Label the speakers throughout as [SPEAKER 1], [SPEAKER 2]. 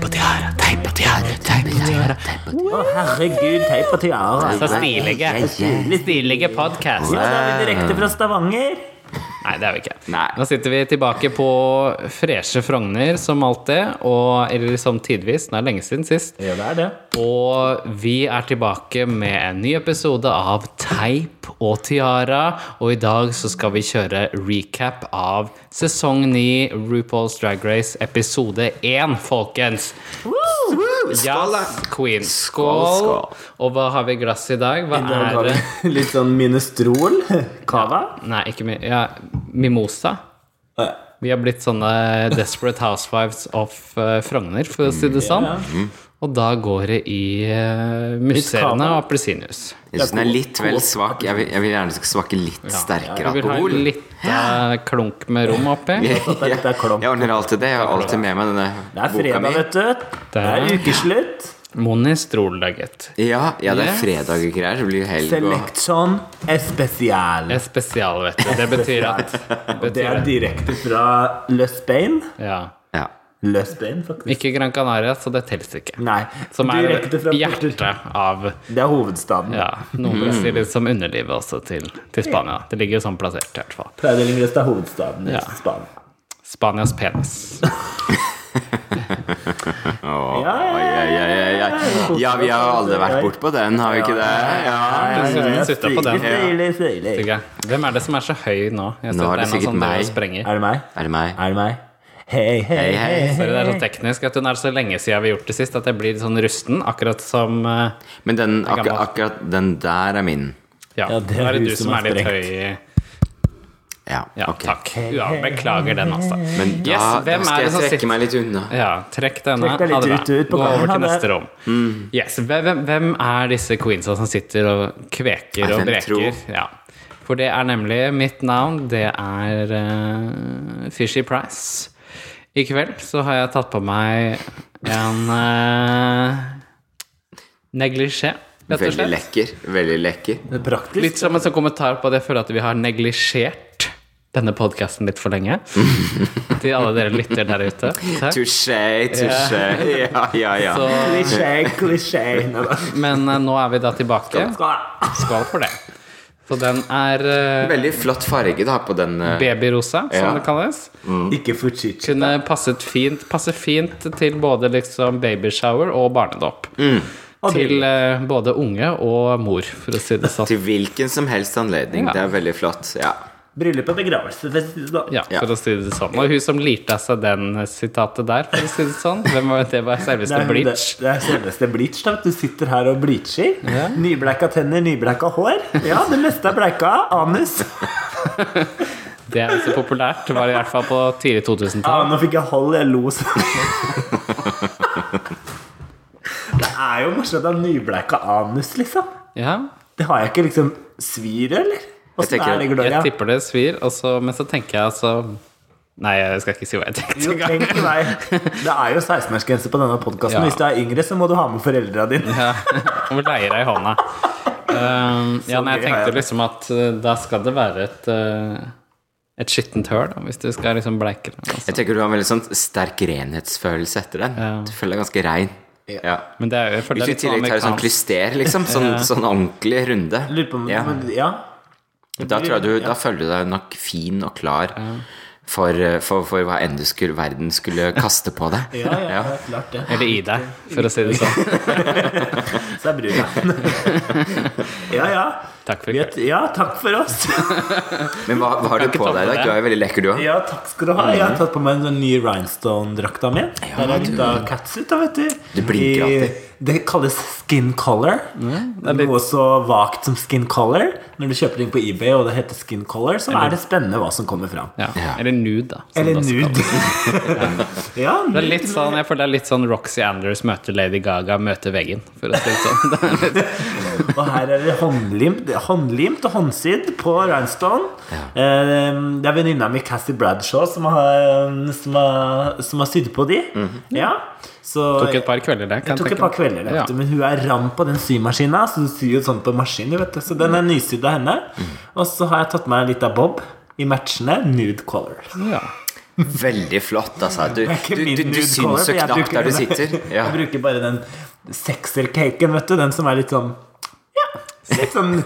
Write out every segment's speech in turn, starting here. [SPEAKER 1] på tiara, teip på tiara, teip på tiara.
[SPEAKER 2] Å, herregud, teip og tiara.
[SPEAKER 3] Så stilige. Stilige podkast.
[SPEAKER 2] Ja, da er vi direkte fra Stavanger.
[SPEAKER 3] Nei, det er vi ikke.
[SPEAKER 1] Nei.
[SPEAKER 3] Nå sitter vi tilbake på freshe Frogner som alltid, og, eller som tidvis. Det er lenge siden sist.
[SPEAKER 2] Ja, det er det.
[SPEAKER 3] Og vi er tilbake med en ny episode av Teip og Tiara. Og i dag så skal vi kjøre recap av sesong 9 RuPaul's Drag Race episode 1, folkens. Ja,
[SPEAKER 1] Skål, da.
[SPEAKER 3] queen. Skål.
[SPEAKER 1] Skål, skål.
[SPEAKER 3] Og hva har vi i glasset i dag? Hva er det?
[SPEAKER 2] Litt sånn minestrol. Cava.
[SPEAKER 3] Nei, ikke mi ja, mimosa.
[SPEAKER 2] Ja.
[SPEAKER 3] Vi har blitt sånne Desperate Housewives of eh, Frogner, for å si det sånn.
[SPEAKER 1] Mm.
[SPEAKER 3] Og da går det i uh, musserende
[SPEAKER 2] kava.
[SPEAKER 3] og appelsinjuice.
[SPEAKER 1] Jeg synes den er litt vel svak. Jeg vil, jeg vil gjerne at det skal smake litt sterkere
[SPEAKER 3] Du vil ha en
[SPEAKER 1] alkohol.
[SPEAKER 3] liten eh, klunk med rom oppi.
[SPEAKER 1] Jeg
[SPEAKER 2] Det er litt av klump.
[SPEAKER 1] jeg ordner alltid det. Jeg har alltid med meg
[SPEAKER 2] Det
[SPEAKER 1] denne
[SPEAKER 2] er
[SPEAKER 1] boka
[SPEAKER 2] fredag,
[SPEAKER 1] mi.
[SPEAKER 2] vet du. Det er ukeslutt.
[SPEAKER 3] Monistrol, da, gitt.
[SPEAKER 1] Ja, ja, det er
[SPEAKER 3] Yes.
[SPEAKER 1] fredag og greier. Så blir det helg og
[SPEAKER 2] Selection especial.
[SPEAKER 3] Det er spesial, vet du. Det betyr at
[SPEAKER 2] Det er
[SPEAKER 3] betyr, at-
[SPEAKER 2] direkte fra Løs Spain.
[SPEAKER 3] ja.
[SPEAKER 1] ja.
[SPEAKER 2] Løs Spain, faktisk.
[SPEAKER 3] Ikke Gran Canaria, så det teller ikke.
[SPEAKER 2] Nei.
[SPEAKER 3] Som er
[SPEAKER 2] direkte fra
[SPEAKER 3] hjertet av
[SPEAKER 2] Det er hovedstaden.
[SPEAKER 3] ja,
[SPEAKER 1] Mm.
[SPEAKER 3] Noen vil si litt som underlivet også til, til Spania. Det ligger jo sånn plassert, i hvert fall.
[SPEAKER 2] Pleideling Løst er hovedstaden i
[SPEAKER 3] Ja.
[SPEAKER 2] Spania.
[SPEAKER 3] Spanias penis.
[SPEAKER 2] Ja,
[SPEAKER 1] Oi,
[SPEAKER 2] ja,
[SPEAKER 1] oi, oi, oi, oi. Ja, vi har alle vært bortpå den, har vi ikke det? Ja.
[SPEAKER 3] Jeg synes hun sitter på den.
[SPEAKER 2] Stilig, stilig.
[SPEAKER 3] Ikke? Hvem er det som er så høy nå? Jeg
[SPEAKER 1] Nå
[SPEAKER 3] ser at
[SPEAKER 1] er det
[SPEAKER 3] noen
[SPEAKER 1] sikkert
[SPEAKER 3] som driver og
[SPEAKER 1] meg.
[SPEAKER 3] sprenger.
[SPEAKER 2] Er det meg?
[SPEAKER 1] Er det meg?
[SPEAKER 2] Er det meg? Hei, hei,
[SPEAKER 1] Hei,
[SPEAKER 2] hei.
[SPEAKER 1] hei.
[SPEAKER 3] Sorry, det
[SPEAKER 2] Eh.
[SPEAKER 3] er så teknisk at hun er så lenge siden vi har gjort det sist, at jeg blir sånn rusten, akkurat som eh,
[SPEAKER 1] Men den,
[SPEAKER 3] er
[SPEAKER 1] akkurat,
[SPEAKER 3] gammel.
[SPEAKER 1] akkurat den der er min.
[SPEAKER 3] Ja,
[SPEAKER 2] Ja,
[SPEAKER 3] det er det du som er litt
[SPEAKER 2] sprengt.
[SPEAKER 3] høy i-
[SPEAKER 1] Ja,
[SPEAKER 3] Ja,
[SPEAKER 1] ok.
[SPEAKER 3] takk. Ja, beklager den, altså.
[SPEAKER 1] Men da,
[SPEAKER 3] Yes, hvem
[SPEAKER 1] da
[SPEAKER 3] er
[SPEAKER 1] skal
[SPEAKER 3] det
[SPEAKER 1] jeg
[SPEAKER 3] som
[SPEAKER 1] trekke
[SPEAKER 3] sitter-
[SPEAKER 1] meg litt unna.
[SPEAKER 3] Ja, trekk denne.
[SPEAKER 2] Trekk deg litt
[SPEAKER 3] Ha det bra.
[SPEAKER 2] ut- ut på
[SPEAKER 3] Gå over til
[SPEAKER 2] gangen, ha
[SPEAKER 3] neste
[SPEAKER 2] det.
[SPEAKER 3] rom. Yes, hvem, hvem er disse queensa som sitter og kveker
[SPEAKER 1] Nei,
[SPEAKER 3] og
[SPEAKER 1] hvem
[SPEAKER 3] breker?
[SPEAKER 1] tror?
[SPEAKER 3] Ja. For det er nemlig mitt navn. Det er eh, Fishy Price. I kveld så har jeg tatt på meg en uh, neglisjé, rett og
[SPEAKER 1] Veldig
[SPEAKER 3] slett.
[SPEAKER 1] lekker. Veldig lekker.
[SPEAKER 2] Det er praktisk.
[SPEAKER 3] Litt som en sånn kommentar på at jeg føler at vi har neglisjert denne podkasten litt for lenge. Til alle dere lytter der ute. Takk.
[SPEAKER 1] Touché, touché. Ja, ja, ja.
[SPEAKER 3] Så,
[SPEAKER 2] Klisjé, klisjé. Nå da.
[SPEAKER 3] men eh, nå er vi da tilbake.
[SPEAKER 2] Skål.
[SPEAKER 3] Skål for det. Så den er eh,
[SPEAKER 1] Veldig flott farge du har på den. eh,
[SPEAKER 3] babyrosa, som
[SPEAKER 1] Ja.
[SPEAKER 3] det kalles.
[SPEAKER 2] Ikke fuchichi.
[SPEAKER 3] Kunne passet fint, passer fint til både liksom babyshower og barnedåp.
[SPEAKER 1] Mm.
[SPEAKER 3] Til eh, både unge og mor, for å si det sånn.
[SPEAKER 1] Til hvilken som helst anledning.
[SPEAKER 3] Ja.
[SPEAKER 1] Det er veldig flott. Ja.
[SPEAKER 2] Bryllup og begravelse. for å si det sånn.
[SPEAKER 3] Ja, for å si det sånn. Og hun som lirte av seg den sitatet der, for å si det sånn. Hvem var det? var
[SPEAKER 2] Det
[SPEAKER 3] selveste
[SPEAKER 2] er, det,
[SPEAKER 3] Bleach.
[SPEAKER 2] det er selveste bleach. da, vet Du Du sitter her og bleacher. Nybleika tenner, nybleika hår. Ja, det meste er bleika. Anus.
[SPEAKER 3] Det er så populært. Det var i hvert fall på tidlig 2000-tall.
[SPEAKER 2] Ja, nå fikk jeg hold, jeg lo så Det er jo morsomt at nybleika anus, liksom.
[SPEAKER 3] Ja,
[SPEAKER 2] Det har jeg ikke liksom svir, eller?
[SPEAKER 1] Jeg
[SPEAKER 2] Åssen
[SPEAKER 1] tenker-
[SPEAKER 2] er det,
[SPEAKER 3] jeg
[SPEAKER 2] Gloria?
[SPEAKER 3] tipper det svir, og så- men så tenker jeg altså Nei, jeg skal ikke si hva jeg tenkte
[SPEAKER 2] Jo,
[SPEAKER 3] engang.
[SPEAKER 2] tenk på deg. Det er jo 16-årsgrense på denne podkasten.
[SPEAKER 3] Ja.
[SPEAKER 2] Hvis du er yngre, så må du ha med foreldra dine.
[SPEAKER 3] Ja, Om leier deg i hånda. Um, ja, nei, jeg
[SPEAKER 2] gøy, ja.
[SPEAKER 3] tenkte liksom at uh, da skal det være et uh, et skittent høl, da, hvis du skal liksom bleike det. altså.
[SPEAKER 1] Jeg tenker du har en veldig sånn sterk renhetsfølelse etter den.
[SPEAKER 3] Ja.
[SPEAKER 1] Du føler deg ganske rein. Ja.
[SPEAKER 3] Men det er jo jeg føler
[SPEAKER 1] Hvis
[SPEAKER 3] det er litt
[SPEAKER 1] du i
[SPEAKER 3] sånn
[SPEAKER 1] tillegg tar en sånn
[SPEAKER 3] amerikansk.
[SPEAKER 1] klyster, liksom, sånn, sånn ordentlig runde,
[SPEAKER 2] Lurer på om
[SPEAKER 1] Ja.
[SPEAKER 2] men, ja.
[SPEAKER 1] da, tror jeg du, da føler du deg nok fin og klar for, eh, for, for hva enn du skulle, verden skulle kaste på deg.
[SPEAKER 2] Ja, ja, det er klart det.
[SPEAKER 3] Eller i deg, for å si det sånn.
[SPEAKER 2] Så er bruden Ja, ja.
[SPEAKER 3] Takk for i
[SPEAKER 2] Vi
[SPEAKER 3] kveld.
[SPEAKER 2] er- Ja, takk for oss.
[SPEAKER 1] Men hva, hva har du
[SPEAKER 3] ikke ta
[SPEAKER 1] på
[SPEAKER 3] på
[SPEAKER 1] deg i dag?
[SPEAKER 3] det.
[SPEAKER 1] Du er jo veldig lekker, du òg.
[SPEAKER 2] Ja, takk skal du ha. Jeg
[SPEAKER 3] Mm.
[SPEAKER 2] har tatt på meg en sånn ny rhinestone-drakta mi. Der er litt av catsuit, da, vet du.
[SPEAKER 1] Du blinker
[SPEAKER 2] I-
[SPEAKER 1] alltid.
[SPEAKER 2] Det kalles skin color. Noe så vagt som skin color. Når du kjøper ting på eBay og det heter skin color, så er det spennende hva som kommer fram.
[SPEAKER 3] Ja.
[SPEAKER 1] Ja.
[SPEAKER 3] Eller nude, da. som det
[SPEAKER 2] Eller
[SPEAKER 3] også kalles.
[SPEAKER 2] nude. ja,
[SPEAKER 3] Det er litt sånn, jeg føler det er litt sånn Roxy Anders møter Lady Gaga møter veggen. For å si det sånn. Det er litt,
[SPEAKER 2] Og her er det håndlimt, håndlimt og håndsydd på rhinestone. Eh, Det er venninna mi Cassie Bradshaw som har, ehm, som har, som har sydd på de. Ja, så
[SPEAKER 3] Mhm. tok et par kvelder, det. kan
[SPEAKER 2] Jeg tok
[SPEAKER 3] tenke
[SPEAKER 2] et par
[SPEAKER 3] meg.
[SPEAKER 2] kvelder, vet
[SPEAKER 3] Ja.
[SPEAKER 2] du, men hun er ram på den symaskina. Så hun syr jo sånn på maskinen, vet du. Så den
[SPEAKER 3] Mhm.
[SPEAKER 2] er nysydd av henne. Og så har jeg tatt meg litt av Bob i matchene. Nude color.
[SPEAKER 3] Ja.
[SPEAKER 1] Veldig flott, altså. Du,
[SPEAKER 2] Det er ikke
[SPEAKER 1] du,
[SPEAKER 2] min
[SPEAKER 1] du, du
[SPEAKER 2] nude color,
[SPEAKER 1] syns jo
[SPEAKER 2] for jeg
[SPEAKER 1] knapt
[SPEAKER 2] bruker
[SPEAKER 1] der du
[SPEAKER 2] den-
[SPEAKER 1] sitter. Ja.
[SPEAKER 2] Jeg bruker bare den seksercaken, vet du. Den som er litt sånn Ja, litt sånn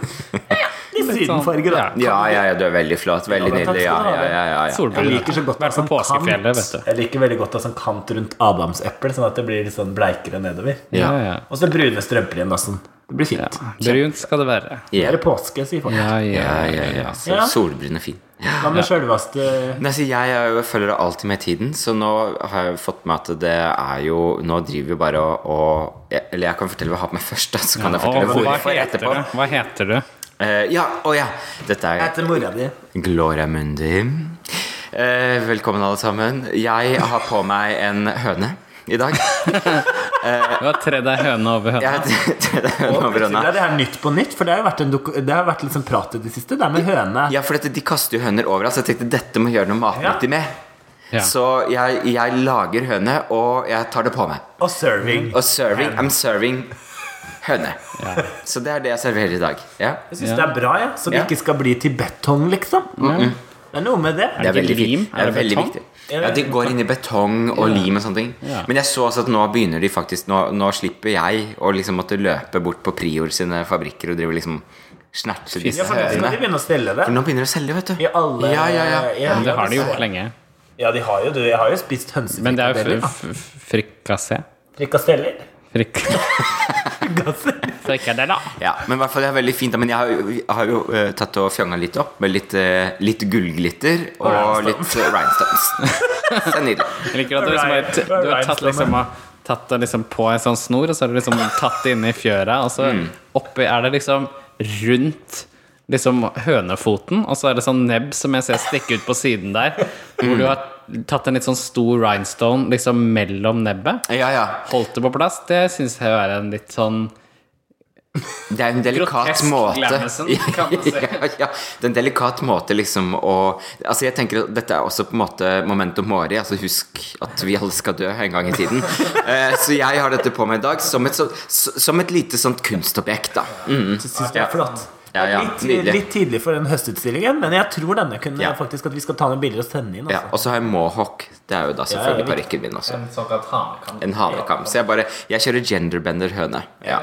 [SPEAKER 2] ja, Litt sydenfarger, da.
[SPEAKER 3] sånn, ja.
[SPEAKER 1] Ja, ja, ja, du er veldig flott. Veldig
[SPEAKER 2] Ja, men takk
[SPEAKER 1] nydelig. Ja,
[SPEAKER 2] skal du ha.
[SPEAKER 1] ja, ja, ja, ja.
[SPEAKER 2] Jeg
[SPEAKER 3] Solbriller.
[SPEAKER 2] liker så godt å ha
[SPEAKER 3] Vært på
[SPEAKER 2] sånn
[SPEAKER 3] påskefjellet,
[SPEAKER 2] kant.
[SPEAKER 3] vet du.
[SPEAKER 2] Jeg liker veldig godt å ha sånn kant rundt adamseplet, sånn at det blir litt sånn bleikere nedover.
[SPEAKER 3] Ja,
[SPEAKER 1] Ja.
[SPEAKER 3] ja.
[SPEAKER 2] Og så brune strømper igjen, da. Sånn. Det blir fint.
[SPEAKER 3] Brunt skal det være.
[SPEAKER 2] Det
[SPEAKER 1] Ja,
[SPEAKER 2] er påske, sier folk.
[SPEAKER 3] Ja, ja,
[SPEAKER 1] ja, ja, ja. Så
[SPEAKER 2] Ja.
[SPEAKER 1] solbrillene er fine.
[SPEAKER 2] Hva med sjølveste
[SPEAKER 1] Nei, så altså, jeg er jo, følger det alltid med tiden, så nå har jeg fått med at det er jo Nå driver vi bare og, og jeg- Eller jeg kan fortelle hva jeg har på meg først, da, så kan jeg
[SPEAKER 3] Og
[SPEAKER 1] fortelle
[SPEAKER 3] hva
[SPEAKER 1] hvorfor
[SPEAKER 3] heter
[SPEAKER 1] etterpå.
[SPEAKER 3] du? Hva heter du?
[SPEAKER 1] Eh, ja, å ja. Dette
[SPEAKER 2] Jeg
[SPEAKER 1] er
[SPEAKER 2] heter mora di.
[SPEAKER 1] Gloria Mundi. Eh, velkommen, alle sammen. Jeg har på meg en høne i dag.
[SPEAKER 3] Du har tredd ei høne over høna.
[SPEAKER 1] Jeg heter Høne over
[SPEAKER 2] Plutselig
[SPEAKER 1] høna.
[SPEAKER 2] er det her nytt på nytt, for det har jo vært, en doku- det har vært litt sånn prat i det siste. Det er med høne.
[SPEAKER 1] Ja, for dette, de kaster jo høner overalt, så jeg tenkte dette må gjøre noe matnyttig med.
[SPEAKER 3] Ja.
[SPEAKER 1] Så jeg, jeg lager høne, og jeg tar det på meg.
[SPEAKER 2] Og serving.
[SPEAKER 1] Og serving, I'm serving høne. Så det er det jeg serverer i dag. Ja.
[SPEAKER 2] Jeg syns det er bra, ja. så det
[SPEAKER 1] Ja.
[SPEAKER 2] ikke skal bli til betong, liksom. Det er noe med det.
[SPEAKER 1] Det er
[SPEAKER 3] det
[SPEAKER 1] veldig
[SPEAKER 3] lim?
[SPEAKER 1] fint. Det
[SPEAKER 3] Er
[SPEAKER 1] er
[SPEAKER 3] det
[SPEAKER 1] veldig
[SPEAKER 3] betong?
[SPEAKER 1] viktig. Ja, de går inn i betong og lim og sånne ting.
[SPEAKER 3] Ja.
[SPEAKER 1] Men jeg så også at nå begynner de faktisk Nå, nå slipper jeg å liksom måtte løpe bort på Prior sine fabrikker og drive liksom snerte
[SPEAKER 2] Ja,
[SPEAKER 1] disse
[SPEAKER 2] for nå skal de
[SPEAKER 1] hønene.
[SPEAKER 2] begynne å stelle det.
[SPEAKER 1] For nå begynner de å selge, vet du.
[SPEAKER 2] altså. I alle
[SPEAKER 1] ja, ja, ja.
[SPEAKER 2] i alle-
[SPEAKER 3] Det har de gjort lenge.
[SPEAKER 2] Ja, de har jo det. Jeg har jo spist hønsefrikadeller.
[SPEAKER 3] Men det er jo
[SPEAKER 2] da.
[SPEAKER 3] f- f- frikassé.
[SPEAKER 2] Frikasteller.
[SPEAKER 3] Frik
[SPEAKER 2] Gasser.
[SPEAKER 3] Frikadella.
[SPEAKER 1] Ja, men i hvert fall det er veldig fint da. Men jeg har, jo- jeg har jo eh, tatt og fjonga litt opp Med litt, eh, litt gullglitter Og litt eh, rhinestones Det er nydelig
[SPEAKER 3] Jeg liker at du, liksom har, t- du har tatt, liksom, har tatt det liksom på en sånn snor, og så har du liksom tatt det inn i fjøra, og så oppi er det liksom rundt liksom hønefoten, og så er det sånn nebb som jeg ser stikke ut på siden der, hvor du har tatt en litt sånn stor rhinestone liksom mellom nebbet,
[SPEAKER 1] Ja, ja
[SPEAKER 3] holdt det på plass, det synes jeg er en litt sånn
[SPEAKER 1] Det er jo en delikat
[SPEAKER 3] Grotesk
[SPEAKER 1] måte
[SPEAKER 3] glamison, kan man si.
[SPEAKER 1] ja, ja, Det er en delikat måte liksom å Altså jeg tenker at dette er også på en måte Momentum mori, altså husk at vi alle skal dø En gang i tiden Eh, Så jeg har dette på meg i dag Som et, så, som et lite sånt kunstobjekt da mm.
[SPEAKER 2] Så syns det er flott.
[SPEAKER 1] Ja, ja,
[SPEAKER 2] litt,
[SPEAKER 1] nydelig.
[SPEAKER 2] litt tidlig for den høstutstillingen, men jeg tror denne kunne
[SPEAKER 1] Ja.
[SPEAKER 2] faktisk at vi skal ta noen bilder og sende inn.
[SPEAKER 1] ja,
[SPEAKER 2] Altså.
[SPEAKER 1] Og så har jeg mohawk Det er jo
[SPEAKER 2] Ja,
[SPEAKER 1] da
[SPEAKER 2] ja,
[SPEAKER 1] selvfølgelig
[SPEAKER 2] det er
[SPEAKER 1] parykken min også
[SPEAKER 3] En såkalt hanekam.
[SPEAKER 1] En hanekam. Så jeg bare Jeg kjører genderbender høne. Ja.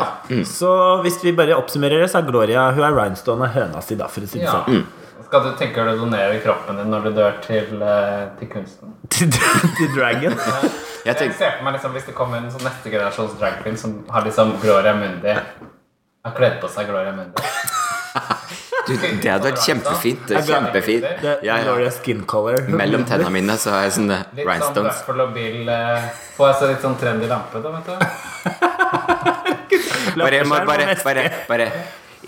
[SPEAKER 2] Så hvis vi bare oppsummerer det, så er Gloria hun er rhinestone av høna si, da, for å si det sånn.
[SPEAKER 3] Skal du tenke å donere kroppen din når du dør til, eh, til kunsten?
[SPEAKER 2] Til, til Dragon.
[SPEAKER 1] Jeg
[SPEAKER 3] Jeg
[SPEAKER 1] tenkte
[SPEAKER 3] ser for meg liksom, Hvis det kommer en sånn neste generasjons drag queen som har liksom Gloria Mundi Har kledd på seg Gloria Mundi.
[SPEAKER 1] du, det hadde vært kjempefint. Det er Kjempefint.
[SPEAKER 2] Det,
[SPEAKER 1] Ja, ja.
[SPEAKER 2] Gloria skin color.
[SPEAKER 1] Mellom tennene mine så har jeg sånne
[SPEAKER 3] Litt sånn
[SPEAKER 1] rhinestones.
[SPEAKER 3] Buffalo Bill eh, Får jeg så litt sånn trendy lampe, da, vet du.
[SPEAKER 1] Bare, bare, bare,
[SPEAKER 2] Lappeskjerm og
[SPEAKER 1] bare, bare.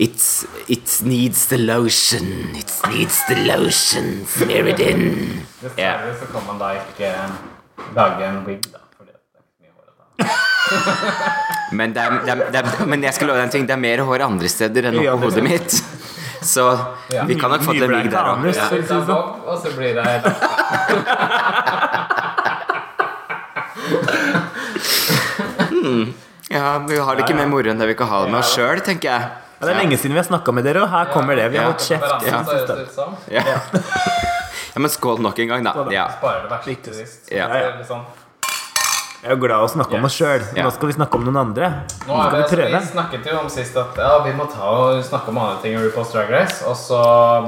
[SPEAKER 1] It's, it needs the lotion. It needs the lotion. Smear it in.
[SPEAKER 3] Dessverre så kan man da ikke eh, lage en wig, da. Fordi det er ikke så mye hår å ta.
[SPEAKER 1] Men, det er, det er, det er, men jeg skal love deg en ting. Det er mer hår andre steder enn
[SPEAKER 2] Ja,
[SPEAKER 1] oppå
[SPEAKER 2] det er
[SPEAKER 1] hodet mitt. Så vi kan nok få til en
[SPEAKER 2] Nyblankt
[SPEAKER 1] ligg der òg.
[SPEAKER 2] anus,
[SPEAKER 1] Ja.
[SPEAKER 2] for å si
[SPEAKER 3] Litt av
[SPEAKER 2] det sånn.
[SPEAKER 3] bob, og så blir det lampe.
[SPEAKER 1] ja, vi har det ikke mer moro enn det vi kan ha det med oss sjøl, tenker jeg.
[SPEAKER 2] Ja, det er lenge siden vi har snakka med dere, og her kommer det. Vi
[SPEAKER 1] Ja.
[SPEAKER 2] har holdt kjeft.
[SPEAKER 3] Hverandre
[SPEAKER 1] Ja.
[SPEAKER 3] ser det ut som.
[SPEAKER 1] Ja. ja, men skål nok en gang, da. Ja.
[SPEAKER 3] Bare det verste til sist.
[SPEAKER 1] Ja.
[SPEAKER 3] Så det er litt sånn.
[SPEAKER 2] Jeg er jo glad i å snakke om oss sjøl.
[SPEAKER 1] Ja.
[SPEAKER 2] Nå skal vi snakke om noen andre.
[SPEAKER 3] Nå
[SPEAKER 2] Nå
[SPEAKER 3] er
[SPEAKER 2] skal
[SPEAKER 3] det,
[SPEAKER 2] vi
[SPEAKER 3] vi
[SPEAKER 2] prøve.
[SPEAKER 3] snakket jo om sist at ja, vi må ta og snakke om andre ting i RuPaul's Drag Race, og så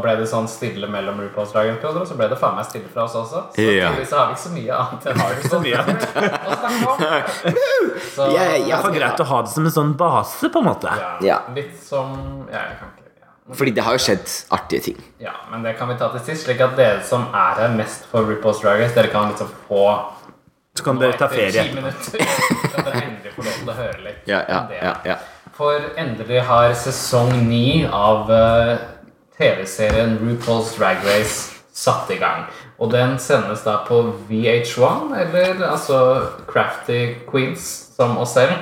[SPEAKER 3] ble det sånn stille mellom RuPaul's Drag Race-perioder, og så ble det faen meg stille fra oss også. Så
[SPEAKER 1] Ja.
[SPEAKER 3] tydeligvis har vi ikke så mye annet enn RuPaul's
[SPEAKER 2] mye
[SPEAKER 3] Drag Race å snakke om. Så
[SPEAKER 1] Ja, ja,
[SPEAKER 2] Det er for greit å ha det som en sånn base, på en måte.
[SPEAKER 1] Ja.
[SPEAKER 3] litt som Ja, jeg kan ikke ja.
[SPEAKER 1] Fordi det har jo skjedd artige ting.
[SPEAKER 3] ja, men det kan vi ta til sist, slik at dere som er her mest for RuPaul's Drag Race, dere kan liksom få
[SPEAKER 2] Så kan dere ta ferie.
[SPEAKER 3] ti minutter. Så dere endelig får lov til å høre litt
[SPEAKER 1] Ja, ja,
[SPEAKER 3] om det.
[SPEAKER 1] ja, ja.
[SPEAKER 3] For endelig har sesong 9 av eh, TV-serien RuPaul's Drag Race satt i gang. Og den sendes da på VH1, eller altså Crafty Queens, som oss selv,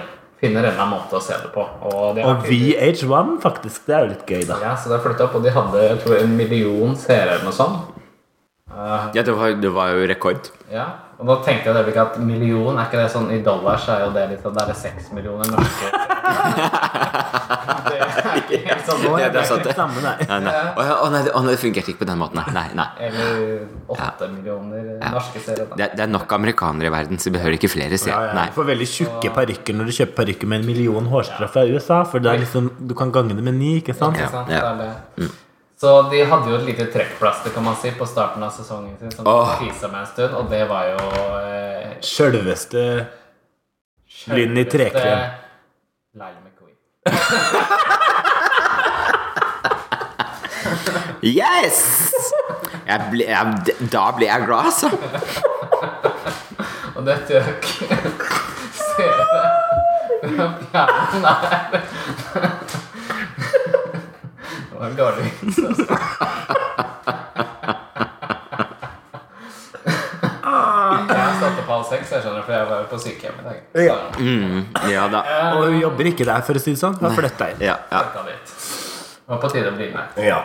[SPEAKER 3] finner en eller annen måte å se det på. Og, det har
[SPEAKER 2] Og VH1, faktisk. Det er jo litt gøy, da.
[SPEAKER 3] Ja, så det har flyttet opp, og de hadde jeg tror, en million seere eller noe sånt.
[SPEAKER 1] Ja, det var, det var jo rekord.
[SPEAKER 3] Ja, Og nå tenkte jeg et øyeblikk at million, er ikke det sånn i dollar, så er jo det litt sånn, det er seks millioner norske Det er ikke helt sånn nå,
[SPEAKER 1] Ja, det er
[SPEAKER 3] jeg vet
[SPEAKER 1] sant,
[SPEAKER 3] ikke.
[SPEAKER 1] det.
[SPEAKER 2] Samme der.
[SPEAKER 1] Nei, nei. Å, ja, å, nei, det- å, nei, det fungerte ikke på den måten. Nei, nei. nei.
[SPEAKER 3] Eller åtte millioner norske seere. da.
[SPEAKER 1] Det, er- det er nok amerikanere i verden, så vi behøver ikke flere, sier
[SPEAKER 2] Ja,
[SPEAKER 1] jeg.
[SPEAKER 2] ja.
[SPEAKER 1] Nei.
[SPEAKER 2] Du får veldig tjukke parykker når du kjøper parykker med en million hårstrå fra USA. For det er liksom, du kan gange det med ni, ikke sant?
[SPEAKER 1] Ja. Mm.
[SPEAKER 2] Ja.
[SPEAKER 3] Ikke sant? Det er det. Så de hadde jo et lite trekkplaster kan man si, på starten av sesongen sin, som
[SPEAKER 1] Åh.
[SPEAKER 3] krisa med en stund, og det var jo eh,
[SPEAKER 2] Sjølveste Lynn i
[SPEAKER 3] selveste
[SPEAKER 2] treklem.
[SPEAKER 3] Lyle McQueen.
[SPEAKER 1] Yes! Jeg ble, jeg, da ble jeg glad, altså.
[SPEAKER 3] Og det tøk seere fra fjernen her. Det var en dårlig vits. Jeg satte på halv seks, jeg skjønner, for jeg var jo på sykehjem i dag. Så
[SPEAKER 2] Ja.
[SPEAKER 1] Mm, ja da.
[SPEAKER 2] Og hun jobber ikke der, for å si det sånn. Hun har flytta inn.
[SPEAKER 1] Ja, ja.
[SPEAKER 3] jeg dit. Det var på tide å bli med.
[SPEAKER 2] Ja.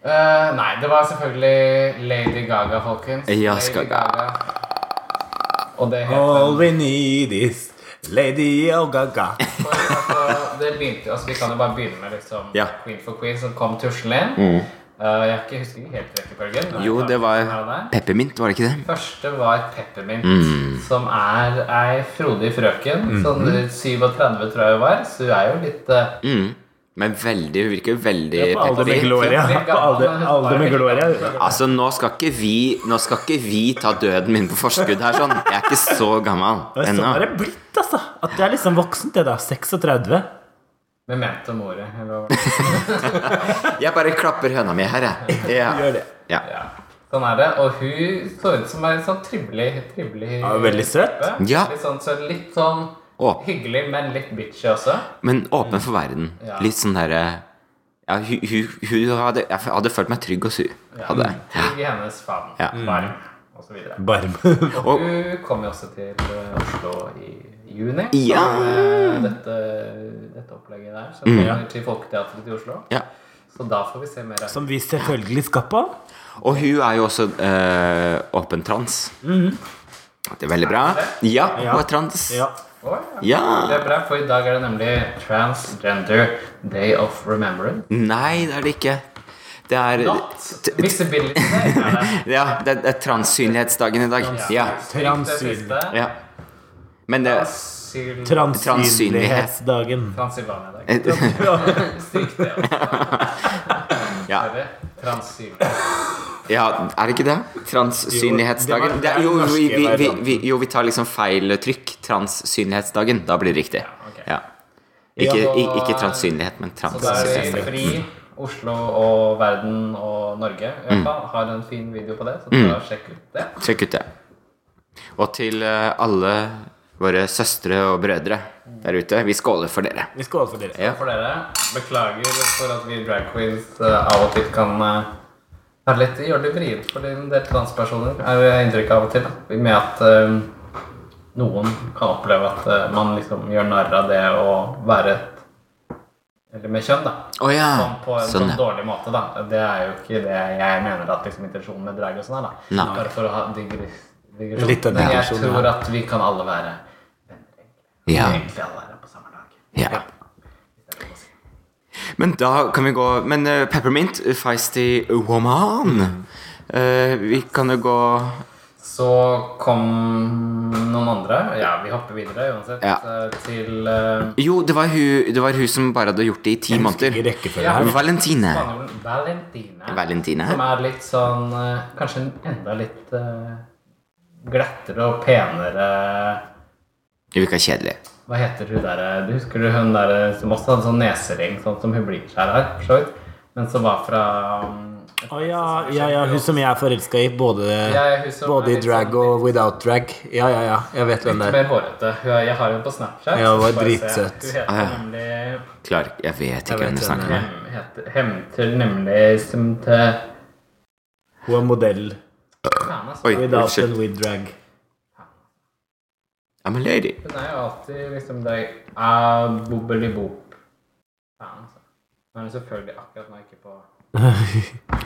[SPEAKER 3] Eh, nei, det var selvfølgelig Lady Gaga, folkens.
[SPEAKER 1] Ja,
[SPEAKER 3] Lady
[SPEAKER 1] skal-
[SPEAKER 3] Og det het
[SPEAKER 2] All we need is Lady Gaga.
[SPEAKER 3] For, altså, det begynte jo, altså Vi kan jo bare begynne med liksom
[SPEAKER 1] Ja. Mm.
[SPEAKER 3] Queen for Queen som kom tuslende inn. Eh, jeg ikke husker ikke helt rekkefølgen. men
[SPEAKER 1] Jo,
[SPEAKER 3] jeg
[SPEAKER 1] det
[SPEAKER 3] tar den her og
[SPEAKER 1] var
[SPEAKER 3] der.
[SPEAKER 1] peppermint, var det ikke det?
[SPEAKER 3] Første var Peppermint,
[SPEAKER 1] Mm.
[SPEAKER 3] som er ei frodig frøken.
[SPEAKER 2] Mm.
[SPEAKER 3] Sånn 37, tror jeg hun var, så hun er jo litt eh,
[SPEAKER 1] Mm. Men veldig, hun virker veldig
[SPEAKER 2] På alder med
[SPEAKER 1] peppermint.
[SPEAKER 2] Gloria. På alder, alder med Gloria.
[SPEAKER 1] Altså, nå skal, ikke vi, nå skal ikke vi ta døden min på forskudd her, sånn. Jeg er ikke så gammel
[SPEAKER 2] Og Sånn
[SPEAKER 1] ennå.
[SPEAKER 2] har det blitt, altså. At det er liksom voksent, det, da. 36.
[SPEAKER 3] Memento mori. Eller hva var det?
[SPEAKER 1] Jeg bare klapper høna mi her, jeg. Ja.
[SPEAKER 2] Gjør det.
[SPEAKER 1] Ja.
[SPEAKER 3] Ja. Sånn er det. Og hun så ut som ei sånn trivelig trivelig
[SPEAKER 2] Ja, veldig søt.
[SPEAKER 3] type.
[SPEAKER 1] Ja.
[SPEAKER 3] Litt sånn, så litt sånn
[SPEAKER 1] Å.
[SPEAKER 3] hyggelig, men litt bitchy også.
[SPEAKER 1] Men åpen for verden.
[SPEAKER 3] Ja.
[SPEAKER 1] Litt sånn derre ja, hun, hun, hun hadde, Jeg hadde følt meg trygg hos hun. Hadde. jeg.
[SPEAKER 2] Mm.
[SPEAKER 3] Trygg i hennes favn.
[SPEAKER 1] Ja.
[SPEAKER 3] Varm, og så videre.
[SPEAKER 2] Barm.
[SPEAKER 1] Og-
[SPEAKER 3] Og hun kom jo også til eh, Oslo i juni.
[SPEAKER 1] Ja. Mm.
[SPEAKER 3] Med dette, dette opplegget der. Så kommer til Folketeatret i Oslo.
[SPEAKER 1] Ja.
[SPEAKER 3] Så da får vi se mer av
[SPEAKER 2] Som vi selvfølgelig skal på.
[SPEAKER 1] Og hun er jo også eh, åpen trans. Det er veldig bra. Ja,
[SPEAKER 2] Mhm. Ja.
[SPEAKER 1] hun er trans.
[SPEAKER 2] Ja.
[SPEAKER 3] Å, ja.
[SPEAKER 1] Ja.
[SPEAKER 3] Det er bra, for i dag er det nemlig Transgender Day of Remembrance.
[SPEAKER 1] Nei, det er det ikke. Det er
[SPEAKER 3] Not Visibility Day. er det.
[SPEAKER 1] Ja, det er, det er transsynlighetsdagen i dag. Ja.
[SPEAKER 2] Transsyn-
[SPEAKER 3] Det siste.
[SPEAKER 1] ja. Men det
[SPEAKER 3] Syl-
[SPEAKER 2] Transsynlighetsdagen.
[SPEAKER 3] Transylvania Day. Stryk det.
[SPEAKER 1] Ja.
[SPEAKER 3] Sorry. Transylvania.
[SPEAKER 1] Ja, er det ikke det? Transsynlighetsdagen.
[SPEAKER 2] Jo, det var-
[SPEAKER 1] Det er- Jo,
[SPEAKER 2] det er den
[SPEAKER 1] vi, vi,
[SPEAKER 2] norske
[SPEAKER 1] vi,
[SPEAKER 2] varianten.
[SPEAKER 1] vi, jo, vi tar liksom feil trykk. Transsynlighetsdagen. Da blir det riktig.
[SPEAKER 3] ok.
[SPEAKER 1] Ja. Ikke,
[SPEAKER 2] Ja,
[SPEAKER 1] i, ikke transsynlighet, men
[SPEAKER 3] Så da er vi
[SPEAKER 1] transsynlighetsdagen.
[SPEAKER 3] fri. Oslo og verden og Norge i hvert fall har en fin video på det, så ta og sjekk ut det.
[SPEAKER 1] Sjekk ut det. Og til eh, alle våre søstre og brødre der ute, vi skåler for dere.
[SPEAKER 2] Vi skåler for dere.
[SPEAKER 1] Ja.
[SPEAKER 3] For dere, beklager for at vi drag queens eh, av og til kan eh, være litt, gjøre det vrient for en del transpersoner, er det inntrykk av og til. da. Med at eh, noen kan oppleve at eh, man liksom gjør narr av det å være et Eller med kjønn, da.
[SPEAKER 1] Å ja.
[SPEAKER 3] sånn på en
[SPEAKER 1] Sånn,
[SPEAKER 3] sånn
[SPEAKER 1] ja.
[SPEAKER 3] dårlig måte, da. Det er jo ikke det jeg mener at liksom, intensjonen med drag og sånn er, da.
[SPEAKER 1] Nei.
[SPEAKER 3] Bare for å ha digres- digresjon.
[SPEAKER 2] Litt av
[SPEAKER 3] Men jeg
[SPEAKER 2] digresjon, ja.
[SPEAKER 3] tror at vi kan alle være
[SPEAKER 1] ja.
[SPEAKER 3] Egentlig alle være på samme dag.
[SPEAKER 1] ja. Men da kan vi gå Men eh, Peppermint, Feisty Woman Eh, Vi kan jo gå
[SPEAKER 3] Så kom noen andre. Ja, vi hopper videre uansett.
[SPEAKER 1] Ja.
[SPEAKER 3] eh, Til eh,
[SPEAKER 1] Jo, det var hun, det var hun som bare hadde gjort det i ti måneder.
[SPEAKER 2] I rekkefølge
[SPEAKER 3] Ja.
[SPEAKER 2] her.
[SPEAKER 1] Valentine.
[SPEAKER 3] spanjolen Valentine. Som
[SPEAKER 1] Valentine.
[SPEAKER 3] er litt sånn eh, Kanskje en enda litt eh, glattere og penere
[SPEAKER 1] Hun virka kjedelig.
[SPEAKER 3] Hva heter hun der Du husker du hun der som også hadde sånn nesering, sånn som hun Bleach-her har, for så vidt? Men som var fra um,
[SPEAKER 2] Å ja, ja, ja, hun som jeg er forelska i. Både,
[SPEAKER 3] Ja, hun som
[SPEAKER 2] både
[SPEAKER 3] er
[SPEAKER 2] i
[SPEAKER 3] litt
[SPEAKER 2] drag
[SPEAKER 3] sånn-
[SPEAKER 2] og without drag. Ja, ja, ja. Jeg vet hvem det er.
[SPEAKER 3] Mer hårete. Hun er- Jeg har henne på Snapchat.
[SPEAKER 2] Ja,
[SPEAKER 3] så
[SPEAKER 2] hun var
[SPEAKER 3] bare se.
[SPEAKER 2] dritsøt.
[SPEAKER 3] Hun heter
[SPEAKER 1] Ah, ja.
[SPEAKER 3] nemlig
[SPEAKER 1] Klar, jeg vet ikke
[SPEAKER 2] vet
[SPEAKER 1] hvem du
[SPEAKER 2] hvem det
[SPEAKER 1] snakker med.
[SPEAKER 3] Hem- heter- Hemter nemlig som til
[SPEAKER 2] Hun er modell.
[SPEAKER 3] Faen, altså.
[SPEAKER 1] Oi,
[SPEAKER 2] Without
[SPEAKER 1] unnskyld.
[SPEAKER 2] and with drag.
[SPEAKER 1] I'm a lady.
[SPEAKER 3] Hun er jo alltid liksom deg Abobbelibop. Faen, altså. Nå er hun selvfølgelig akkurat nå ikke på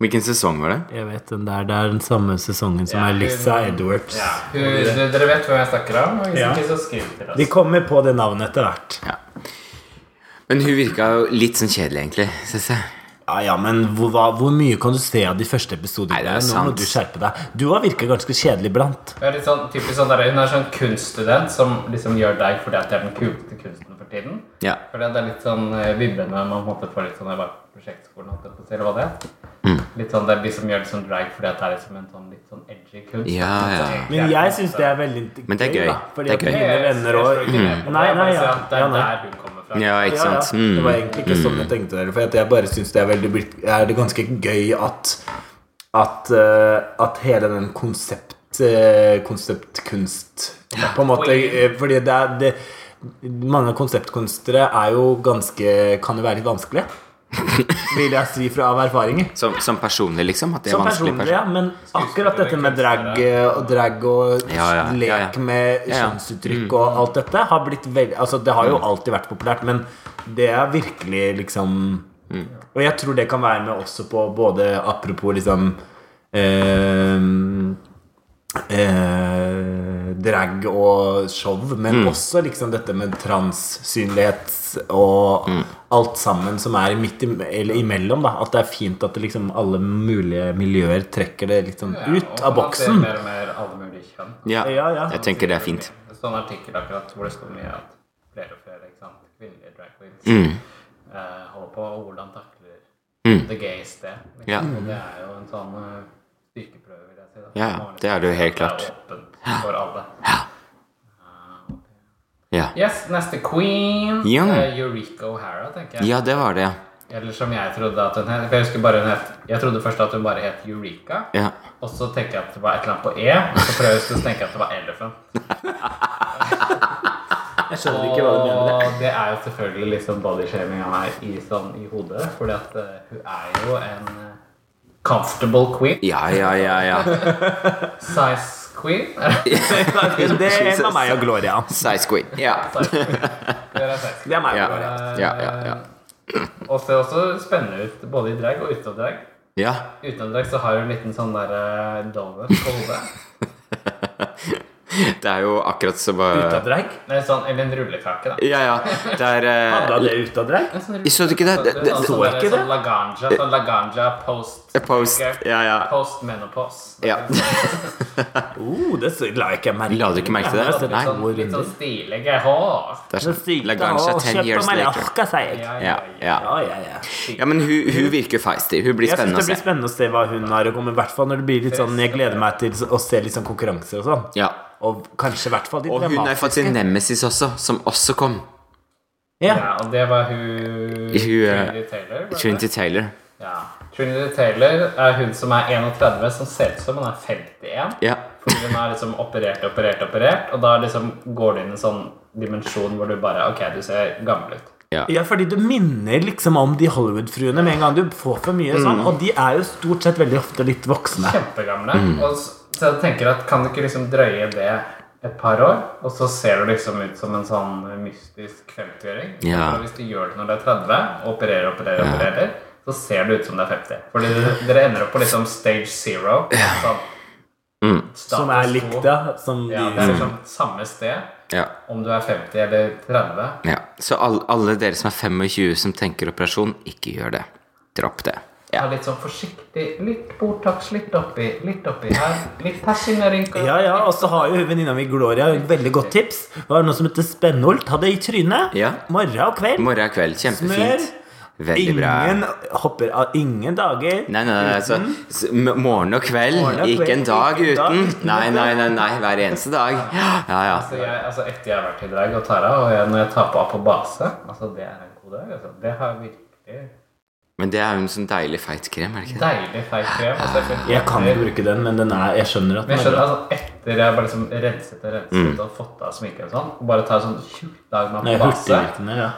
[SPEAKER 1] Hvilken sesong var det?
[SPEAKER 2] Jeg vet den der, Det er den samme sesongen som
[SPEAKER 3] Ja,
[SPEAKER 2] er
[SPEAKER 3] hun-
[SPEAKER 2] Lissa Edwards.
[SPEAKER 3] Dere vet hvem jeg snakker om? og Hvis
[SPEAKER 2] Ja.
[SPEAKER 3] ikke, så skriv til
[SPEAKER 2] De
[SPEAKER 3] oss.
[SPEAKER 2] kommer på det navnet etter hvert.
[SPEAKER 1] Ja. Men hun virka jo litt sånn kjedelig, egentlig, synes jeg.
[SPEAKER 2] Ja, ja, men hvor, hva, hvor mye kan du se av de første episodene?
[SPEAKER 1] Nei, det er
[SPEAKER 2] Nå
[SPEAKER 1] sant.
[SPEAKER 2] må du skjerpe deg. Du har virka ganske kjedelig blant.
[SPEAKER 3] Hun er litt sånn, typisk sånn der, hun er sånn kunststudent som liksom gjør deg fordi at det er den kuleste kunsten for tiden.
[SPEAKER 1] Ja.
[SPEAKER 3] Fordi at det er litt sånn eh, vibrende man måtte få litt sånn der bak prosjektskolen, holdt jeg på å si, eller hva det er.
[SPEAKER 1] Mm.
[SPEAKER 3] Litt sånn, det er de som gjør det som drag fordi at det er liksom en sånn litt sånn edgy kunst.
[SPEAKER 1] Ja, ja.
[SPEAKER 2] Men jeg syns det er veldig
[SPEAKER 1] Men det er gøy.
[SPEAKER 2] Da, fordi
[SPEAKER 1] Det er
[SPEAKER 2] at
[SPEAKER 1] gøy.
[SPEAKER 2] mine venner
[SPEAKER 3] Jeg
[SPEAKER 2] og Mm.
[SPEAKER 3] slår ikke ned på det,
[SPEAKER 2] Nei,
[SPEAKER 3] jeg
[SPEAKER 2] nei,
[SPEAKER 3] bare
[SPEAKER 2] ja.
[SPEAKER 3] sier at Det
[SPEAKER 2] Ja,
[SPEAKER 3] er
[SPEAKER 2] nei.
[SPEAKER 3] der hun kommer fra.
[SPEAKER 1] Mm. ja ikke
[SPEAKER 2] Ja, ja.
[SPEAKER 1] sant? Mm.
[SPEAKER 2] Det var egentlig ikke sånn jeg tenkte det. For at jeg bare syns det er veldig blitt- er det ganske gøy at At, eh, at hele den konsept eh, konseptkunst På en måte eh, Fordi det er det, Mange konseptkunstnere er jo ganske Kan jo være litt vanskelige. Vil jeg si fra av erfaringer.
[SPEAKER 1] Mm. Som, som personlig, liksom? At det er
[SPEAKER 2] Som
[SPEAKER 1] vanskelig
[SPEAKER 2] personlig, ja,
[SPEAKER 1] person.
[SPEAKER 2] men akkurat dette med drag eh, og drag og
[SPEAKER 1] Ja, ja, ja, ja.
[SPEAKER 2] lek med
[SPEAKER 1] Ja, Mm. ja.
[SPEAKER 2] kjønnsuttrykk og alt dette har blitt veldig Altså, det har jo alltid vært populært, men det er virkelig liksom
[SPEAKER 1] Mm.
[SPEAKER 2] Og jeg tror det kan være med også på både apropos liksom eh, eh, drag og show,
[SPEAKER 1] Mm.
[SPEAKER 2] men også liksom dette med transsynlighet og
[SPEAKER 1] Mm.
[SPEAKER 2] alt sammen som er midt i, eller imellom. da At det er fint at det liksom alle mulige miljøer trekker det liksom ut av boksen.
[SPEAKER 3] Mer og mer alle mulige kjønn.
[SPEAKER 1] Ja.
[SPEAKER 2] Ja, ja.
[SPEAKER 1] Jeg tenker det er fint.
[SPEAKER 3] Det står en sånn artikkel akkurat hvor det står mye at flere og flere ikke sant, kvinnelige drag queens
[SPEAKER 1] Mm.
[SPEAKER 3] eh, holder på, og hvordan takler the gays det. Liksom.
[SPEAKER 1] Ja.
[SPEAKER 3] Og det er jo en sånn eh, styrkeprøve, vil jeg si. Da.
[SPEAKER 1] Ja, ja. Det er det jo helt klart.
[SPEAKER 3] Det er åpent for alle.
[SPEAKER 1] Ja,
[SPEAKER 3] Yes, neste queen.
[SPEAKER 1] Ja.
[SPEAKER 3] eh, Eureka O'Hara, tenker jeg.
[SPEAKER 1] ja det var det, ja.
[SPEAKER 3] Eller som jeg trodde at hun het. for Jeg husker bare hun het Jeg trodde først at hun bare het Eureka.
[SPEAKER 1] ja.
[SPEAKER 3] Og så tenker jeg at det var et eller annet på E, og så prøver jeg å huske, så tenker jeg at det var Elephant.
[SPEAKER 2] Jeg skjønner ikke hva du mener med det.
[SPEAKER 3] Og det er jo selvfølgelig litt sånn bodyshaming av meg i, sånn, i hodet. Fordi at eh, hun er jo en eh, comfortable queen.
[SPEAKER 1] Ja, ja, ja. ja.
[SPEAKER 3] Size queen.
[SPEAKER 2] Det var meg og Gloria.
[SPEAKER 1] Size queen. Ja.
[SPEAKER 3] Det er size queen.
[SPEAKER 2] Det er meg
[SPEAKER 1] Ja,
[SPEAKER 2] og Gloria.
[SPEAKER 1] ja, ja. ja.
[SPEAKER 3] Og ser også spennende ut både i drag og utenom drag.
[SPEAKER 1] ja.
[SPEAKER 3] Utenom drag så har hun en liten sånn der eh, donut på hodet.
[SPEAKER 1] Det er jo akkurat som eh,
[SPEAKER 2] Ut av drag?
[SPEAKER 3] Eller sånn, eller en rullekake, da.
[SPEAKER 1] Ja, ja. Det er eh,
[SPEAKER 2] Hadde hun det ut av drag?
[SPEAKER 3] En sånn
[SPEAKER 1] Jeg så ikke det. Det- det-
[SPEAKER 3] sånn,
[SPEAKER 2] Så
[SPEAKER 3] sånn,
[SPEAKER 2] ikke det?
[SPEAKER 3] sånn laganja. Sånn laganja post
[SPEAKER 1] Post. Ja, ja.
[SPEAKER 3] Post menopause.
[SPEAKER 1] ja.
[SPEAKER 2] Oh, det så- la jeg ikke merke
[SPEAKER 1] La du ikke merke til det?
[SPEAKER 3] Litt
[SPEAKER 1] Nei.
[SPEAKER 3] sånn, litt sånn stilige hår.
[SPEAKER 1] Det er
[SPEAKER 2] Så
[SPEAKER 1] sånn
[SPEAKER 2] sykt, da,
[SPEAKER 1] Lagrange
[SPEAKER 2] og
[SPEAKER 1] 10
[SPEAKER 2] kjøp på
[SPEAKER 1] years
[SPEAKER 2] meg
[SPEAKER 1] later.
[SPEAKER 2] jakka, sier jeg.
[SPEAKER 1] Ja, ja.
[SPEAKER 2] Ja, ja, ja.
[SPEAKER 1] ja, men hun, hun virker feisty. Hun blir
[SPEAKER 2] Jeg synes det
[SPEAKER 1] spennende å
[SPEAKER 2] blir
[SPEAKER 1] se.
[SPEAKER 2] spennende å se hva hun har å komme med, i hvert fall når det blir litt sånn Jeg gleder meg til å se litt sånn konkurranser og sånn.
[SPEAKER 1] Ja.
[SPEAKER 2] Og kanskje i hvert fall de
[SPEAKER 1] Og hun har fått sin nemesis også, som også kom.
[SPEAKER 2] Ja.
[SPEAKER 3] Ja, og det var hun
[SPEAKER 1] eh,
[SPEAKER 3] Trinity Taylor. var det?
[SPEAKER 1] Trinity Taylor.
[SPEAKER 3] Ja. Trinity Taylor er hun som er 31, som ser ut som hun er 51.
[SPEAKER 1] Ja.
[SPEAKER 3] Fordi hun er liksom operert, operert, operert, og da liksom går det inn en sånn dimensjon hvor du bare Ok, du ser gammel ut.
[SPEAKER 2] Ja, fordi du minner liksom om de Hollywood-fruene med en gang du får for mye
[SPEAKER 1] Mm.
[SPEAKER 2] sånn. Og de er jo stort sett veldig ofte litt voksne.
[SPEAKER 3] Kjempegamle. Og s- så jeg tenker at kan du ikke liksom drøye det et par år, og så ser du liksom ut som en sånn mystisk 50-åring?
[SPEAKER 1] Ja.
[SPEAKER 3] Og Hvis du gjør det når du er 30, og opererer, opererer, opererer, så ser du ut som du er 50. Fordi dere- dere ender opp på liksom stage zero. Sånn, status
[SPEAKER 2] Som er likt,
[SPEAKER 3] quo.
[SPEAKER 2] da. Som
[SPEAKER 3] Ja,
[SPEAKER 2] de
[SPEAKER 3] det er liksom samme sted,
[SPEAKER 1] ja.
[SPEAKER 3] om du er 50 eller 30.
[SPEAKER 1] ja. Så alle, alle dere som er 25 som tenker operasjon, ikke gjør det. Dropp det.
[SPEAKER 3] Ja. Litt sånn forsiktig. Litt Botox, litt oppi, litt oppi her. Litt persinnerynker.
[SPEAKER 2] Ja, ja, og så har jo venninna mi Gloria et veldig godt tips. Det var noe som heter spennolt. Ha det i trynet.
[SPEAKER 1] Ja.
[SPEAKER 2] Morgen og kveld.
[SPEAKER 1] Morgen og kveld. Kjempefint.
[SPEAKER 2] Smør.
[SPEAKER 1] Veldig bra.
[SPEAKER 2] Ingen hopper av ingen dager.
[SPEAKER 1] Nei, nei, nei, altså, s- m- morgen og kveld.
[SPEAKER 2] Morgen og
[SPEAKER 1] Ikke en
[SPEAKER 2] kveld,
[SPEAKER 1] dag
[SPEAKER 2] ikke en dag
[SPEAKER 1] uten.
[SPEAKER 2] uten.
[SPEAKER 1] Nei, nei, nei, nei, hver eneste dag. Ja, ja.
[SPEAKER 3] Altså, jeg, altså etter jeg har vært i drag og Tara, og jeg, når jeg tar på apobase altså Det er en god dag. Altså. Det har virkelig
[SPEAKER 1] Men det er jo en sånn deilig feit krem, er det ikke det?
[SPEAKER 3] deilig feit krem. Altså, jeg føler-
[SPEAKER 2] Jeg kan jo bruke den, men den er, jeg skjønner at
[SPEAKER 3] Men
[SPEAKER 2] den
[SPEAKER 3] jeg
[SPEAKER 2] er
[SPEAKER 3] skjønner,
[SPEAKER 2] bra.
[SPEAKER 3] altså, etter jeg bare liksom renset
[SPEAKER 1] Mm.
[SPEAKER 3] og renset og fått av sminken og sånn, og bare tar en sånn tjukk dag med
[SPEAKER 2] Den er
[SPEAKER 3] apobase
[SPEAKER 2] hurtigvirkende, ja.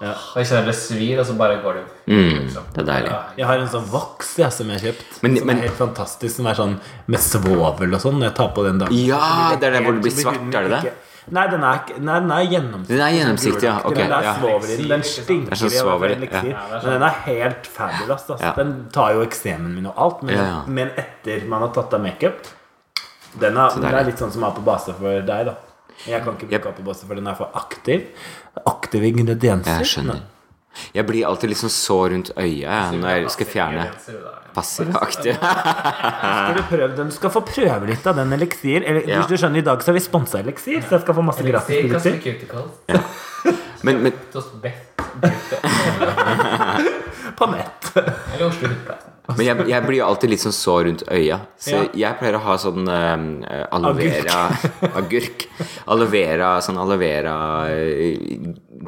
[SPEAKER 3] Og jeg kjenner det svir, og så bare går det opp. liksom.
[SPEAKER 1] Mm, det er deilig.
[SPEAKER 3] Ja.
[SPEAKER 2] Jeg har en sånn voks jeg, som jeg har kjøpt,
[SPEAKER 1] Men-
[SPEAKER 2] som
[SPEAKER 1] men-
[SPEAKER 2] er helt fantastisk. Som er sånn med svovel og sånn. Når jeg tar på den dagen.
[SPEAKER 1] Ja, det er der hvor det blir
[SPEAKER 2] Så
[SPEAKER 1] svart,
[SPEAKER 2] huden
[SPEAKER 1] er det det?
[SPEAKER 2] ikke- Nei, den er, ikke- nei, den er gjennomsiktig.
[SPEAKER 1] Den er gjennomsiktig, ja. Ok,
[SPEAKER 2] den er
[SPEAKER 1] ja.
[SPEAKER 2] svovel i den. Den stinker.
[SPEAKER 1] Det er sånn
[SPEAKER 2] i hvert fall
[SPEAKER 1] svovel,
[SPEAKER 2] eliksir.
[SPEAKER 1] ja.
[SPEAKER 2] Men den er helt fabulous. Altså.
[SPEAKER 1] Ja.
[SPEAKER 2] Den tar jo eksemen min og alt, men,
[SPEAKER 1] Ja, ja.
[SPEAKER 2] men etter man har tatt av makeup den er, det er
[SPEAKER 1] deilig.
[SPEAKER 2] litt sånn som er på base for deg, da. Jeg kan ikke bruke
[SPEAKER 1] Yep.
[SPEAKER 2] den på base, for den er for aktiv. Aktive ingredienser.
[SPEAKER 1] Jeg skjønner. Jeg blir alltid liksom så rundt øyet jeg, når jeg skal fjerne passivaktig.
[SPEAKER 2] Skal du prøve den? Du skal få prøve litt av den eliksir. Eller,
[SPEAKER 1] Ja.
[SPEAKER 2] Hvis du skjønner, i dag så har vi sponsa eliksir, så jeg skal få masse gratis produkter.
[SPEAKER 1] Men, men
[SPEAKER 2] På nett.
[SPEAKER 1] Men jeg, jeg blir jo alltid litt sånn så rundt øya. Så
[SPEAKER 2] Ja.
[SPEAKER 1] jeg pleier å ha sånn eh, aloe vera Agurk. Aloe vera, sånn aloe vera eh,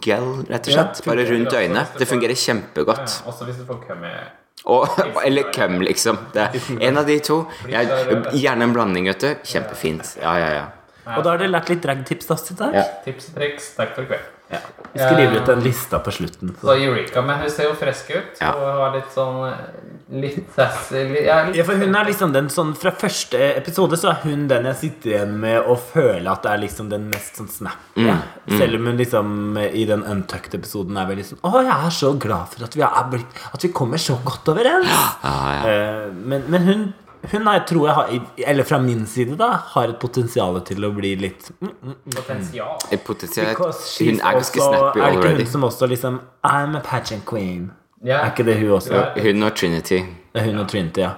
[SPEAKER 1] gel, rett og slett. Bare rundt øynene. Det fungerer kjempegodt.
[SPEAKER 3] Også hvis du får kømme
[SPEAKER 1] Og, eller køm, liksom. Det er en av de to. Jeg, gjerne en blanding, vet du. Kjempefint. Ja, ja, ja.
[SPEAKER 2] Og da har dere lært litt dragtips da, i dag.
[SPEAKER 1] Ja.
[SPEAKER 3] tips og triks. Takk for i kveld.
[SPEAKER 2] Vi skriver ut den lista på slutten.
[SPEAKER 3] Så Eureka, men hun ser jo frisk ut.
[SPEAKER 1] Ja.
[SPEAKER 3] Og har litt sånn eh, Litt sassy litt- ja, litt-
[SPEAKER 2] Ja, for hun er liksom den sånn Fra første episode så er hun den jeg sitter igjen med og føler at det er liksom den mest sånn snap.
[SPEAKER 1] Mm,
[SPEAKER 2] Selv om hun liksom i den Untucked-episoden er veldig sånn Å, jeg er så glad for at vi, er blitt, at vi kommer så godt overens. Eh, Men, men hun, hun er, tror jeg har Eller fra min side, da, har et potensial til å bli litt mm,
[SPEAKER 3] potensial.
[SPEAKER 1] Et Potensielt
[SPEAKER 2] Because she's
[SPEAKER 1] Hun er ganske
[SPEAKER 2] also-
[SPEAKER 1] snappy
[SPEAKER 2] Er det ikke
[SPEAKER 1] already.
[SPEAKER 2] hun som også liksom I'm a pageant queen.
[SPEAKER 3] Ja.
[SPEAKER 2] Er ikke det hun også?
[SPEAKER 3] Ja.
[SPEAKER 1] Hun og Trinity.
[SPEAKER 2] Det er hun og Trinity, ja.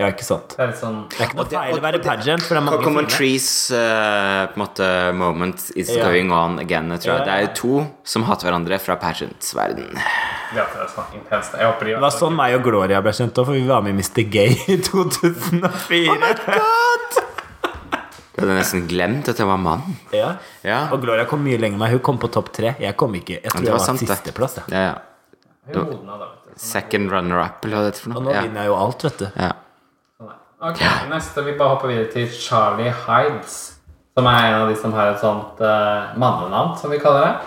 [SPEAKER 2] Ja, ikke sant.
[SPEAKER 3] Det er litt sånn
[SPEAKER 2] Det er ikke noe
[SPEAKER 1] det-
[SPEAKER 2] feil å
[SPEAKER 1] og-
[SPEAKER 2] være
[SPEAKER 1] og det-
[SPEAKER 2] pageant. For det er mange
[SPEAKER 1] Common
[SPEAKER 2] fine.
[SPEAKER 1] Trees eh, på en måte moment is
[SPEAKER 2] Ja.
[SPEAKER 1] going on again, tror jeg.
[SPEAKER 2] Ja,
[SPEAKER 1] Det
[SPEAKER 2] ja.
[SPEAKER 1] er jo to som hater hverandre fra pageant-verden.
[SPEAKER 3] Ja, det er sånn intenst. Jeg håper de
[SPEAKER 2] Det var sånn meg og Gloria ble kjent òg, for vi var med i Mr. Gay
[SPEAKER 1] Oh
[SPEAKER 2] i 2004.
[SPEAKER 1] Jeg hadde nesten glemt at jeg var mann.
[SPEAKER 2] ja.
[SPEAKER 1] Ja,
[SPEAKER 2] Og Gloria kom mye lenger enn meg. Hun kom på topp tre. Jeg kom ikke. Jeg tror
[SPEAKER 1] det
[SPEAKER 2] jeg
[SPEAKER 1] var
[SPEAKER 2] var
[SPEAKER 1] sant, det.
[SPEAKER 2] sisteplass. jeg.
[SPEAKER 1] ja, ja.
[SPEAKER 3] Hun er moden av det, vet du. Sånn
[SPEAKER 1] Second runner-up, eller hva det heter for
[SPEAKER 2] Og
[SPEAKER 1] noe.
[SPEAKER 2] nå
[SPEAKER 1] Ja.
[SPEAKER 2] vinner jeg jo alt, vet du.
[SPEAKER 1] Ja.
[SPEAKER 3] Sånn er det. Ok, neste. Vi bare hopper videre til Charlie Hides. Som er en av de som har et sånt eh, mannenavn, som vi kaller det.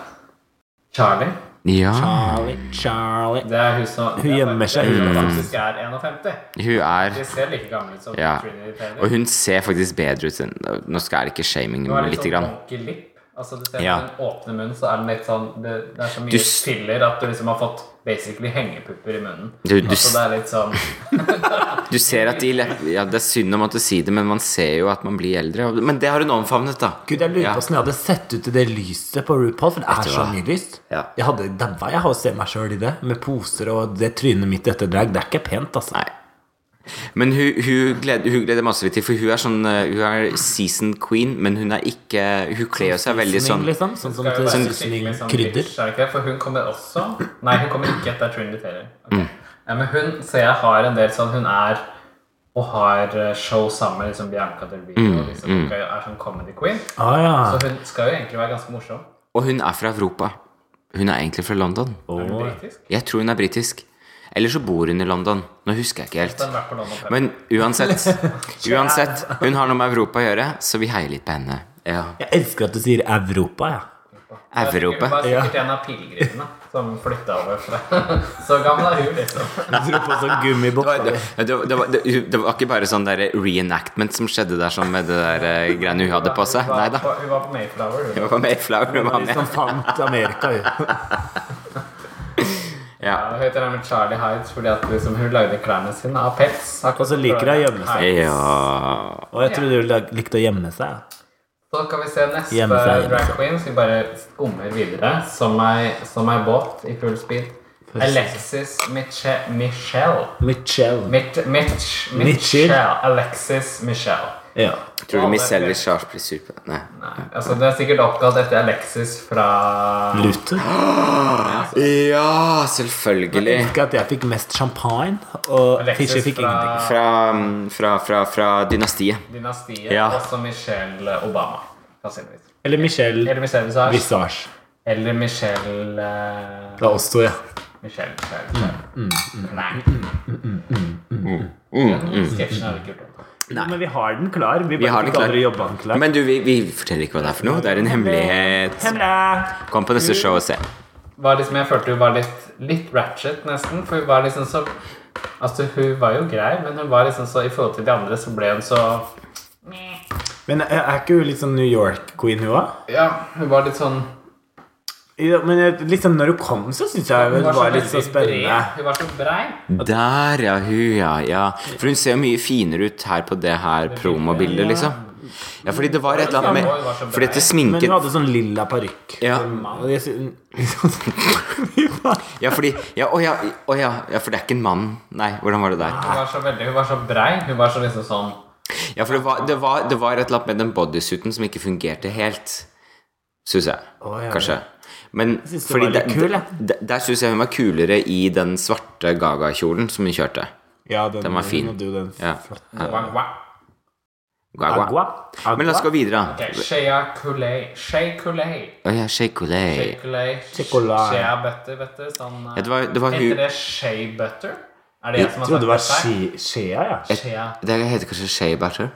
[SPEAKER 3] Charlie.
[SPEAKER 1] ja.
[SPEAKER 2] Charlie, Charlie.
[SPEAKER 3] Det er hun som
[SPEAKER 2] Hun gjemmer seg
[SPEAKER 3] Hun
[SPEAKER 1] Mm.
[SPEAKER 2] unna.
[SPEAKER 3] faktisk er 51.
[SPEAKER 1] Hun er
[SPEAKER 3] De ser like gamle ut som
[SPEAKER 1] Ja.
[SPEAKER 3] Trinity Taylor.
[SPEAKER 1] Og hun ser faktisk bedre ut enn Nå skal jeg ikke shaming
[SPEAKER 3] Hun har
[SPEAKER 1] henne
[SPEAKER 3] litt
[SPEAKER 1] lite
[SPEAKER 3] sånn
[SPEAKER 1] grann.
[SPEAKER 3] wonky lip. Altså, du ser
[SPEAKER 1] Ja.
[SPEAKER 3] på den åpne munnen, så er den litt sånn Det, det er så mye
[SPEAKER 1] Du s-
[SPEAKER 3] filler at du liksom har fått basically hengepupper i munnen.
[SPEAKER 1] Du- du
[SPEAKER 3] altså,
[SPEAKER 1] s-
[SPEAKER 3] det er litt sånn
[SPEAKER 1] Du ser at de lepp- Ja, det er synd å måtte si det, men man ser jo at man blir eldre. og- Men det har hun omfavnet, da.
[SPEAKER 2] Gud, jeg lurer
[SPEAKER 1] Ja.
[SPEAKER 2] på åssen jeg hadde sett ut i det lyset på RuPaul, for det er så
[SPEAKER 1] hva?
[SPEAKER 2] mye lyst.
[SPEAKER 1] Ja.
[SPEAKER 2] Jeg hadde daua jeg av å se meg sjøl i det, med poser og det trynet mitt etter drag. Det er ikke pent, altså.
[SPEAKER 1] Nei. Men hun, hun, gleder, hun gleder masse til, for hun er sånn eh, Hun er season queen, men hun er ikke Hun kler jo seg veldig sånn
[SPEAKER 2] Seasoning, liksom. Sånn som
[SPEAKER 3] det er jo
[SPEAKER 2] til
[SPEAKER 3] bare skikkelig sånn
[SPEAKER 2] krydder.
[SPEAKER 3] bitch, er det ikke? For hun kommer også Nei, hun kommer ikke etter Trinity Taylor. Ok.
[SPEAKER 1] Mm.
[SPEAKER 3] Ja, men hun ser jeg har en del sånn Hun er og har eh, show sammen med liksom Bianca Del Rio.
[SPEAKER 1] Mm,
[SPEAKER 3] liksom, Hun er sånn comedy queen.
[SPEAKER 2] Ah, ja.
[SPEAKER 3] Så hun skal jo egentlig være ganske morsom.
[SPEAKER 1] Og hun er fra Europa. Hun er egentlig fra London.
[SPEAKER 3] Hun er britisk.
[SPEAKER 1] Jeg tror hun er britisk. Eller så bor hun i London. Nå husker jeg ikke
[SPEAKER 3] Så hun
[SPEAKER 1] helt.
[SPEAKER 3] har vært på London Pub.
[SPEAKER 1] Men uansett, uansett Hun har noe med Europa å gjøre, så vi heier litt på henne. Ja.
[SPEAKER 2] Jeg elsker at du sier Europa, ja.
[SPEAKER 3] Hun
[SPEAKER 1] Europa.
[SPEAKER 3] var sikkert en av pilegrimene som flytta over fra Så gammel er hun, liksom.
[SPEAKER 2] Du dro på sånn gummibokser.
[SPEAKER 1] Det, det, det, var, det, det var ikke bare sånn der reenactment som skjedde der sånn med det der eh, greiene hun hadde på seg. Nei da.
[SPEAKER 3] Hun var på- Hun var på Mayflower, hun.
[SPEAKER 1] Hun var med i Flower. Hun var med.
[SPEAKER 2] Som fant Amerika jo.
[SPEAKER 1] Ja.
[SPEAKER 3] Ja, Hun heter nemlig Charlie Hides fordi at liksom hun lagde klærne sine av pels.
[SPEAKER 2] Og så liker hun å gjemme seg.
[SPEAKER 1] ja.
[SPEAKER 2] Og jeg trodde hun lag- likte å gjemme seg.
[SPEAKER 3] Så kan vi se neste
[SPEAKER 2] Gjemme seg, gjemme
[SPEAKER 3] drag
[SPEAKER 2] seg.
[SPEAKER 3] queen, så vi bare skummer videre som ei, som ei båt i full speed. Alexis Miche Michelle.
[SPEAKER 2] Michelle.
[SPEAKER 3] Mit, Mitch,
[SPEAKER 2] Mitchell.
[SPEAKER 3] Michelle. Alexis Michelle.
[SPEAKER 2] Ja.
[SPEAKER 1] Tror du Michelle Visage blir sur på det? Nei.
[SPEAKER 3] Nei, altså Det er sikkert oppkalt etter Alexis fra
[SPEAKER 2] Luther.
[SPEAKER 1] Ja,
[SPEAKER 2] Jeg
[SPEAKER 1] selvfølgelig.
[SPEAKER 2] husker at jeg fikk mest champagne, og
[SPEAKER 3] Alexis
[SPEAKER 2] Fischer fikk
[SPEAKER 3] fra-
[SPEAKER 2] ingenting.
[SPEAKER 1] Fra, fra, fra, fra dynastiet.
[SPEAKER 3] dynastiet,
[SPEAKER 1] Ja.
[SPEAKER 3] også Michelle Obama. Sannsynligvis.
[SPEAKER 2] Eller Michelle
[SPEAKER 3] Eller Michelle Visage.
[SPEAKER 2] Visage.
[SPEAKER 3] Eller Michelle eh,
[SPEAKER 2] Det er oss to, ja.
[SPEAKER 3] Michelle, Michelle, Michelle.
[SPEAKER 2] Mm,
[SPEAKER 3] Nei. Den sketsjen er ikke gjort.
[SPEAKER 2] Men vi har den klar. Vi
[SPEAKER 1] Vi har
[SPEAKER 2] bare
[SPEAKER 1] den
[SPEAKER 2] fikk aldri jobba den
[SPEAKER 1] klar.
[SPEAKER 2] klar.
[SPEAKER 1] Men du, vi, vi forteller ikke hva det er for noe. Det er en hemmelighet.
[SPEAKER 2] Hemla!
[SPEAKER 1] Kom på neste show og se.
[SPEAKER 3] var liksom, Jeg følte hun var litt, litt ratchet, nesten. For hun var liksom så Altså, hun var jo grei, men hun var liksom så i forhold til de andre så ble hun så
[SPEAKER 2] Men er er ikke hun litt sånn New York-queen, hun òg?
[SPEAKER 3] Ja, hun var litt sånn
[SPEAKER 2] Ja, men jeg- liksom når hun kom, så syns jeg hun
[SPEAKER 3] Hun
[SPEAKER 2] var, litt
[SPEAKER 3] veldig
[SPEAKER 2] så spennende.
[SPEAKER 3] bred. Hun var så brei.
[SPEAKER 1] Der, ja. Hun, ja, ja. For hun ser jo mye finere ut her på det her promobildet, liksom. Ja, fordi det var et eller annet med Fordi dette
[SPEAKER 2] Men hun
[SPEAKER 1] sminken
[SPEAKER 2] hadde sånn lilla parykk.
[SPEAKER 1] Ja.
[SPEAKER 2] Og jeg syns-
[SPEAKER 1] Ja, fordi Ja, å ja, å ja, ja, for det er ikke en mann. Nei, hvordan var det der?
[SPEAKER 3] Hun var så veldig, hun var så brei. Hun var så liksom sånn
[SPEAKER 1] Ja, for det var, det var, det var et eller annet med den bodysuiten som ikke fungerte helt, syns jeg.
[SPEAKER 2] Å, ja.
[SPEAKER 1] Kanskje. Men
[SPEAKER 2] synes det
[SPEAKER 1] fordi
[SPEAKER 2] var
[SPEAKER 1] der,
[SPEAKER 2] litt kul, jeg.
[SPEAKER 1] der, der syns jeg hun var kulere i den svarte gaga-kjolen som hun kjørte.
[SPEAKER 2] Ja, den,
[SPEAKER 1] Den var fin.
[SPEAKER 2] hun hadde jo den
[SPEAKER 1] Ja.
[SPEAKER 2] flotte-
[SPEAKER 3] wah, wah.
[SPEAKER 1] Gaga.
[SPEAKER 2] Agua. Agua.
[SPEAKER 1] Men la oss gå videre, da.
[SPEAKER 3] Ok, Shea Coulee. Shea Coulee.
[SPEAKER 1] Å ja, Sheikulei.
[SPEAKER 3] Shea Coulee.
[SPEAKER 2] Chocolate.
[SPEAKER 3] Shea Butter, vet du. Sånn eh,
[SPEAKER 1] Ja, det var- det var hun-
[SPEAKER 3] Heter det Shea Butter? Er det jeg som har
[SPEAKER 2] Jeg trodde det var
[SPEAKER 3] sagt det?
[SPEAKER 2] She- Shea, ja.
[SPEAKER 3] feil? Shea,
[SPEAKER 1] Det heter kanskje Shea Butter?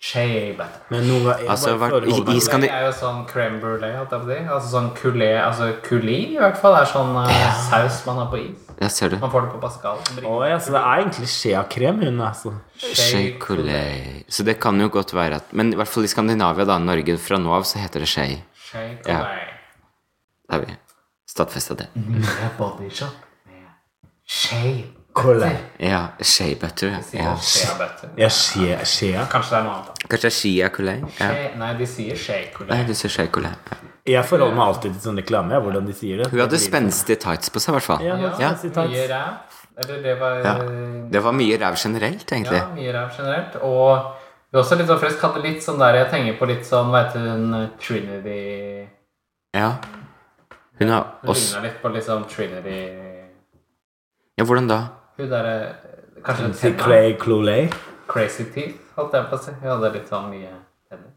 [SPEAKER 3] Shea Butter.
[SPEAKER 2] Men noen ganger jeg
[SPEAKER 1] Altså,
[SPEAKER 2] bare
[SPEAKER 1] vært i-
[SPEAKER 2] forholder meg
[SPEAKER 1] i
[SPEAKER 2] til-
[SPEAKER 1] Skandi-
[SPEAKER 3] Det er jo sånn crème brûlée, holdt jeg på å si. Altså sånn coulé, altså coulis i hvert fall. Det er sånn eh, saus man har på is.
[SPEAKER 1] Ja, ser du.
[SPEAKER 3] Man får det på Pascal.
[SPEAKER 2] Å ja, så det er egentlig Shea-krem, hun, altså.
[SPEAKER 1] Sheikulei. Så det kan jo godt være at Men i hvert fall i Skandinavia, da, Norge fra nå av, så heter det Shei.
[SPEAKER 3] Shea
[SPEAKER 1] Ja.
[SPEAKER 3] Coulee.
[SPEAKER 1] Da har vi stadfesta det.
[SPEAKER 2] Mm.
[SPEAKER 3] Det er bodyshop med Shea.
[SPEAKER 2] Colle.
[SPEAKER 1] Ja, Shea Butter. Ja.
[SPEAKER 3] Ja. Shea Butter.
[SPEAKER 2] Ja, Shea. Shea.
[SPEAKER 3] Kanskje det er noe annet. da.
[SPEAKER 1] Kanskje det er Sheiakulei? Ja.
[SPEAKER 3] Shea- Nei, de sier Shea Coulee.
[SPEAKER 1] Nei, du sier Sheikulei. Ja.
[SPEAKER 2] Jeg forholder meg alltid til sånn reklame, ja, hvordan de sier det.
[SPEAKER 1] Hun hadde spenstige tights på seg, i hvert fall.
[SPEAKER 2] Ja, hun hadde
[SPEAKER 1] Ja.
[SPEAKER 2] spenstig tights.
[SPEAKER 3] Mye ræv. Eller det var
[SPEAKER 1] Ja.
[SPEAKER 3] eh,
[SPEAKER 1] Det var mye ræv generelt, egentlig.
[SPEAKER 3] Ja, mye ræv generelt. Og vi er også litt sånn frisk hadde litt sånn der Jeg tenker på litt sånn, hva heter hun Trinity
[SPEAKER 1] Ja. Hun har
[SPEAKER 3] Hun
[SPEAKER 1] også
[SPEAKER 3] ligner litt på litt sånn Trinity
[SPEAKER 1] Ja, hvordan da?
[SPEAKER 3] Hun derre Kanskje
[SPEAKER 2] Si
[SPEAKER 3] tenner.
[SPEAKER 2] Clay Clolet.
[SPEAKER 3] Crazy Teeth, holdt jeg på å si. Hun hadde litt sånn mye tenner.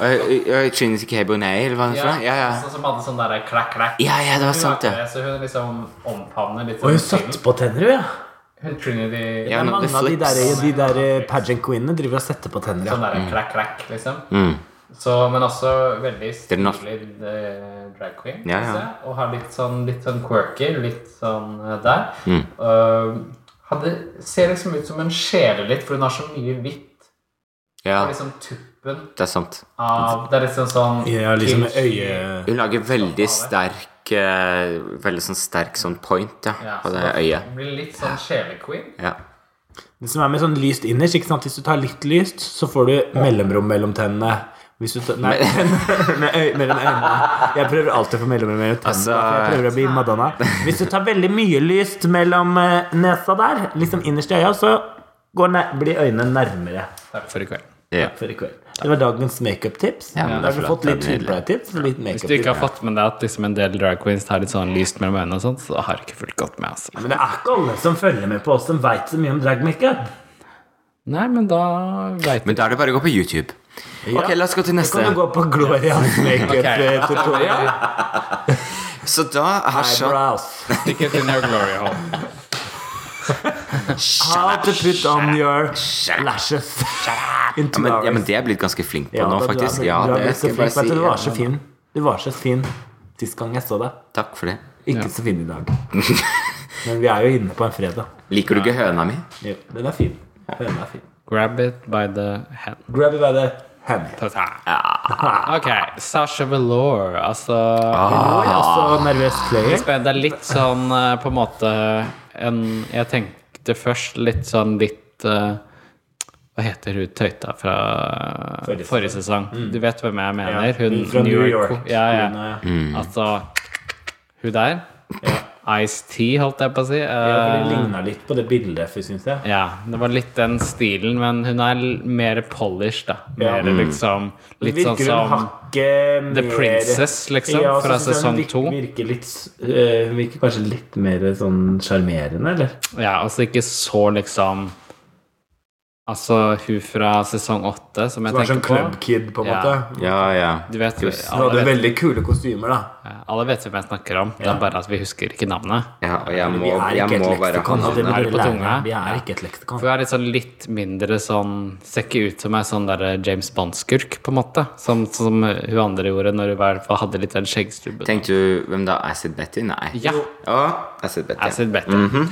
[SPEAKER 1] Øy, øy, Trinity K. Bonet, eller hva hun sa? Ja, ja.
[SPEAKER 3] Sånn som hadde sånn derre klakk-klakk.
[SPEAKER 1] Ja, ja, det var sant, det.
[SPEAKER 3] Så hun liksom omfavner litt
[SPEAKER 2] Og
[SPEAKER 3] sånn
[SPEAKER 2] hun satte på tenner, hun, ja.
[SPEAKER 3] Hun Trinity
[SPEAKER 1] Ja,
[SPEAKER 2] Det er
[SPEAKER 1] men sånn.
[SPEAKER 2] mange
[SPEAKER 1] the
[SPEAKER 2] av de der,
[SPEAKER 1] flips.
[SPEAKER 2] de der eh, pageant queenene driver og setter på tenner, ja.
[SPEAKER 3] Sånn derre klakk-klakk, liksom.
[SPEAKER 1] Mm.
[SPEAKER 3] Så, men også veldig
[SPEAKER 1] er den
[SPEAKER 3] stilig eh, drag queen.
[SPEAKER 1] Ja, ja.
[SPEAKER 3] synes jeg, Og har litt sånn, litt sånn quirky, litt sånn eh, der.
[SPEAKER 1] Mm.
[SPEAKER 3] Eh, hadde, ser liksom ut som hun skjeler litt, for hun har så mye hvitt.
[SPEAKER 1] Ja,
[SPEAKER 3] Og liksom tuppen
[SPEAKER 1] det er sant.
[SPEAKER 3] av Det er liksom sånn
[SPEAKER 2] Ja, liksom
[SPEAKER 3] kimchi.
[SPEAKER 2] øye...
[SPEAKER 1] Hun lager veldig sterk eh, Veldig sånn sterk sånn point, ja,
[SPEAKER 3] Ja,
[SPEAKER 1] på
[SPEAKER 3] så
[SPEAKER 1] det
[SPEAKER 3] da
[SPEAKER 1] øyet.
[SPEAKER 3] Blir litt sånn sjelequeen.
[SPEAKER 1] Ja.
[SPEAKER 2] Det som er med sånn lyst innerst, ikke sant? Hvis du tar litt lyst, så får du mellomrom mellom tennene. Hvis du tar, nei, med øy, mellom øynene. Jeg prøver alltid å få mellomrom mellom tennene.
[SPEAKER 1] Altså-
[SPEAKER 2] for jeg prøver å bli Madonna. Hvis du tar veldig mye lyst mellom eh, nesa der, liksom innerst i øya, så går ne blir øynene nærmere.
[SPEAKER 3] Takk for i kveld.
[SPEAKER 1] ja.
[SPEAKER 2] For i kveld. Det var dagens makeup-tips.
[SPEAKER 1] Ja, men
[SPEAKER 2] da har
[SPEAKER 1] det
[SPEAKER 2] vi
[SPEAKER 1] er
[SPEAKER 2] fått
[SPEAKER 1] flott.
[SPEAKER 2] litt
[SPEAKER 1] Det er nydelig.
[SPEAKER 2] hudpleietips og litt
[SPEAKER 3] Hvis du ikke har
[SPEAKER 2] makeup-tips.
[SPEAKER 3] fått med deg at liksom en del drag queens tar litt sånn lyst mellom øynene, og sånt, så har du ikke fulgt godt med. altså.
[SPEAKER 2] Men det er ikke alle som følger med på oss, som veit så mye om drag-makeup.
[SPEAKER 3] Nei, men da veit
[SPEAKER 1] Men da er det bare å gå på YouTube. Ok, la oss gå til
[SPEAKER 2] Kan
[SPEAKER 1] neste.
[SPEAKER 2] du gå på Glorias makeup-tutorial?
[SPEAKER 1] Så da er sånn
[SPEAKER 2] Eyebrows.
[SPEAKER 3] Stick it in your glory hole.
[SPEAKER 2] How to put on your lashes
[SPEAKER 1] ja,
[SPEAKER 2] into
[SPEAKER 1] men, ja,
[SPEAKER 2] hours.
[SPEAKER 1] men det er jeg blitt ganske flink på
[SPEAKER 2] Ja, da,
[SPEAKER 1] nå,
[SPEAKER 2] du er
[SPEAKER 1] faktisk.
[SPEAKER 2] blitt-
[SPEAKER 1] Ja,
[SPEAKER 2] du er
[SPEAKER 1] det
[SPEAKER 2] blitt så
[SPEAKER 1] skal jeg bare
[SPEAKER 2] flink, vet Du
[SPEAKER 1] si.
[SPEAKER 2] Du var
[SPEAKER 1] Ja.
[SPEAKER 2] så fin. Du var så fin sist gang jeg så deg.
[SPEAKER 1] Takk for det.
[SPEAKER 2] Ikke så fin i dag. Men vi er jo inne på en fredag.
[SPEAKER 1] Liker du ikke høna mi?
[SPEAKER 2] Jo, den er fin. Den er fin.
[SPEAKER 3] Grab it by the hand.
[SPEAKER 2] Grab it by the hand.
[SPEAKER 3] Ta-ta. Ok, Sasha Velour. Altså
[SPEAKER 2] Nå er jeg også nervøs player.
[SPEAKER 3] Det er litt sånn eh, på en måte en, Jeg tenkte først litt sånn litt eh, Hva heter hun tøyta fra
[SPEAKER 2] Forrige
[SPEAKER 3] forrige, sesong? Du vet hvem jeg mener? Hun
[SPEAKER 2] hun fra New York.
[SPEAKER 3] Ja, ja.
[SPEAKER 2] Hun, ja.
[SPEAKER 3] Altså Hun der. Ice-T, holdt jeg på å si.
[SPEAKER 2] Ja, for
[SPEAKER 3] Eh,
[SPEAKER 2] Det ligna litt på det bildet, for syns jeg.
[SPEAKER 3] Ja, det var litt den stilen, men hun er l- mer polished, da.
[SPEAKER 2] Ja.
[SPEAKER 3] Mer liksom Litt
[SPEAKER 2] Virker
[SPEAKER 3] sånn
[SPEAKER 2] hun
[SPEAKER 3] som
[SPEAKER 2] hakket
[SPEAKER 3] The
[SPEAKER 2] mer-
[SPEAKER 3] Princess, liksom,
[SPEAKER 2] Ja, så
[SPEAKER 3] fra
[SPEAKER 2] synes jeg
[SPEAKER 3] sesong
[SPEAKER 2] hun virker-
[SPEAKER 3] to.
[SPEAKER 2] Virker litt s- eh, Hun virker kanskje litt mer sånn sjarmerende, eller?
[SPEAKER 3] Ja, altså ikke så liksom Altså hun fra sesong åtte, som jeg
[SPEAKER 2] Du var
[SPEAKER 3] tenker
[SPEAKER 2] sånn
[SPEAKER 3] på.
[SPEAKER 2] clubkid, på en
[SPEAKER 3] Ja.
[SPEAKER 2] måte.
[SPEAKER 1] Ja, ja.
[SPEAKER 3] Du vet,
[SPEAKER 2] Du hadde
[SPEAKER 3] alle, vet,
[SPEAKER 2] veldig kule kostymer, da.
[SPEAKER 3] alle vet hvem jeg snakker om. Det er bare at vi husker ikke navnet.
[SPEAKER 1] ja og jeg
[SPEAKER 2] Vi
[SPEAKER 1] må,
[SPEAKER 2] er
[SPEAKER 1] jeg
[SPEAKER 2] ikke
[SPEAKER 1] må
[SPEAKER 2] et
[SPEAKER 1] bare ha
[SPEAKER 2] leksikon. så det
[SPEAKER 1] navnet.
[SPEAKER 3] Er
[SPEAKER 2] blir
[SPEAKER 3] det på
[SPEAKER 2] lærere.
[SPEAKER 3] tunga?
[SPEAKER 2] Vi er ikke et
[SPEAKER 3] For
[SPEAKER 2] leksikon.
[SPEAKER 3] hun er litt sånn litt mindre sånn Ser ikke ut som ei sånn der James Bond-skurk, på en måte. Som, som hun andre gjorde når hun var- hadde litt den skjeggstubben.
[SPEAKER 1] Tenkte du hvem da? Acid Betty? Nei.
[SPEAKER 3] Ja.
[SPEAKER 1] Å, Acid Betty.
[SPEAKER 3] Acid Betty.
[SPEAKER 1] Mhm,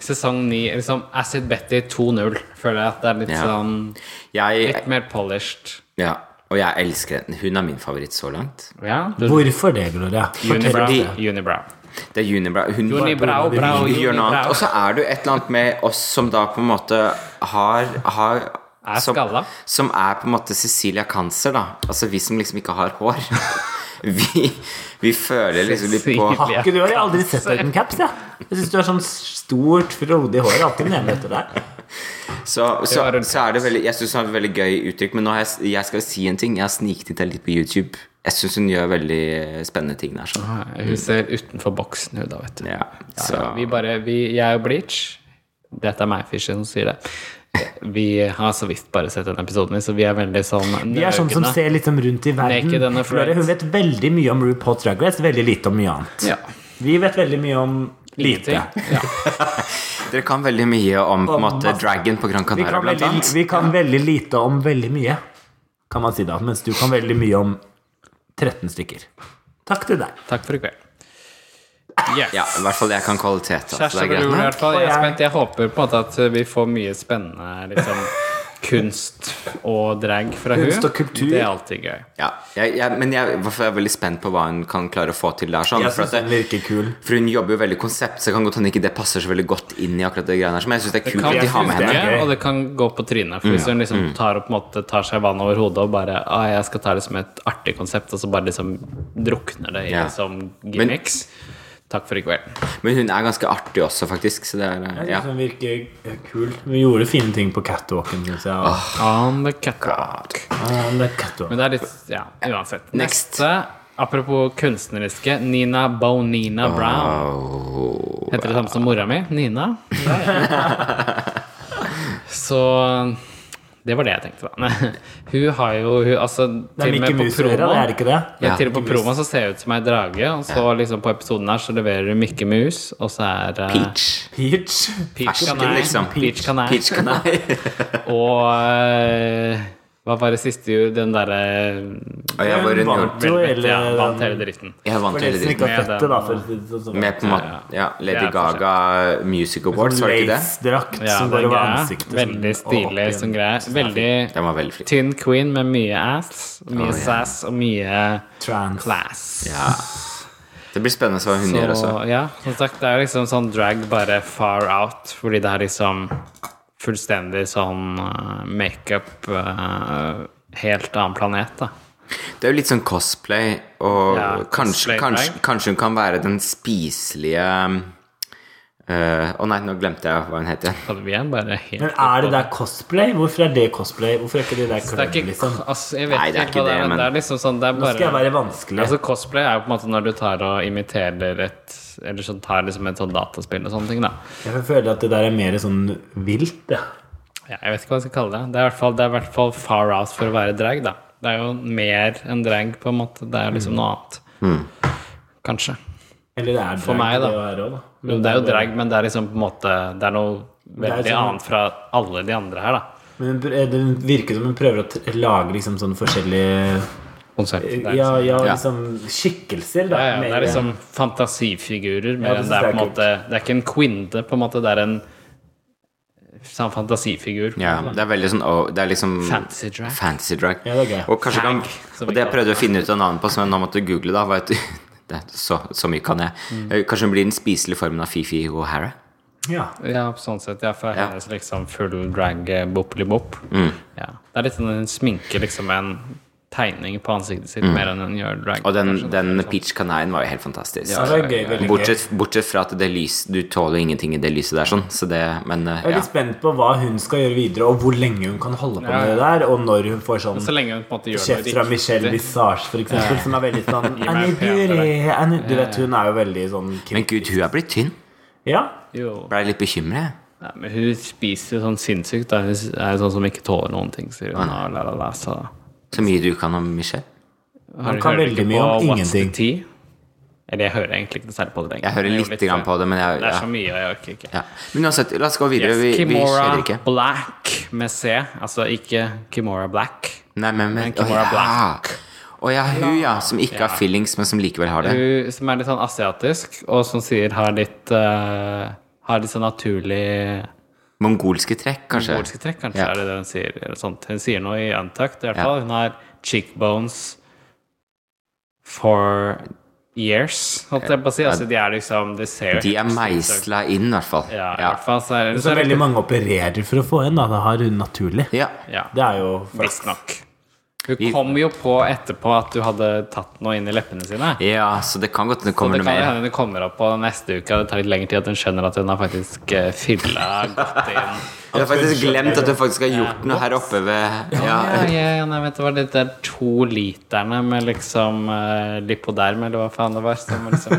[SPEAKER 3] Sesong 9 liksom Acid Betty 2-0. Føler jeg at det er litt
[SPEAKER 1] Ja.
[SPEAKER 3] sånn
[SPEAKER 1] Jeg,
[SPEAKER 3] Litt mer polished.
[SPEAKER 1] ja, og jeg elsker henne. Hun er min favoritt så langt.
[SPEAKER 3] Ja.
[SPEAKER 2] Hvorfor det, Gloria? Fortell.
[SPEAKER 3] Unibrow.
[SPEAKER 1] Fordi-
[SPEAKER 3] Unibrow.
[SPEAKER 1] Det er Unibrow. Hun
[SPEAKER 3] Unibrow, brow,
[SPEAKER 1] Hun gjør noe annet.
[SPEAKER 3] unibrow.
[SPEAKER 1] Og så er du et eller annet med oss som da på en måte har, har
[SPEAKER 3] Er
[SPEAKER 1] som,
[SPEAKER 3] skalla.
[SPEAKER 1] som er på en måte Cecilia Cancer, da. Altså vi som liksom ikke har hår. Vi, vi føler liksom litt på
[SPEAKER 3] Cecilia.
[SPEAKER 2] Har ikke du jeg har aldri sett deg uten caps? Jeg, jeg syns du har sånn stort, frodig hår. Jeg har Alltid nede etter deg.
[SPEAKER 1] Så, så,
[SPEAKER 3] var rundt
[SPEAKER 1] så er det veldig Jeg syns hun har et veldig gøy uttrykk, men nå har jeg, jeg skal si en ting. Jeg har sniktitta litt på YouTube. Jeg syns hun gjør veldig spennende ting der. Sånn.
[SPEAKER 3] Hun ser utenfor boksen, hun da, vet du.
[SPEAKER 1] Ja, så
[SPEAKER 3] Vi bare vi, Jeg og Bleach Dette er meg, Fischer, som sier det. Vi har så vidt bare sett den episoden, så vi er veldig sånn
[SPEAKER 2] Vi er sånn som
[SPEAKER 3] nøgne.
[SPEAKER 2] ser liksom rundt i verden.
[SPEAKER 3] Naked and afraid.
[SPEAKER 2] Gloria, hun vet veldig mye om RuPaul's Drag Race, veldig lite om mye annet.
[SPEAKER 3] ja.
[SPEAKER 2] Vi vet veldig mye om lite.
[SPEAKER 3] Ingenting. Ja.
[SPEAKER 1] Dere kan veldig mye om på
[SPEAKER 2] Om
[SPEAKER 1] en måte
[SPEAKER 2] masse-
[SPEAKER 1] Dragon på
[SPEAKER 2] Vi
[SPEAKER 1] Gran Canaria,
[SPEAKER 2] kan,
[SPEAKER 1] blant
[SPEAKER 2] veldig,
[SPEAKER 1] annet.
[SPEAKER 2] vi kan veldig lite om veldig mye, kan man si da. Mens du kan veldig mye om 13 stykker. Takk til deg.
[SPEAKER 3] Takk for i kveld. Yes.
[SPEAKER 1] Ja, i hvert fall jeg kan kvalitet. Altså,
[SPEAKER 3] Kjæreste
[SPEAKER 1] det er
[SPEAKER 3] og bror, i
[SPEAKER 1] greit.
[SPEAKER 3] hvert fall. Jeg, er
[SPEAKER 2] Og jeg-
[SPEAKER 3] spent. jeg håper på en måte at vi får mye spennende liksom, kunst og drag fra hun.
[SPEAKER 2] Kunst og kultur.
[SPEAKER 3] Det er alltid gøy.
[SPEAKER 1] Ja, jeg, jeg, men jeg, hvorfor er jeg veldig spent på hva hun kan klare å få til der. Sånn,
[SPEAKER 2] Jeg
[SPEAKER 1] for,
[SPEAKER 2] syns
[SPEAKER 1] at
[SPEAKER 2] den
[SPEAKER 1] det,
[SPEAKER 2] virker kul.
[SPEAKER 1] for hun jobber jo veldig konsept, så det kan godt hende ikke det passer så veldig godt inn i akkurat det greiene her. Men jeg syns det er kult
[SPEAKER 3] Kan
[SPEAKER 1] at de har
[SPEAKER 2] synes
[SPEAKER 1] med henne. Mm.
[SPEAKER 3] funke,
[SPEAKER 2] Det er gøy.
[SPEAKER 3] og det kan gå på trynet. For hvis hun liksom tar, opp, på en måte, tar seg vann over hodet og bare ah, jeg skal ta det som et artig konsept, og så bare liksom drukner det i
[SPEAKER 1] Ja.
[SPEAKER 3] liksom, gimmicks. Takk for i kveld.
[SPEAKER 1] Men hun er ganske artig også, faktisk. Så det er,
[SPEAKER 2] Jeg
[SPEAKER 1] ja.
[SPEAKER 2] synes den virker eh, kul. Vi gjorde fine ting på catwalken, syns jeg. og-
[SPEAKER 3] On the catwalk.
[SPEAKER 2] Ah, det er
[SPEAKER 3] Ah.
[SPEAKER 2] catwalk.
[SPEAKER 3] Men det er litt Ja, uansett.
[SPEAKER 1] Next.
[SPEAKER 3] Neste, apropos kunstneriske, Nina Bonina
[SPEAKER 1] Ah.
[SPEAKER 3] Brown.
[SPEAKER 1] Au.
[SPEAKER 3] Heter det samme som mora mi, Nina. Så det var det jeg tenkte, da. Hun har jo hun, altså,
[SPEAKER 2] Det er
[SPEAKER 3] til og
[SPEAKER 2] Mikke
[SPEAKER 3] med på
[SPEAKER 2] Mus-øra, det
[SPEAKER 3] promo-
[SPEAKER 2] er det ikke det?
[SPEAKER 3] Ja,
[SPEAKER 1] Ja,
[SPEAKER 3] til og med på
[SPEAKER 2] Mickey Mouse.
[SPEAKER 3] promo så ser jeg ut som ei drage, og så liksom på episoden her så leverer hun Mikke Mus, og så er eh,
[SPEAKER 1] Peach.
[SPEAKER 2] Peach.
[SPEAKER 3] Peach
[SPEAKER 1] Fersken,
[SPEAKER 3] Kanai.
[SPEAKER 1] liksom.
[SPEAKER 3] Peach Kanai.
[SPEAKER 1] Peach Canai.
[SPEAKER 3] Og eh, hva var det siste jo, den derre
[SPEAKER 1] Og jeg var
[SPEAKER 2] Hun
[SPEAKER 1] en
[SPEAKER 2] vant jo hele
[SPEAKER 3] ja, Vant hele
[SPEAKER 2] den-
[SPEAKER 3] dritten.
[SPEAKER 1] Jeg
[SPEAKER 2] For
[SPEAKER 1] vant
[SPEAKER 2] de
[SPEAKER 1] hele
[SPEAKER 2] som ikke har
[SPEAKER 1] dritten.
[SPEAKER 3] Med den-
[SPEAKER 2] sett det, da. For å si det sånn.
[SPEAKER 1] Med på en måte ja, Lady
[SPEAKER 3] Det er forskjell.
[SPEAKER 1] Gaga uh, Music Awards, var det ikke det?
[SPEAKER 2] Lace drakt
[SPEAKER 3] Ja,
[SPEAKER 2] som
[SPEAKER 3] den
[SPEAKER 2] går over
[SPEAKER 3] greia.
[SPEAKER 2] ansiktet.
[SPEAKER 3] Veldig
[SPEAKER 2] sånn, og opp
[SPEAKER 3] stilig
[SPEAKER 2] igjen.
[SPEAKER 3] som greie. Veldig
[SPEAKER 1] Den var veldig flink.
[SPEAKER 3] Tynn queen med mye ass, mye
[SPEAKER 1] ja.
[SPEAKER 3] sass og mye
[SPEAKER 2] Trans.
[SPEAKER 3] class.
[SPEAKER 1] Ja. Det blir spennende å se hva hun
[SPEAKER 3] Så
[SPEAKER 1] gjør også.
[SPEAKER 3] ja, som sagt, det er jo liksom sånn drag bare far out, fordi det er liksom fullstendig sånn eh, makeup eh, Helt annen planet, da.
[SPEAKER 1] Det er jo litt sånn cosplay, og
[SPEAKER 3] Ja,
[SPEAKER 1] kanskje,
[SPEAKER 3] cosplay,
[SPEAKER 1] kanskje,
[SPEAKER 3] drag.
[SPEAKER 1] kanskje hun kan være den spiselige eh, Å nei, nå glemte jeg hva hun het igjen.
[SPEAKER 3] Så vi er bare helt
[SPEAKER 2] Men er det der cosplay? Hvorfor er det cosplay? Hvorfor er ikke det der
[SPEAKER 3] Det er
[SPEAKER 2] klønete,
[SPEAKER 3] ikke
[SPEAKER 2] liksom?
[SPEAKER 3] altså, Jeg vet
[SPEAKER 1] Nei, det er
[SPEAKER 3] ikke
[SPEAKER 1] ikke
[SPEAKER 3] hva det er,
[SPEAKER 1] det,
[SPEAKER 3] men
[SPEAKER 1] men-
[SPEAKER 3] det er liksom sånn Det er
[SPEAKER 2] Nå
[SPEAKER 3] bare
[SPEAKER 2] skal jeg være vanskelig.
[SPEAKER 3] Altså Cosplay er jo på en måte når du tar og imiterer et Eller sånn tar liksom et sånn dataspill og sånne ting, da.
[SPEAKER 2] Jeg føler at det der er mer sånn vilt, ja.
[SPEAKER 3] Ja, jeg vet ikke hva jeg skal kalle det. Det er i hvert fall, det er i hvert fall far out for å være drag, da. Det er jo mer enn drag, på en måte. Det er jo
[SPEAKER 1] Mm.
[SPEAKER 3] liksom noe annet. Kanskje.
[SPEAKER 2] Eller det er drag,
[SPEAKER 3] For meg, da.
[SPEAKER 2] det å være også, da.
[SPEAKER 3] Jo, det er jo drag, men det er liksom på en måte Det er noe
[SPEAKER 2] er
[SPEAKER 3] veldig
[SPEAKER 2] sånn-
[SPEAKER 3] annet fra alle de andre her, da.
[SPEAKER 2] Men hun pr- eh, det virker som hun prøver å t- lage liksom sånn forskjellige
[SPEAKER 3] Konsept. Det er
[SPEAKER 2] Ja,
[SPEAKER 3] liksom,
[SPEAKER 2] ja,
[SPEAKER 1] Ja.
[SPEAKER 2] liksom skikkelser, da.
[SPEAKER 3] ja, ja, det
[SPEAKER 2] mer-
[SPEAKER 3] er liksom fantasifigurer,
[SPEAKER 2] Ja,
[SPEAKER 3] mer
[SPEAKER 2] det
[SPEAKER 3] enn
[SPEAKER 2] synes
[SPEAKER 3] det er på
[SPEAKER 2] jeg
[SPEAKER 3] en
[SPEAKER 2] er
[SPEAKER 3] måte Det er ikke en quinde, på en måte. Det er en sånn fantasifigur.
[SPEAKER 1] Ja, det er veldig sånn å, Det er liksom
[SPEAKER 3] Fantasy drag.
[SPEAKER 1] fantasy drag.
[SPEAKER 2] Ja, det er gøy.
[SPEAKER 1] Og kanskje kan
[SPEAKER 3] Tag, som
[SPEAKER 1] Og det jeg
[SPEAKER 3] vi kaller
[SPEAKER 1] prøvde å finne ut av navnet på, som jeg nå måtte google, da, var et det, er så, så mye kan jeg. Eh, Kanskje hun blir den spiselige formen av Fifi O'Hara?
[SPEAKER 2] ja.
[SPEAKER 3] Ja, på sånn sett. Ja, for
[SPEAKER 1] Ja. Mm.
[SPEAKER 3] hennes liksom full drag eh, boppeli-bopp. Ja. Det er litt sånn hun sminker liksom en tegning på ansiktet sitt mer enn hun gjør drag.
[SPEAKER 1] Mm. Og den, den Peach Canine var jo helt fantastisk.
[SPEAKER 2] Ja, det er gøy, veldig gøy.
[SPEAKER 1] bortsett, bortsett fra at det lys Du tåler ingenting i det lyset der, sånn. Så det Men eh,
[SPEAKER 2] Jeg er
[SPEAKER 1] ja.
[SPEAKER 2] litt spent på hva hun skal gjøre videre, og hvor lenge hun kan holde på med det der, og når hun får sånn
[SPEAKER 3] Så lenge hun på en måte gjør
[SPEAKER 2] Sjef fra
[SPEAKER 3] det
[SPEAKER 2] Michelle
[SPEAKER 3] riktig.
[SPEAKER 2] Visage, for eksempel, som er veldig sånn
[SPEAKER 3] meg
[SPEAKER 2] Annie
[SPEAKER 3] en pen til
[SPEAKER 2] Beauty, Annie, Du vet, hun er jo veldig sånn
[SPEAKER 1] Men
[SPEAKER 2] kri-
[SPEAKER 1] gud, hun er blitt tynn.
[SPEAKER 2] Ja,
[SPEAKER 3] Jo.
[SPEAKER 1] Blei litt bekymret. jeg.
[SPEAKER 3] Nei, men hun spiser jo sånn sinnssykt. Da. Hun er sånn som ikke tåler noen ting, sier hun. Og la, la, la, så.
[SPEAKER 1] Så mye du kan om Michelle.
[SPEAKER 3] Har du
[SPEAKER 2] kan
[SPEAKER 3] hørt
[SPEAKER 2] veldig
[SPEAKER 3] ikke
[SPEAKER 2] mye
[SPEAKER 3] på
[SPEAKER 2] om
[SPEAKER 3] What's the
[SPEAKER 2] ingenting.
[SPEAKER 3] Tea? Eller jeg hører egentlig ikke noe særlig på det lenger.
[SPEAKER 1] Jeg hører
[SPEAKER 3] gjorde
[SPEAKER 1] litt grann
[SPEAKER 3] før.
[SPEAKER 1] på det, men jeg
[SPEAKER 3] Det er
[SPEAKER 1] ja.
[SPEAKER 3] så mye, og jeg orker ikke.
[SPEAKER 1] Ja. Men uansett, la oss gå videre.
[SPEAKER 3] Yes,
[SPEAKER 1] Vi, vi kjeder
[SPEAKER 3] Kimora
[SPEAKER 1] ikke.
[SPEAKER 3] Black med C. Altså ikke Kimora Black.
[SPEAKER 1] Nei, men, men,
[SPEAKER 3] Men Kimora
[SPEAKER 1] å,
[SPEAKER 3] Black.
[SPEAKER 1] ja. Å ja, hun ja, som ikke har fillings, men som likevel har det.
[SPEAKER 3] Hun som er litt sånn asiatisk, og som sier har litt eh, Har litt sånn naturlig
[SPEAKER 1] Mongolske trekk, kanskje.
[SPEAKER 3] mongolske trekk, kanskje.
[SPEAKER 1] Ja.
[SPEAKER 3] er det det Hun sier eller sånt. Hun sier noe i Untucked, i hvert fall. Hun har cheekbones for years, holdt jeg på å si. Altså, de er liksom De ser jo
[SPEAKER 1] De er
[SPEAKER 3] helt sinnssykt-
[SPEAKER 1] meisla inn, i hvert fall.
[SPEAKER 3] Ja, i
[SPEAKER 1] ja.
[SPEAKER 3] hvert fall så er det,
[SPEAKER 2] Så veldig mange opererer for å få en, da. Det har hun naturlig.
[SPEAKER 1] Ja.
[SPEAKER 3] ja,
[SPEAKER 2] Det er jo
[SPEAKER 3] Visstnok. Hun
[SPEAKER 1] Vi-
[SPEAKER 3] kom jo på etterpå at du hadde tatt noe inn i leppene sine.
[SPEAKER 1] Ja, så det kan godt hende det
[SPEAKER 3] Så
[SPEAKER 1] kommer
[SPEAKER 3] det
[SPEAKER 1] noe
[SPEAKER 3] kan jo
[SPEAKER 1] mer.
[SPEAKER 3] hende det kommer opp på neste uke. og Det tar litt lengre tid at hun skjønner at hun har faktisk eh, fylla godt inn.
[SPEAKER 1] Jeg har faktisk glemt at hun faktisk har gjort noe her oppe ved ja.
[SPEAKER 3] Ja, ja, ja, nei, vet du hva, det der to literne med liksom eh, lipoderm, eller hva faen det var, som liksom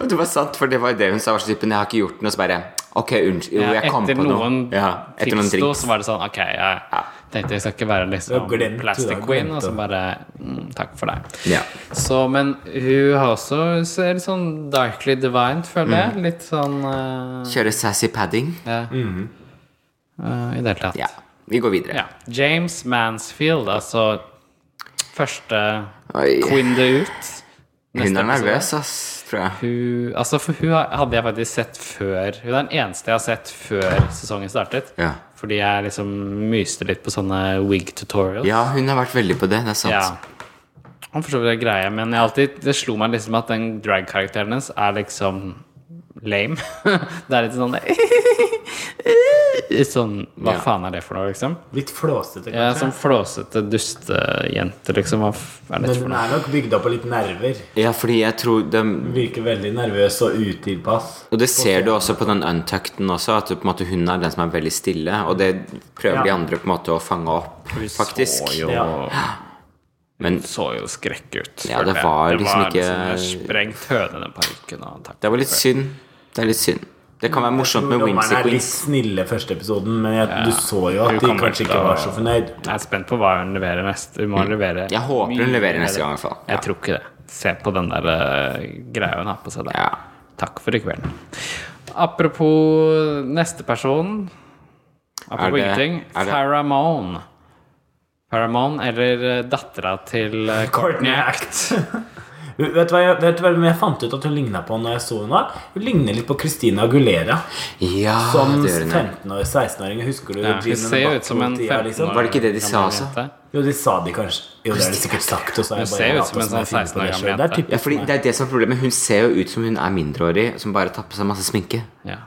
[SPEAKER 1] Og Det var sant, for det var det hun sa. var så typen, Jeg har ikke gjort noe, så bare Ok, unnskyld. Jo, jeg kom
[SPEAKER 3] Etter
[SPEAKER 1] på noe.
[SPEAKER 3] noen
[SPEAKER 1] Ja, etter noen
[SPEAKER 3] tilsto,
[SPEAKER 1] drinks.
[SPEAKER 3] så var det sånn Ok, jeg tenkte jeg skal ikke være liksom
[SPEAKER 2] Du har glemt, du har
[SPEAKER 3] plastic
[SPEAKER 2] glemt
[SPEAKER 3] queen, og
[SPEAKER 2] det.
[SPEAKER 3] så bare mm, Takk for deg.
[SPEAKER 1] Ja.
[SPEAKER 3] Så, men hun har også ser litt sånn darkly divine, føler
[SPEAKER 1] Mm.
[SPEAKER 3] jeg. Litt sånn eh,
[SPEAKER 1] Kjøre sassy padding.
[SPEAKER 3] ja. Eh, I det hele tatt.
[SPEAKER 1] Ja. Vi går videre.
[SPEAKER 3] Ja. James Mansfield, altså første
[SPEAKER 1] Oi.
[SPEAKER 3] queen det ut.
[SPEAKER 1] Hun
[SPEAKER 3] Neste
[SPEAKER 1] er
[SPEAKER 3] episode.
[SPEAKER 1] nervøs, ass, tror jeg.
[SPEAKER 3] Hun, altså for hun har- hadde jeg faktisk sett før Hun er den eneste jeg har sett før sesongen startet.
[SPEAKER 1] Ja.
[SPEAKER 3] Fordi jeg liksom myste litt på sånne wig tutorials.
[SPEAKER 1] Ja, hun har vært veldig på det. Det er sant.
[SPEAKER 3] Ja. Han forstår hva det er greia, men jeg alltid, det slo meg liksom at den drag-karakteren hennes er liksom lame. det er litt sånn Litt sånn Hva
[SPEAKER 1] Ja.
[SPEAKER 3] faen er det for noe, liksom?
[SPEAKER 2] litt flåsete,
[SPEAKER 3] Jeg er
[SPEAKER 2] kanskje.
[SPEAKER 3] sånn flåsete dustejente, liksom. Hva f- er
[SPEAKER 2] Men
[SPEAKER 3] dette for
[SPEAKER 2] hun
[SPEAKER 3] noe?
[SPEAKER 2] er nok bygd opp av litt nerver.
[SPEAKER 1] Ja, fordi jeg tror de,
[SPEAKER 2] Hun virker veldig nervøs og utilpass.
[SPEAKER 1] Og det ser du også på den untuckeden også, at du, på en måte, hun er den som er veldig stille. Og det prøver
[SPEAKER 2] Ja.
[SPEAKER 1] de andre på en måte å fange opp,
[SPEAKER 3] Hun
[SPEAKER 1] faktisk.
[SPEAKER 3] Så jo,
[SPEAKER 1] Men
[SPEAKER 3] så jo skrekk ut.
[SPEAKER 1] Ja,
[SPEAKER 3] føler
[SPEAKER 1] det
[SPEAKER 3] jeg.
[SPEAKER 1] var liksom ikke-
[SPEAKER 3] liksom sprengt høne i den parykken. og takk.
[SPEAKER 1] det var litt synd. Det er litt synd. Det kan være morsomt med
[SPEAKER 2] Dommerne
[SPEAKER 1] Whimsy
[SPEAKER 2] er litt
[SPEAKER 1] Queens.
[SPEAKER 2] snille første episoden, men jeg, du så jo
[SPEAKER 3] Hun
[SPEAKER 2] at de
[SPEAKER 3] kommer
[SPEAKER 2] kanskje
[SPEAKER 3] til
[SPEAKER 2] ikke
[SPEAKER 3] å-
[SPEAKER 2] var så fornøyd.
[SPEAKER 3] Jeg er spent på hva hun leverer neste. Hun må levere
[SPEAKER 1] Mm. Jeg håper hun
[SPEAKER 3] mye
[SPEAKER 1] leverer
[SPEAKER 3] mer.
[SPEAKER 1] neste gang, i hvert fall. Ja.
[SPEAKER 3] Jeg tror ikke det. Se på den der eh, greia hun har på seg der.
[SPEAKER 1] Ja.
[SPEAKER 3] Takk for i kveld. Apropos neste person Apropos
[SPEAKER 1] det-
[SPEAKER 3] ingenting.
[SPEAKER 1] er det-
[SPEAKER 3] Faramone. Faramone, eller eh, dattera til eh, Courtney Act.
[SPEAKER 2] Vet du hva jeg, vet du hva jeg fant ut at hun ligna på når jeg så henne? Hun ligner litt på Christina Agulera.
[SPEAKER 1] Ja,
[SPEAKER 2] Som
[SPEAKER 1] Ah, det gjør hun. ja.
[SPEAKER 2] 15-16-åring. Husker du?
[SPEAKER 3] Ja, hun
[SPEAKER 2] Gin and
[SPEAKER 3] ser jo ut som en
[SPEAKER 2] Buckle-tida, liksom?
[SPEAKER 3] 15
[SPEAKER 1] Var det ikke det de sa også?
[SPEAKER 2] Jo, de sa de kanskje. Jo, det er det sikkert sagt. Og så har
[SPEAKER 3] Hun
[SPEAKER 2] jeg bare
[SPEAKER 3] ser jo
[SPEAKER 2] latt
[SPEAKER 3] ut som en
[SPEAKER 2] som
[SPEAKER 3] sånn
[SPEAKER 2] jeg finner på det
[SPEAKER 3] 16 år
[SPEAKER 2] selv.
[SPEAKER 3] gammel
[SPEAKER 2] Det er
[SPEAKER 3] jente.
[SPEAKER 1] Ja,
[SPEAKER 2] typisk
[SPEAKER 1] fordi
[SPEAKER 2] meg.
[SPEAKER 1] det er det som er problemet. Hun ser jo ut som hun er mindreårig, som bare tar på seg masse sminke.
[SPEAKER 3] Ja.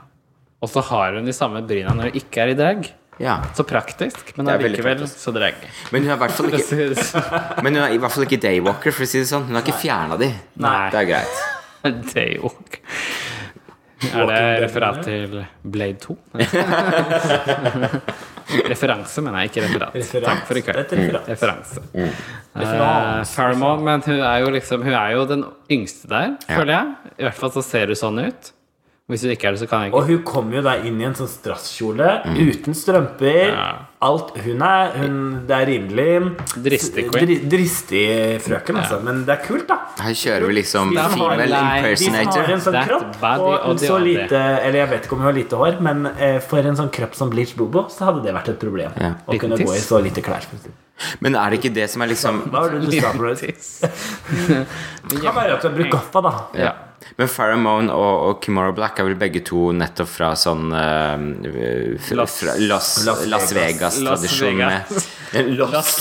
[SPEAKER 3] Og så har hun de samme bryna når hun ikke er i drag.
[SPEAKER 1] Ja.
[SPEAKER 3] Så praktisk, men
[SPEAKER 1] Det er veldig
[SPEAKER 3] allikevel
[SPEAKER 1] praktisk.
[SPEAKER 3] så drag.
[SPEAKER 1] Men hun er i hvert fall
[SPEAKER 3] Det
[SPEAKER 1] ikke,
[SPEAKER 3] synes-
[SPEAKER 1] men hun er i hvert fall ikke daywalker, for å si det sånn. Hun har ikke fjerna de.
[SPEAKER 3] Nei.
[SPEAKER 1] Det er greit.
[SPEAKER 3] Det er jo Er det referat til Blade 2? Referanse, mener jeg, ikke referat.
[SPEAKER 2] Referat.
[SPEAKER 3] Takk for i kveld.
[SPEAKER 2] Det er et referat.
[SPEAKER 3] Referanse.
[SPEAKER 1] Mm.
[SPEAKER 2] Referat.
[SPEAKER 3] Eh, Paramount, men hun er jo liksom Hun er jo den yngste der,
[SPEAKER 1] Ja.
[SPEAKER 3] føler jeg. I hvert fall så ser hun sånn ut. Hvis hun ikke er det, så kan jeg ikke.
[SPEAKER 2] Og hun kom jo da inn i en sånn strasskjole
[SPEAKER 1] Mm.
[SPEAKER 2] uten strømper.
[SPEAKER 3] Ja.
[SPEAKER 2] Alt hun er hun, Det er rimelig
[SPEAKER 3] Dristig queen.
[SPEAKER 2] dri, Dristig frøken, altså. Men det er kult, da.
[SPEAKER 1] Her kjører vi liksom
[SPEAKER 2] De som har-
[SPEAKER 1] female
[SPEAKER 3] Nei, de
[SPEAKER 2] De som har
[SPEAKER 1] impersonator.
[SPEAKER 2] en sånn
[SPEAKER 3] That
[SPEAKER 2] kropp
[SPEAKER 3] body
[SPEAKER 2] og
[SPEAKER 3] og det
[SPEAKER 2] så
[SPEAKER 3] og det.
[SPEAKER 2] lite Eller jeg vet ikke om hun har lite hår, men eh, for en sånn kropp som Bleach Bobo, så hadde det vært et problem.
[SPEAKER 1] Ja.
[SPEAKER 2] Å
[SPEAKER 3] Liten
[SPEAKER 2] kunne gå i
[SPEAKER 3] tiss.
[SPEAKER 2] så lite klær.
[SPEAKER 1] Men er det ikke det som er liksom
[SPEAKER 2] Hva var det du sa, Bruce? Det kan være at du har brukt gaffa, da.
[SPEAKER 3] Ja.
[SPEAKER 1] Men Farrah Moan og, og Kimora Black er vel begge to nettopp fra sånn eh, fra,
[SPEAKER 3] Las-
[SPEAKER 1] fra Las,
[SPEAKER 2] Las
[SPEAKER 1] Las
[SPEAKER 2] Vegas.
[SPEAKER 1] Vegas-tradisjon
[SPEAKER 3] Las
[SPEAKER 1] med Los,
[SPEAKER 3] Las,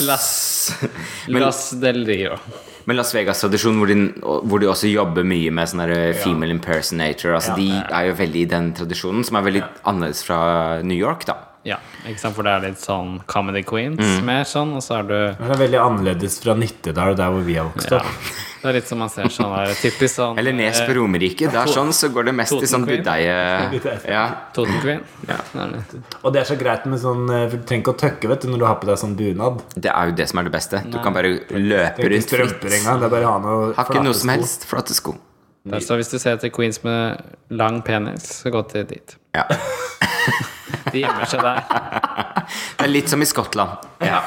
[SPEAKER 3] las, las del Rio.
[SPEAKER 1] Men Las Vegas-tradisjon hvor, de- hvor de også jobber mye med sånne der eh, female impersonator. Altså De er jo veldig i den tradisjonen, som er veldig annerledes fra New York, da.
[SPEAKER 3] Ja, ikke sant, for det er litt sånn Comedy Queens mer sånn, og så er du
[SPEAKER 2] Det er veldig annerledes fra Nittedal, der hvor vi har vokst opp.
[SPEAKER 3] Det er litt som man ser sånn der, typisk sånn
[SPEAKER 1] Eller Nes på Romerike. Det er sånn, så går det mest i sånn
[SPEAKER 3] Totenkvinn.
[SPEAKER 1] budeie... Ja.
[SPEAKER 3] Totenkvinn.
[SPEAKER 1] Ja.
[SPEAKER 2] Og det er så greit med sånn eh, For du trenger ikke å tøkke vet du, når du har på deg sånn bunad.
[SPEAKER 1] Det er jo det som er det beste. Du kan bare løpe
[SPEAKER 2] Trenger ikke
[SPEAKER 1] rundt
[SPEAKER 2] strømper
[SPEAKER 1] fritt.
[SPEAKER 2] engang. Det er bare å ha noe
[SPEAKER 1] Har ikke noe som
[SPEAKER 2] flatesko.
[SPEAKER 1] helst. Flate sko.
[SPEAKER 3] Der, så hvis du ser etter queens med lang penis, så gå til dit.
[SPEAKER 1] Ja.
[SPEAKER 3] De gjemmer seg der.
[SPEAKER 1] Det er litt som i Skottland.
[SPEAKER 3] Ja.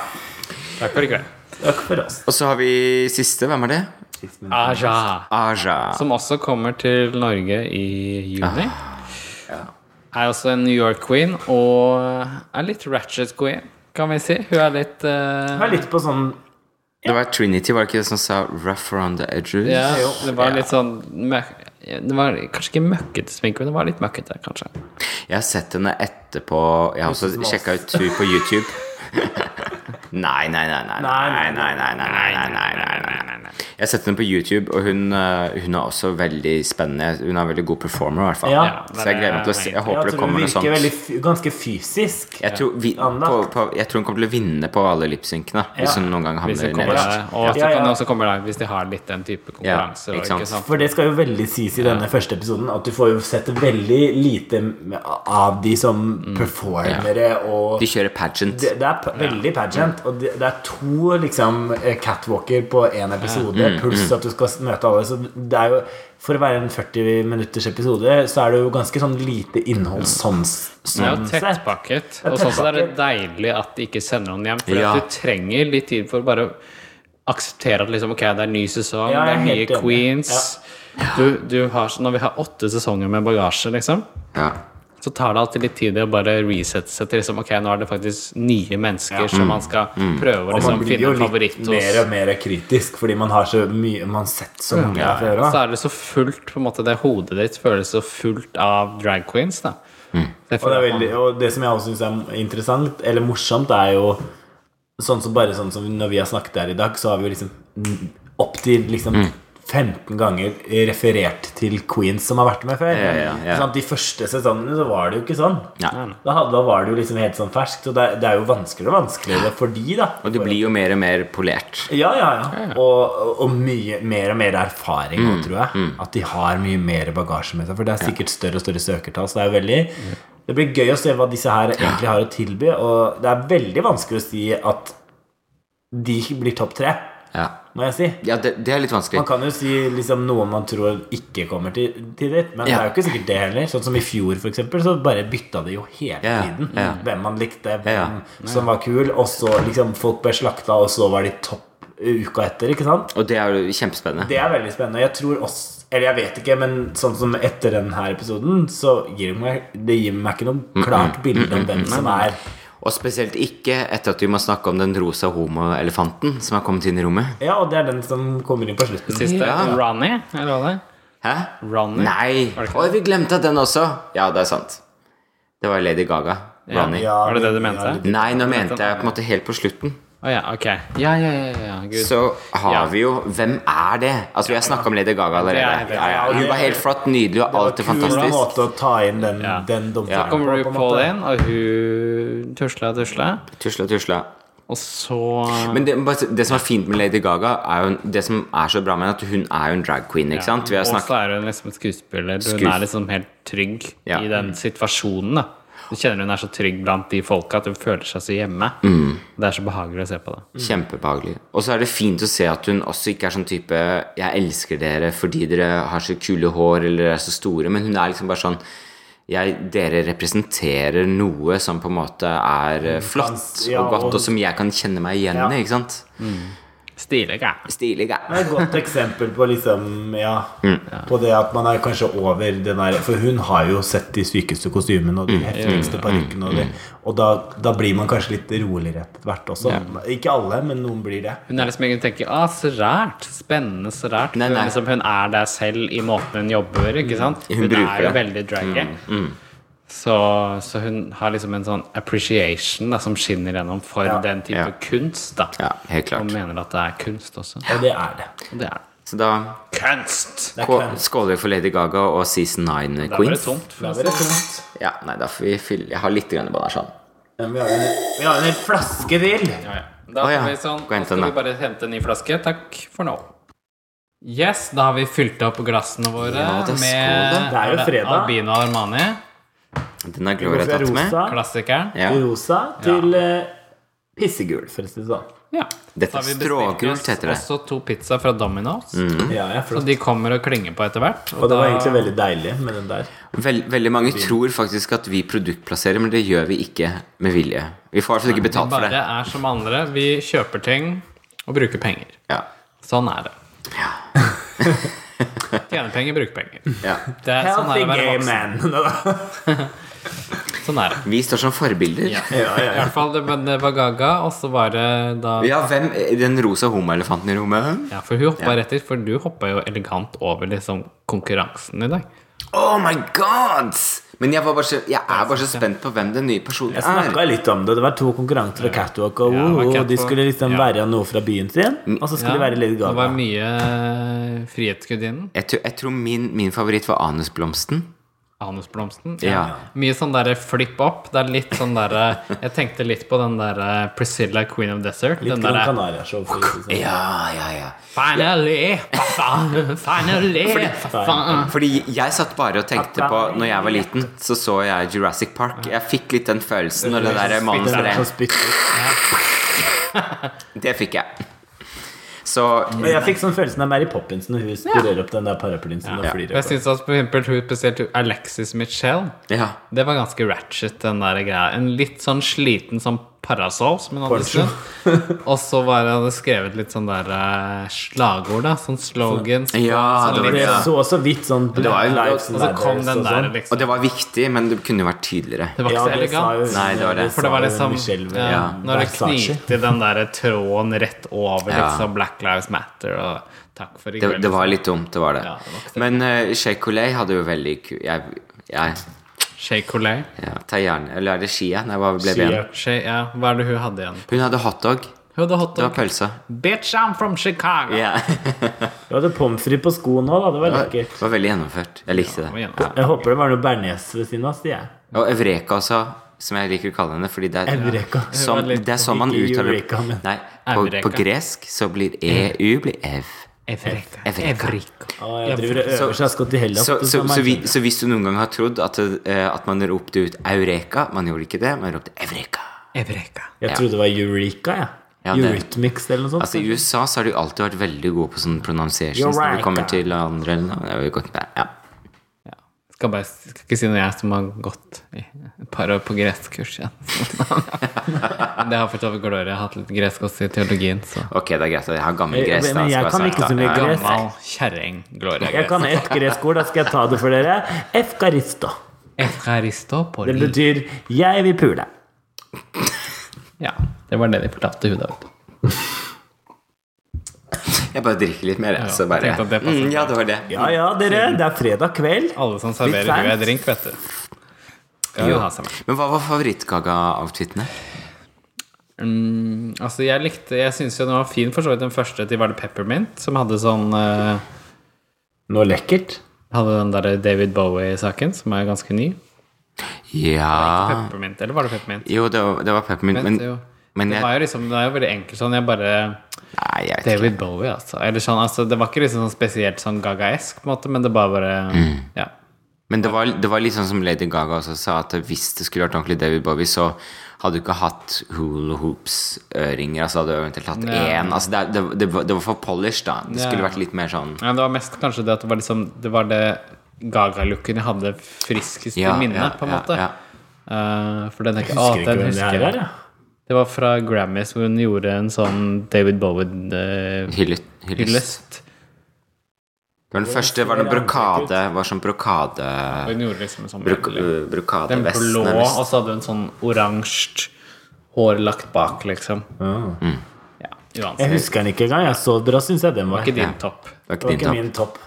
[SPEAKER 3] Takk for i kveld.
[SPEAKER 2] Takk for oss.
[SPEAKER 1] Og så har vi siste. Hvem er det?
[SPEAKER 2] Sist, men-
[SPEAKER 3] Aja.
[SPEAKER 1] Aja.
[SPEAKER 3] Som også kommer til Norge i juni. Er også en New York queen, og er litt ratchet queen, kan vi si. Hun er litt eh,
[SPEAKER 2] Det var litt på sånn
[SPEAKER 1] Det var Trinity, var det ikke det som sa 'rough around the edges'?
[SPEAKER 3] ja, Det var
[SPEAKER 1] Ja.
[SPEAKER 3] litt sånn møk, Det var kanskje ikke møkkete sminke, men det var litt møkkete, kanskje.
[SPEAKER 1] Jeg har sett henne etterpå Jeg har også sjekka ut hun på YouTube. Nei, nei, nei, nei, nei, nei, nei, nei, nei, nei, nei, nei, nei. Jeg har sett henne på YouTube, og hun, eh, hun er også veldig spennende. Hun er en veldig god performer, i hvert fall.
[SPEAKER 2] Ja.
[SPEAKER 1] Så jeg gleder meg til å se. Jeg håper
[SPEAKER 2] Jeg
[SPEAKER 1] det
[SPEAKER 2] tror hun
[SPEAKER 1] kommer noe
[SPEAKER 2] virker veldig,
[SPEAKER 1] sånt.
[SPEAKER 2] f- ganske fysisk.
[SPEAKER 1] Jeg tror, vi, på,
[SPEAKER 2] Anlagt.
[SPEAKER 1] på, jeg tror hun kommer til å vinne på alle lipsynkene.
[SPEAKER 2] Ja.
[SPEAKER 1] Hvis hun noen gang
[SPEAKER 3] Hvis
[SPEAKER 1] havner
[SPEAKER 3] det kommer
[SPEAKER 1] nederst.
[SPEAKER 3] der. Og så
[SPEAKER 2] Ja,
[SPEAKER 3] kan det
[SPEAKER 2] ja.
[SPEAKER 3] også komme der hvis de har litt den type konkurranser. og
[SPEAKER 1] ikke sant.
[SPEAKER 3] ikke sant?
[SPEAKER 2] For det skal jo veldig sies i denne første episoden at du får jo sett veldig lite med- av de som performere og
[SPEAKER 1] Mm. De kjører pageant.
[SPEAKER 2] det, det er pa- veldig pageant, og det, det er to liksom eh, catwalker på én episode,
[SPEAKER 3] Mm,
[SPEAKER 2] pluss at du skal s- møte alle. Så det er jo For å være en 40 minutters episode, så er det jo ganske sånn lite innhold sånn, s-
[SPEAKER 3] Det er jo
[SPEAKER 2] sånn sett.
[SPEAKER 3] tettpakket.
[SPEAKER 2] er
[SPEAKER 3] Og sånn sett er det
[SPEAKER 2] tettpakket.
[SPEAKER 3] deilig at de ikke sender noen hjem. For
[SPEAKER 1] Ja.
[SPEAKER 3] at du trenger litt tid for å bare akseptere at liksom, ok, det er ny sesong,
[SPEAKER 2] Ja,
[SPEAKER 3] det
[SPEAKER 2] jeg
[SPEAKER 3] er
[SPEAKER 2] er
[SPEAKER 3] nye
[SPEAKER 2] helt enig.
[SPEAKER 3] queens. Du, du har, sånn- når vi har åtte sesonger med bagasje, liksom,
[SPEAKER 1] Ja.
[SPEAKER 3] så tar det alltid litt tid å bare resette seg til liksom, ok, nå er det faktisk nye mennesker som man skal
[SPEAKER 1] Mm.
[SPEAKER 3] prøve å
[SPEAKER 2] Og man
[SPEAKER 3] liksom,
[SPEAKER 2] blir jo
[SPEAKER 3] finne en
[SPEAKER 2] litt
[SPEAKER 3] favoritt
[SPEAKER 2] mer
[SPEAKER 3] hos.
[SPEAKER 2] og mer kritisk, fordi man har så mye Man har sett så mange fra før
[SPEAKER 3] Så
[SPEAKER 2] av.
[SPEAKER 3] er det så fullt på en måte, det hodet ditt føles så fullt av drag queens, da.
[SPEAKER 1] Mm.
[SPEAKER 3] Det
[SPEAKER 2] Og det, er
[SPEAKER 3] føler
[SPEAKER 2] veldig,
[SPEAKER 3] jeg-
[SPEAKER 2] og det som jeg også syns er interessant, eller morsomt, er jo sånn som bare sånn som når vi har snakket her i dag, så har vi jo liksom opptil liksom
[SPEAKER 1] Mm.
[SPEAKER 2] 15 ganger referert til queens som har vært med før.
[SPEAKER 1] Ja, ja, ja.
[SPEAKER 2] Sånn at de første sesongene så var det jo ikke sånn.
[SPEAKER 1] Nei.
[SPEAKER 2] Da, hadde, da var det jo liksom helt sånn ferskt, og det, er- det er jo vanskeligere og vanskeligere for de, da.
[SPEAKER 1] Og du blir jo mer og mer polert.
[SPEAKER 2] Ja, ja, ja. Mm, Og, og mye mer og mer erfaring, nå, tror jeg. At de har mye mer bagasje med seg. For det er sikkert større og større søkertall. Så det er jo veldig Det blir gøy å se hva disse her egentlig har å tilby. Og det er veldig vanskelig å si at de blir topp tre,
[SPEAKER 1] Ja,
[SPEAKER 2] må jeg si.
[SPEAKER 1] ja det, det er litt vanskelig.
[SPEAKER 2] Man kan jo si liksom, noen man tror ikke kommer til, til dit, men det
[SPEAKER 1] Ja.
[SPEAKER 2] er jo ikke sikkert det heller. Sånn som i fjor, for eksempel, så bare bytta de jo hele
[SPEAKER 1] Ja,
[SPEAKER 2] tiden.
[SPEAKER 1] ja.
[SPEAKER 2] Hvem man likte, hvem
[SPEAKER 1] Ja,
[SPEAKER 2] som var kul, og så liksom folk ble slakta, og så var de topp uka etter, ikke sant?
[SPEAKER 1] Og det er jo kjempespennende.
[SPEAKER 2] Det er veldig spennende. Jeg tror også Eller jeg vet ikke, men sånn som etter denne episoden, så gir det meg, det gir meg ikke noe klart bilde om hvem som er
[SPEAKER 1] Og spesielt ikke etter at vi må snakke om den rosa homoelefanten som har kommet inn i rommet.
[SPEAKER 2] Ja, og det er den som kommer inn på slutten.
[SPEAKER 3] Siste,
[SPEAKER 1] Ja.
[SPEAKER 3] Ronny, eller hva det er?
[SPEAKER 1] Hæ?
[SPEAKER 3] Ronny?
[SPEAKER 1] Nei!
[SPEAKER 3] Var det ikke
[SPEAKER 1] Oi, vi glemte den også! Ja, det er sant. Det var Lady Gaga. Ronny.
[SPEAKER 2] Ja,
[SPEAKER 3] Var det det du
[SPEAKER 2] ja,
[SPEAKER 3] mente?
[SPEAKER 1] Nei, nå mente jeg på en måte helt på slutten.
[SPEAKER 3] Å ja, ok. Ja, ja, ja, ja, ja. Gud.
[SPEAKER 1] Så har
[SPEAKER 3] Ja.
[SPEAKER 1] vi jo Hvem er det? Altså, vi har snakka om Lady Gaga allerede.
[SPEAKER 3] Det er-
[SPEAKER 1] Ja, ja. Hun var helt flott, nydelig
[SPEAKER 2] Det var
[SPEAKER 1] og alltid
[SPEAKER 2] kul
[SPEAKER 1] fantastisk.
[SPEAKER 2] måte å ta inn den,
[SPEAKER 3] Ja.
[SPEAKER 2] den
[SPEAKER 1] Ja.
[SPEAKER 2] domfellen
[SPEAKER 3] kommer
[SPEAKER 2] på, på en
[SPEAKER 3] RuPaul
[SPEAKER 2] måte.
[SPEAKER 3] inn, og hun tusla og tusla,
[SPEAKER 1] Tusla, tusla.
[SPEAKER 3] og så
[SPEAKER 1] Men det, bare si- det som er fint med Lady Gaga, er jo det som er så bra med henne, at hun er jo en drag queen, ikke sant? Vi har
[SPEAKER 3] Og
[SPEAKER 1] snakket
[SPEAKER 3] så er hun liksom et skuespiller. Hun
[SPEAKER 1] Skues-
[SPEAKER 3] er liksom helt trygg
[SPEAKER 1] Ja.
[SPEAKER 3] i den situasjonen, da. Du kjenner hun er så trygg blant de folka at hun føler seg så hjemme.
[SPEAKER 1] Mm.
[SPEAKER 3] Det er så behagelig å se på det.
[SPEAKER 1] Kjempebehagelig. Og så er det fint å se at hun også ikke er sånn type 'jeg elsker dere fordi dere har så kule hår eller er så store', men hun er liksom bare sånn jeg, 'Dere representerer noe som på en måte er
[SPEAKER 3] Mm.
[SPEAKER 1] eh, flott
[SPEAKER 2] Ja,
[SPEAKER 1] og godt,
[SPEAKER 2] og-
[SPEAKER 1] og som jeg kan kjenne meg igjen
[SPEAKER 2] Ja.
[SPEAKER 1] i', ikke sant?
[SPEAKER 3] Stilig, ja.
[SPEAKER 1] Stilig, ja.
[SPEAKER 2] Det er et godt eksempel på liksom Ja, på det at man er kanskje over den der For hun har jo sett de sykeste kostymene og de heftigste parykkene, og, de, og da, da blir man kanskje litt roligere etter hvert også. Ikke alle, men noen blir det.
[SPEAKER 3] Hun er liksom ingen tenker ah, så rært. Spennende, så rært.
[SPEAKER 1] Nei, nei. Mm.
[SPEAKER 3] Hun, liksom, hun er der selv i måten hun jobber, ikke sant?
[SPEAKER 1] Hun
[SPEAKER 3] Hun,
[SPEAKER 1] bruker
[SPEAKER 3] er jo
[SPEAKER 1] det. Mm,
[SPEAKER 3] veldig draggy. Så, så hun har liksom en sånn appreciation da, som skinner gjennom for
[SPEAKER 2] Ja.
[SPEAKER 3] den type
[SPEAKER 1] Ja.
[SPEAKER 3] kunst. da.
[SPEAKER 1] Ja, helt klart.
[SPEAKER 3] Og mener at det er kunst også.
[SPEAKER 2] Og det er det.
[SPEAKER 3] Og det er det.
[SPEAKER 1] Så da
[SPEAKER 3] kunst!
[SPEAKER 2] Det er
[SPEAKER 1] kå-
[SPEAKER 2] klart.
[SPEAKER 1] skåler vi for Lady Gaga og Season 9
[SPEAKER 3] Da var det
[SPEAKER 1] Queens.
[SPEAKER 3] tomt. for
[SPEAKER 2] Da
[SPEAKER 3] å
[SPEAKER 2] blir det
[SPEAKER 3] si.
[SPEAKER 2] tomt.
[SPEAKER 1] Ja, nei, da får vi fylle Jeg har litt grann sånn. banasjan.
[SPEAKER 2] Men vi har jo en, vi har jo en hel flaske til.
[SPEAKER 3] Ja, ja. Da
[SPEAKER 1] Å, ja.
[SPEAKER 3] skal vi sånn,
[SPEAKER 1] Gå og
[SPEAKER 3] nå
[SPEAKER 1] hente
[SPEAKER 3] skal
[SPEAKER 1] den,
[SPEAKER 3] vi
[SPEAKER 1] da.
[SPEAKER 3] bare hente en ny flaske. Takk for nå. Yes, da har vi fylt opp glassene våre
[SPEAKER 1] Ja, da, skål,
[SPEAKER 3] med
[SPEAKER 1] da.
[SPEAKER 2] Det er jo fredag.
[SPEAKER 3] Albino Armani,
[SPEAKER 1] Den har
[SPEAKER 2] Vi går
[SPEAKER 1] Gloria
[SPEAKER 2] fra
[SPEAKER 1] tatt med.
[SPEAKER 2] rosa,
[SPEAKER 3] klassikeren.
[SPEAKER 1] Ja.
[SPEAKER 2] rosa til eh, pissegul, for å si det sånn.
[SPEAKER 3] Ja.
[SPEAKER 1] Dette
[SPEAKER 3] Så har vi bestilt
[SPEAKER 1] strågult
[SPEAKER 3] oss
[SPEAKER 1] heter det. Mm.
[SPEAKER 3] Også to pizza fra Domino's.
[SPEAKER 2] Ja, ja,
[SPEAKER 3] Så
[SPEAKER 2] flott.
[SPEAKER 3] de kommer og klinger på etter hvert.
[SPEAKER 2] Og det var egentlig veldig deilig med den der.
[SPEAKER 1] Vel, veldig mange tror faktisk at vi produktplasserer, men det gjør vi ikke med vilje. Vi får i hvert fall ikke betalt for
[SPEAKER 3] bare
[SPEAKER 1] det.
[SPEAKER 3] er som andre. Vi kjøper ting og bruker penger.
[SPEAKER 1] Ja.
[SPEAKER 3] Sånn er det. Tjene penger, bruke penger.
[SPEAKER 1] Ja.
[SPEAKER 3] Det er, sånn er det å
[SPEAKER 2] Healthy
[SPEAKER 3] være
[SPEAKER 2] gay
[SPEAKER 3] voksen.
[SPEAKER 2] man. ja,
[SPEAKER 3] Sånn er det.
[SPEAKER 1] Vi står som forbilder.
[SPEAKER 3] Ja.
[SPEAKER 1] Ja,
[SPEAKER 2] ja,
[SPEAKER 3] I
[SPEAKER 2] ja.
[SPEAKER 3] hvert fall, det, men det var Gaga, og så var det da
[SPEAKER 1] hvem Den rosa homoelefanten i rommet?
[SPEAKER 3] Ja, for hun hoppa rett dit, for du hoppa jo elegant over liksom konkurransen i dag.
[SPEAKER 1] Oh my god! Men jeg, var bare så, jeg er bare så spent på hvem den nye personen
[SPEAKER 2] Jeg
[SPEAKER 1] er.
[SPEAKER 2] snakka litt om det. Det var to konkurranser og catwalk, og,
[SPEAKER 3] Ja, det var
[SPEAKER 2] og de
[SPEAKER 3] catwalk.
[SPEAKER 2] skulle liksom
[SPEAKER 3] Ja.
[SPEAKER 2] være noe fra byen sin,
[SPEAKER 1] Mm.
[SPEAKER 2] og så skulle de være Lady
[SPEAKER 3] det var
[SPEAKER 2] Gaga.
[SPEAKER 3] mye eh, Frihetsgudinnen.
[SPEAKER 1] Jeg tror, jeg tror min, min favoritt var anusblomsten.
[SPEAKER 3] Anusblomsten.
[SPEAKER 1] Ja.
[SPEAKER 3] Mye sånn derre flipp opp. Det er litt sånn derre Jeg tenkte litt på den derre Priscilla, Queen of Desert.
[SPEAKER 2] Litt
[SPEAKER 3] den
[SPEAKER 2] Gran
[SPEAKER 3] derre
[SPEAKER 2] Canaria-show. for å si det sånn.
[SPEAKER 1] Ja, ja, ja.
[SPEAKER 3] Finally! Faen, finally!
[SPEAKER 2] sånn.
[SPEAKER 3] Faen.
[SPEAKER 1] Fordi jeg satt bare og tenkte på Når jeg var liten, så så jeg Jurassic Park. Jeg fikk litt den følelsen når det der
[SPEAKER 2] Den er
[SPEAKER 1] manuset
[SPEAKER 2] sånn
[SPEAKER 1] der
[SPEAKER 2] så spyttet.
[SPEAKER 1] Det fikk jeg. Så
[SPEAKER 2] Men jeg fikk sånn følelsen av Mary Poppins når hun spurer opp den der paraplyen sin og
[SPEAKER 1] Ja.
[SPEAKER 2] flyr
[SPEAKER 3] Jeg
[SPEAKER 2] opp.
[SPEAKER 3] syns spesielt Alexis Michelle
[SPEAKER 1] Ja.
[SPEAKER 3] Det var ganske ratchet, den der greia. En litt sånn sliten sånn parasoll som hun hadde
[SPEAKER 2] Poncho.
[SPEAKER 3] sydd. Og så var det hadde skrevet litt sånn der eh, slagord, da. Sånn slogans. sånn
[SPEAKER 1] Ja, det var
[SPEAKER 2] Det
[SPEAKER 3] litt-
[SPEAKER 1] Ja.
[SPEAKER 2] så også vidt sånn
[SPEAKER 1] det var jo-
[SPEAKER 2] Lives
[SPEAKER 3] Og så kom
[SPEAKER 2] Matters
[SPEAKER 3] den
[SPEAKER 2] og
[SPEAKER 3] der,
[SPEAKER 2] sånn.
[SPEAKER 1] Og
[SPEAKER 3] liksom.
[SPEAKER 1] det var viktig, men det kunne jo vært tydeligere.
[SPEAKER 3] Det var
[SPEAKER 2] Ja,
[SPEAKER 3] ikke så
[SPEAKER 2] det sa jo-
[SPEAKER 3] elegant.
[SPEAKER 1] Nei, det var det.
[SPEAKER 3] For det var
[SPEAKER 2] sa jo
[SPEAKER 3] liksom
[SPEAKER 2] Michelle ved
[SPEAKER 3] ja, Når det
[SPEAKER 2] Versace.
[SPEAKER 3] knyter den der tråden rett over,
[SPEAKER 1] Ja.
[SPEAKER 3] liksom Black Lives Matter og Takk for i
[SPEAKER 1] Det,
[SPEAKER 3] kveld.
[SPEAKER 1] det var litt dumt, det var det.
[SPEAKER 3] Ja, det var ikke det.
[SPEAKER 1] Men uh, Shea Coley hadde jo veldig ku... Jeg, jeg
[SPEAKER 3] Shea Coley.
[SPEAKER 1] ja, tar gjerne Eller er det Shia? Nei, hva ble det
[SPEAKER 2] Shia.
[SPEAKER 1] igjen?
[SPEAKER 3] Shea, ja, hva er det hun hadde igjen?
[SPEAKER 1] Hun hadde hotdog.
[SPEAKER 3] Hun hadde
[SPEAKER 1] Det var
[SPEAKER 3] hotdog.
[SPEAKER 1] pølsa.
[SPEAKER 3] Bitch, I'm from Chicago!
[SPEAKER 1] Ja.
[SPEAKER 2] Du hadde pommes frites på skoen òg, da. Det var
[SPEAKER 1] Det
[SPEAKER 2] lekkert.
[SPEAKER 1] var veldig gjennomført. Jeg likte
[SPEAKER 3] Det var
[SPEAKER 1] det.
[SPEAKER 3] gjennom-
[SPEAKER 2] Jeg håper det var noe bearnés ved siden av, sier jeg.
[SPEAKER 1] Og Evreka også, som jeg liker å kalle henne. Fordi det er,
[SPEAKER 2] Eureka.
[SPEAKER 1] som,
[SPEAKER 3] Hun var litt-
[SPEAKER 1] det er sånn man
[SPEAKER 2] Ikke
[SPEAKER 1] uttaler
[SPEAKER 2] Eureka, men-
[SPEAKER 1] Nei, på,
[SPEAKER 3] Eureka.
[SPEAKER 1] på gresk så blir EU blir E ev.
[SPEAKER 3] Evreka.
[SPEAKER 1] Evreka.
[SPEAKER 2] Å, jeg driver og øver seg godt i Hellas.
[SPEAKER 1] Så,
[SPEAKER 2] og
[SPEAKER 1] så,
[SPEAKER 2] sånn,
[SPEAKER 1] så, vi,
[SPEAKER 2] men-
[SPEAKER 1] så hvis du noen gang har trodd at, det- eh, at man ropte ut Eureka Man gjorde ikke det, man ropte Evreka.
[SPEAKER 3] Evreka.
[SPEAKER 2] Jeg trodde det var Eureka, jeg.
[SPEAKER 1] Ja, det-
[SPEAKER 2] Eurythmics eller noe sånt.
[SPEAKER 1] Altså I USA så har de alltid vært veldig gode på sånn pronunciation
[SPEAKER 2] Eureka.
[SPEAKER 1] når det kommer til andre eller noe. Jeg vet ikke, nei, ja.
[SPEAKER 3] Skal bare skal ikke si noe jeg som har gått i et par år på greskurs igjen. det har for så vidt Gloria hatt litt gresk også i teologien, så
[SPEAKER 1] Ok, det er greit at jeg har gammel
[SPEAKER 2] Jeg-
[SPEAKER 1] gress. da,
[SPEAKER 2] Eh, men jeg
[SPEAKER 1] skal
[SPEAKER 2] kan
[SPEAKER 1] si.
[SPEAKER 2] ikke så mye
[SPEAKER 1] Ja, ja.
[SPEAKER 2] Gresk?
[SPEAKER 3] Gammal kjerring Gloria
[SPEAKER 2] Jeg kan ett gresk ord, da skal jeg ta det for dere. Efkaristo.
[SPEAKER 3] Efkaristo på
[SPEAKER 2] Det
[SPEAKER 3] liv.
[SPEAKER 2] betyr 'jeg vil pule'.
[SPEAKER 3] Ja, det var det de fortalte hun der oppe.
[SPEAKER 1] Jeg bare drikker litt mer, jeg. Så bare
[SPEAKER 3] tenkte at det passer.
[SPEAKER 1] mm, Ja, det var det.
[SPEAKER 2] Ja ja, dere. Det er fredag kveld.
[SPEAKER 3] Alle som
[SPEAKER 2] Litt
[SPEAKER 3] serverer
[SPEAKER 2] sant.
[SPEAKER 3] hun en drink, vet du. Skal jo ha seg med.
[SPEAKER 1] Men hva var favorittgaga-outfitene?
[SPEAKER 3] Mm, altså, jeg likte Jeg syns jo den var fin, for så vidt den første til var det Peppermint, som hadde sånn eh,
[SPEAKER 2] Noe lekkert.
[SPEAKER 3] Hadde den der David Bowie-saken, som er ganske ny.
[SPEAKER 1] Ja
[SPEAKER 3] Peppermint, eller var det Peppermint?
[SPEAKER 1] Jo, det var, det var peppermint, men,
[SPEAKER 3] Vent, jo.
[SPEAKER 1] men
[SPEAKER 3] det,
[SPEAKER 1] jeg,
[SPEAKER 3] var jo liksom, det er jo veldig enkelt sånn. Jeg bare
[SPEAKER 1] Nei, jeg vet ikke.
[SPEAKER 3] David Bowie, altså. Eller sånn, altså det var ikke liksom sånn spesielt sånn Gaga-esk, på en måte, men det bare bare
[SPEAKER 1] Mm.
[SPEAKER 3] Ja.
[SPEAKER 1] Men det var, det var litt sånn som Lady Gaga også sa, at hvis det skulle vært ordentlig David Bowie, så hadde du ikke hatt hula hoops-øringer. Altså hadde du eventuelt hatt
[SPEAKER 3] Ja.
[SPEAKER 1] én altså det, det, det, var- det var for polished, da. Det
[SPEAKER 3] Ja.
[SPEAKER 1] skulle vært litt mer sånn
[SPEAKER 3] ja. Det var mest kanskje det at det var liksom Det var det Gaga-looken jeg hadde friskest
[SPEAKER 1] Ja,
[SPEAKER 3] i minnet,
[SPEAKER 1] ja,
[SPEAKER 3] på en
[SPEAKER 1] ja,
[SPEAKER 3] måte.
[SPEAKER 1] ja.
[SPEAKER 3] Eh, for den tenker jeg
[SPEAKER 2] Husker
[SPEAKER 3] Å,
[SPEAKER 2] ikke
[SPEAKER 3] den
[SPEAKER 2] hvem det
[SPEAKER 3] husker
[SPEAKER 2] er her,
[SPEAKER 3] jeg.
[SPEAKER 2] ja.
[SPEAKER 3] Det var fra Grammys, hvor hun gjorde en sånn David Bowie-hyllest.
[SPEAKER 1] hyllet. hylles. Det var den første var den brokade Var sånn brokade
[SPEAKER 3] Hun gjorde liksom en sånn
[SPEAKER 1] brok, eh,
[SPEAKER 3] Den
[SPEAKER 1] Brokadevest,
[SPEAKER 3] blå,
[SPEAKER 1] nærmest.
[SPEAKER 3] og så hadde hun sånn oransje hår lagt bak, liksom.
[SPEAKER 2] Ah.
[SPEAKER 3] Ja,
[SPEAKER 2] Jeg
[SPEAKER 3] uansett.
[SPEAKER 2] husker den ikke engang. Jeg så bra, syns jeg den var.
[SPEAKER 3] Ikke
[SPEAKER 2] Det
[SPEAKER 3] din topp.
[SPEAKER 1] Det
[SPEAKER 2] var
[SPEAKER 1] var
[SPEAKER 2] ikke
[SPEAKER 1] ikke din topp.
[SPEAKER 2] min topp.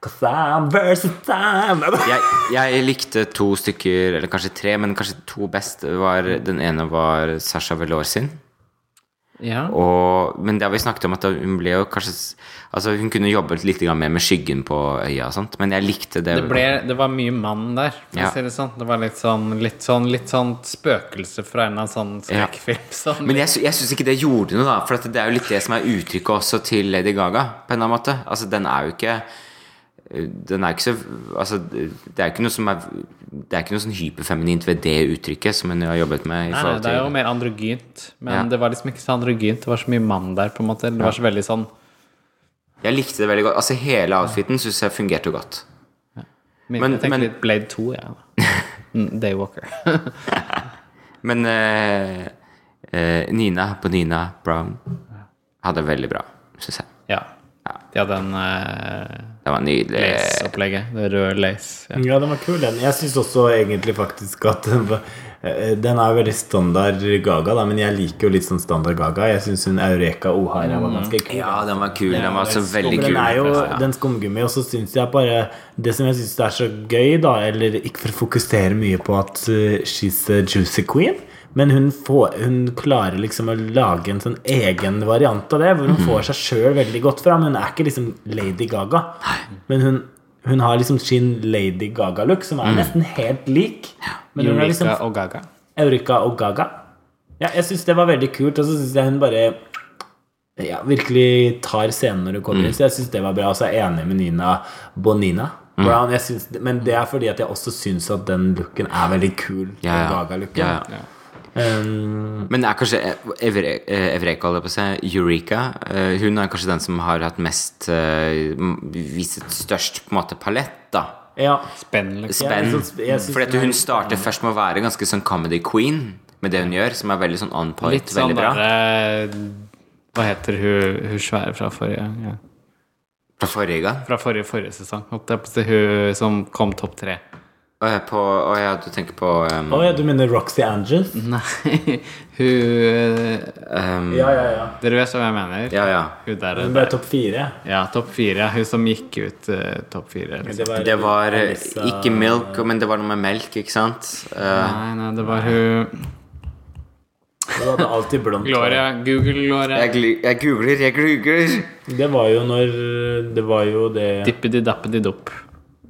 [SPEAKER 2] 'Cause I'm versatile.
[SPEAKER 1] Jeg, jeg likte to stykker, eller kanskje tre, men kanskje to best. Det Var, den ene var Sasha Velour sin.
[SPEAKER 3] Ja.
[SPEAKER 1] Og, men det har vi snakket om at hun ble jo kanskje s- Altså hun kunne jobbet litt grann mer med skyggen på øya og sånt, men jeg likte det.
[SPEAKER 3] Det, ble, det var mye mann der. for å
[SPEAKER 1] Ja.
[SPEAKER 3] si Det, sånn. det var litt sånn, litt sånn Litt sånn spøkelse fra en eller annen sånn
[SPEAKER 1] Ja.
[SPEAKER 3] skrekkfilm. Sånn.
[SPEAKER 1] Men jeg, sy- jeg syns ikke det gjorde noe, da. For at det er jo litt det som er uttrykket også til Lady Gaga. På en eller annen måte Altså den er jo ikke den er ikke så altså, Det er ikke noe som er Det er ikke noe sånn hyperfeminint ved det uttrykket som hun har jobbet med.
[SPEAKER 3] Nei,
[SPEAKER 1] I
[SPEAKER 3] nei,
[SPEAKER 1] forhold
[SPEAKER 3] det er
[SPEAKER 1] til
[SPEAKER 3] jo mer androgynt, men
[SPEAKER 1] Ja.
[SPEAKER 3] det var liksom ikke så androgynt. Det var så mye mann der, på en måte. Det var så veldig sånn
[SPEAKER 1] Jeg likte det veldig godt. Altså Hele outfiten syns jeg fungerte godt.
[SPEAKER 3] Men,
[SPEAKER 1] Men-
[SPEAKER 3] jeg tenker
[SPEAKER 1] men-
[SPEAKER 3] litt Blade 2, jeg. Ja. Mm, Daywalker.
[SPEAKER 1] Men eh, eh, Nina på Nina Brown hadde veldig bra, syns jeg.
[SPEAKER 3] ja. De hadde en eh,
[SPEAKER 1] Det var nydelig.
[SPEAKER 3] lace-opplegget. Det røde lace. Ja.
[SPEAKER 2] Ja, den var kul, den. Jeg syns også egentlig faktisk at den var eh, den er jo veldig standard Gaga, da, men jeg liker jo litt sånn standard Gaga. Jeg syns hun Eureka O'Hara var ganske kul.
[SPEAKER 1] Mm. Ja, den var kul. Den var så veldig
[SPEAKER 2] Og
[SPEAKER 1] kul.
[SPEAKER 2] Den er jo
[SPEAKER 1] Ja.
[SPEAKER 2] den skumgummi, og så syns jeg bare Det som jeg syns er så gøy, da, eller ikke for å fokusere mye på at uh, she's a juicy queen, men hun, får, hun klarer liksom å lage en sånn egen variant av det, hvor hun
[SPEAKER 1] Mhm.
[SPEAKER 2] får seg sjøl veldig godt fram. Hun er ikke liksom Lady Gaga, men hun, hun har liksom sin Lady Gaga-look, som
[SPEAKER 1] Mm.
[SPEAKER 2] er nesten helt lik. Men hun
[SPEAKER 3] Eureka
[SPEAKER 2] er liksom
[SPEAKER 3] og Gaga.
[SPEAKER 2] Eureka og Gaga. Ja, jeg syns det var veldig kult, og så syns jeg hun bare ja, virkelig tar scenen når hun
[SPEAKER 1] Mm.
[SPEAKER 2] kommer inn. Så jeg syns det var bra. Og så er jeg enig med Nina Bonina.
[SPEAKER 1] Mm.
[SPEAKER 2] Brown, jeg syns- men det er fordi at jeg også syns at den looken er veldig kul.
[SPEAKER 1] Ja,
[SPEAKER 2] den
[SPEAKER 1] ja.
[SPEAKER 2] Gaga-looken.
[SPEAKER 1] ja, ja.
[SPEAKER 2] Um,
[SPEAKER 1] Men er kanskje Evre- eh, Evreka, holdt jeg på å si, Eureka eh, Hun er kanskje den som har hatt mest eh, m- Vist et størst på en måte palett, da.
[SPEAKER 2] ja.
[SPEAKER 3] Spenn, liksom.
[SPEAKER 1] Spenn.
[SPEAKER 2] jeg syns- jeg syns
[SPEAKER 1] Fordi
[SPEAKER 2] den
[SPEAKER 1] at
[SPEAKER 2] er
[SPEAKER 1] hun
[SPEAKER 2] litt
[SPEAKER 1] starter først med å være ganske sånn comedy queen med det hun gjør, som er veldig sånn on point.
[SPEAKER 3] Litt sånn
[SPEAKER 1] veldig bra.
[SPEAKER 3] derre Hva heter hun, hun svære fra forrige ja.
[SPEAKER 1] Fra forrige gang.
[SPEAKER 3] Fra forrige, forrige sesong. Holdt jeg på å si, Hun som kom topp tre.
[SPEAKER 1] Å ja, på, å, ja du tenker på um,
[SPEAKER 2] Å ja, du mener Roxy Angels?
[SPEAKER 3] Nei, hun
[SPEAKER 1] um,
[SPEAKER 2] Ja, ja, ja.
[SPEAKER 3] Dere vet hva jeg mener?
[SPEAKER 1] Ja, ja.
[SPEAKER 3] Hun der,
[SPEAKER 2] Hun ble topp fire.
[SPEAKER 3] Ja, topp fire. Hun som gikk ut eh, topp fire. Liksom.
[SPEAKER 2] var,
[SPEAKER 1] Det var eh,
[SPEAKER 2] Alyssa-
[SPEAKER 1] ikke milk, men det var noe med melk, ikke sant? Eh,
[SPEAKER 3] Nei, nei, det var hun
[SPEAKER 2] Hun hadde alltid blondt hår.
[SPEAKER 3] Gloria. Google Gloria.
[SPEAKER 1] jeg, glu- jeg googler, jeg googler!
[SPEAKER 2] Det var jo når Det var jo det
[SPEAKER 3] Dippedi-dappedi-dopp.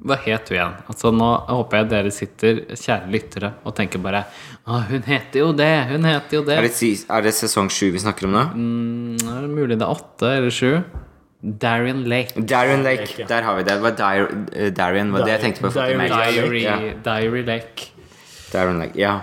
[SPEAKER 3] Hva het hun igjen? Altså Nå håper jeg dere sitter, kjære lyttere, og tenker bare Å, hun heter jo det! Hun heter jo det!
[SPEAKER 1] Er det, si- er det sesong sju vi snakker om nå?
[SPEAKER 3] Mm, er det mulig det er åtte eller sju? Darien Lake.
[SPEAKER 1] Darien Lake,
[SPEAKER 2] Lake, ja.
[SPEAKER 1] der har vi det. Det var Dar eh, Darien, var det jeg tenkte på. for at jeg
[SPEAKER 2] Darien
[SPEAKER 1] meldte.
[SPEAKER 2] Lake.
[SPEAKER 3] Diary,
[SPEAKER 1] Ja.
[SPEAKER 3] Diary Lake.
[SPEAKER 1] Darien Lake, ja.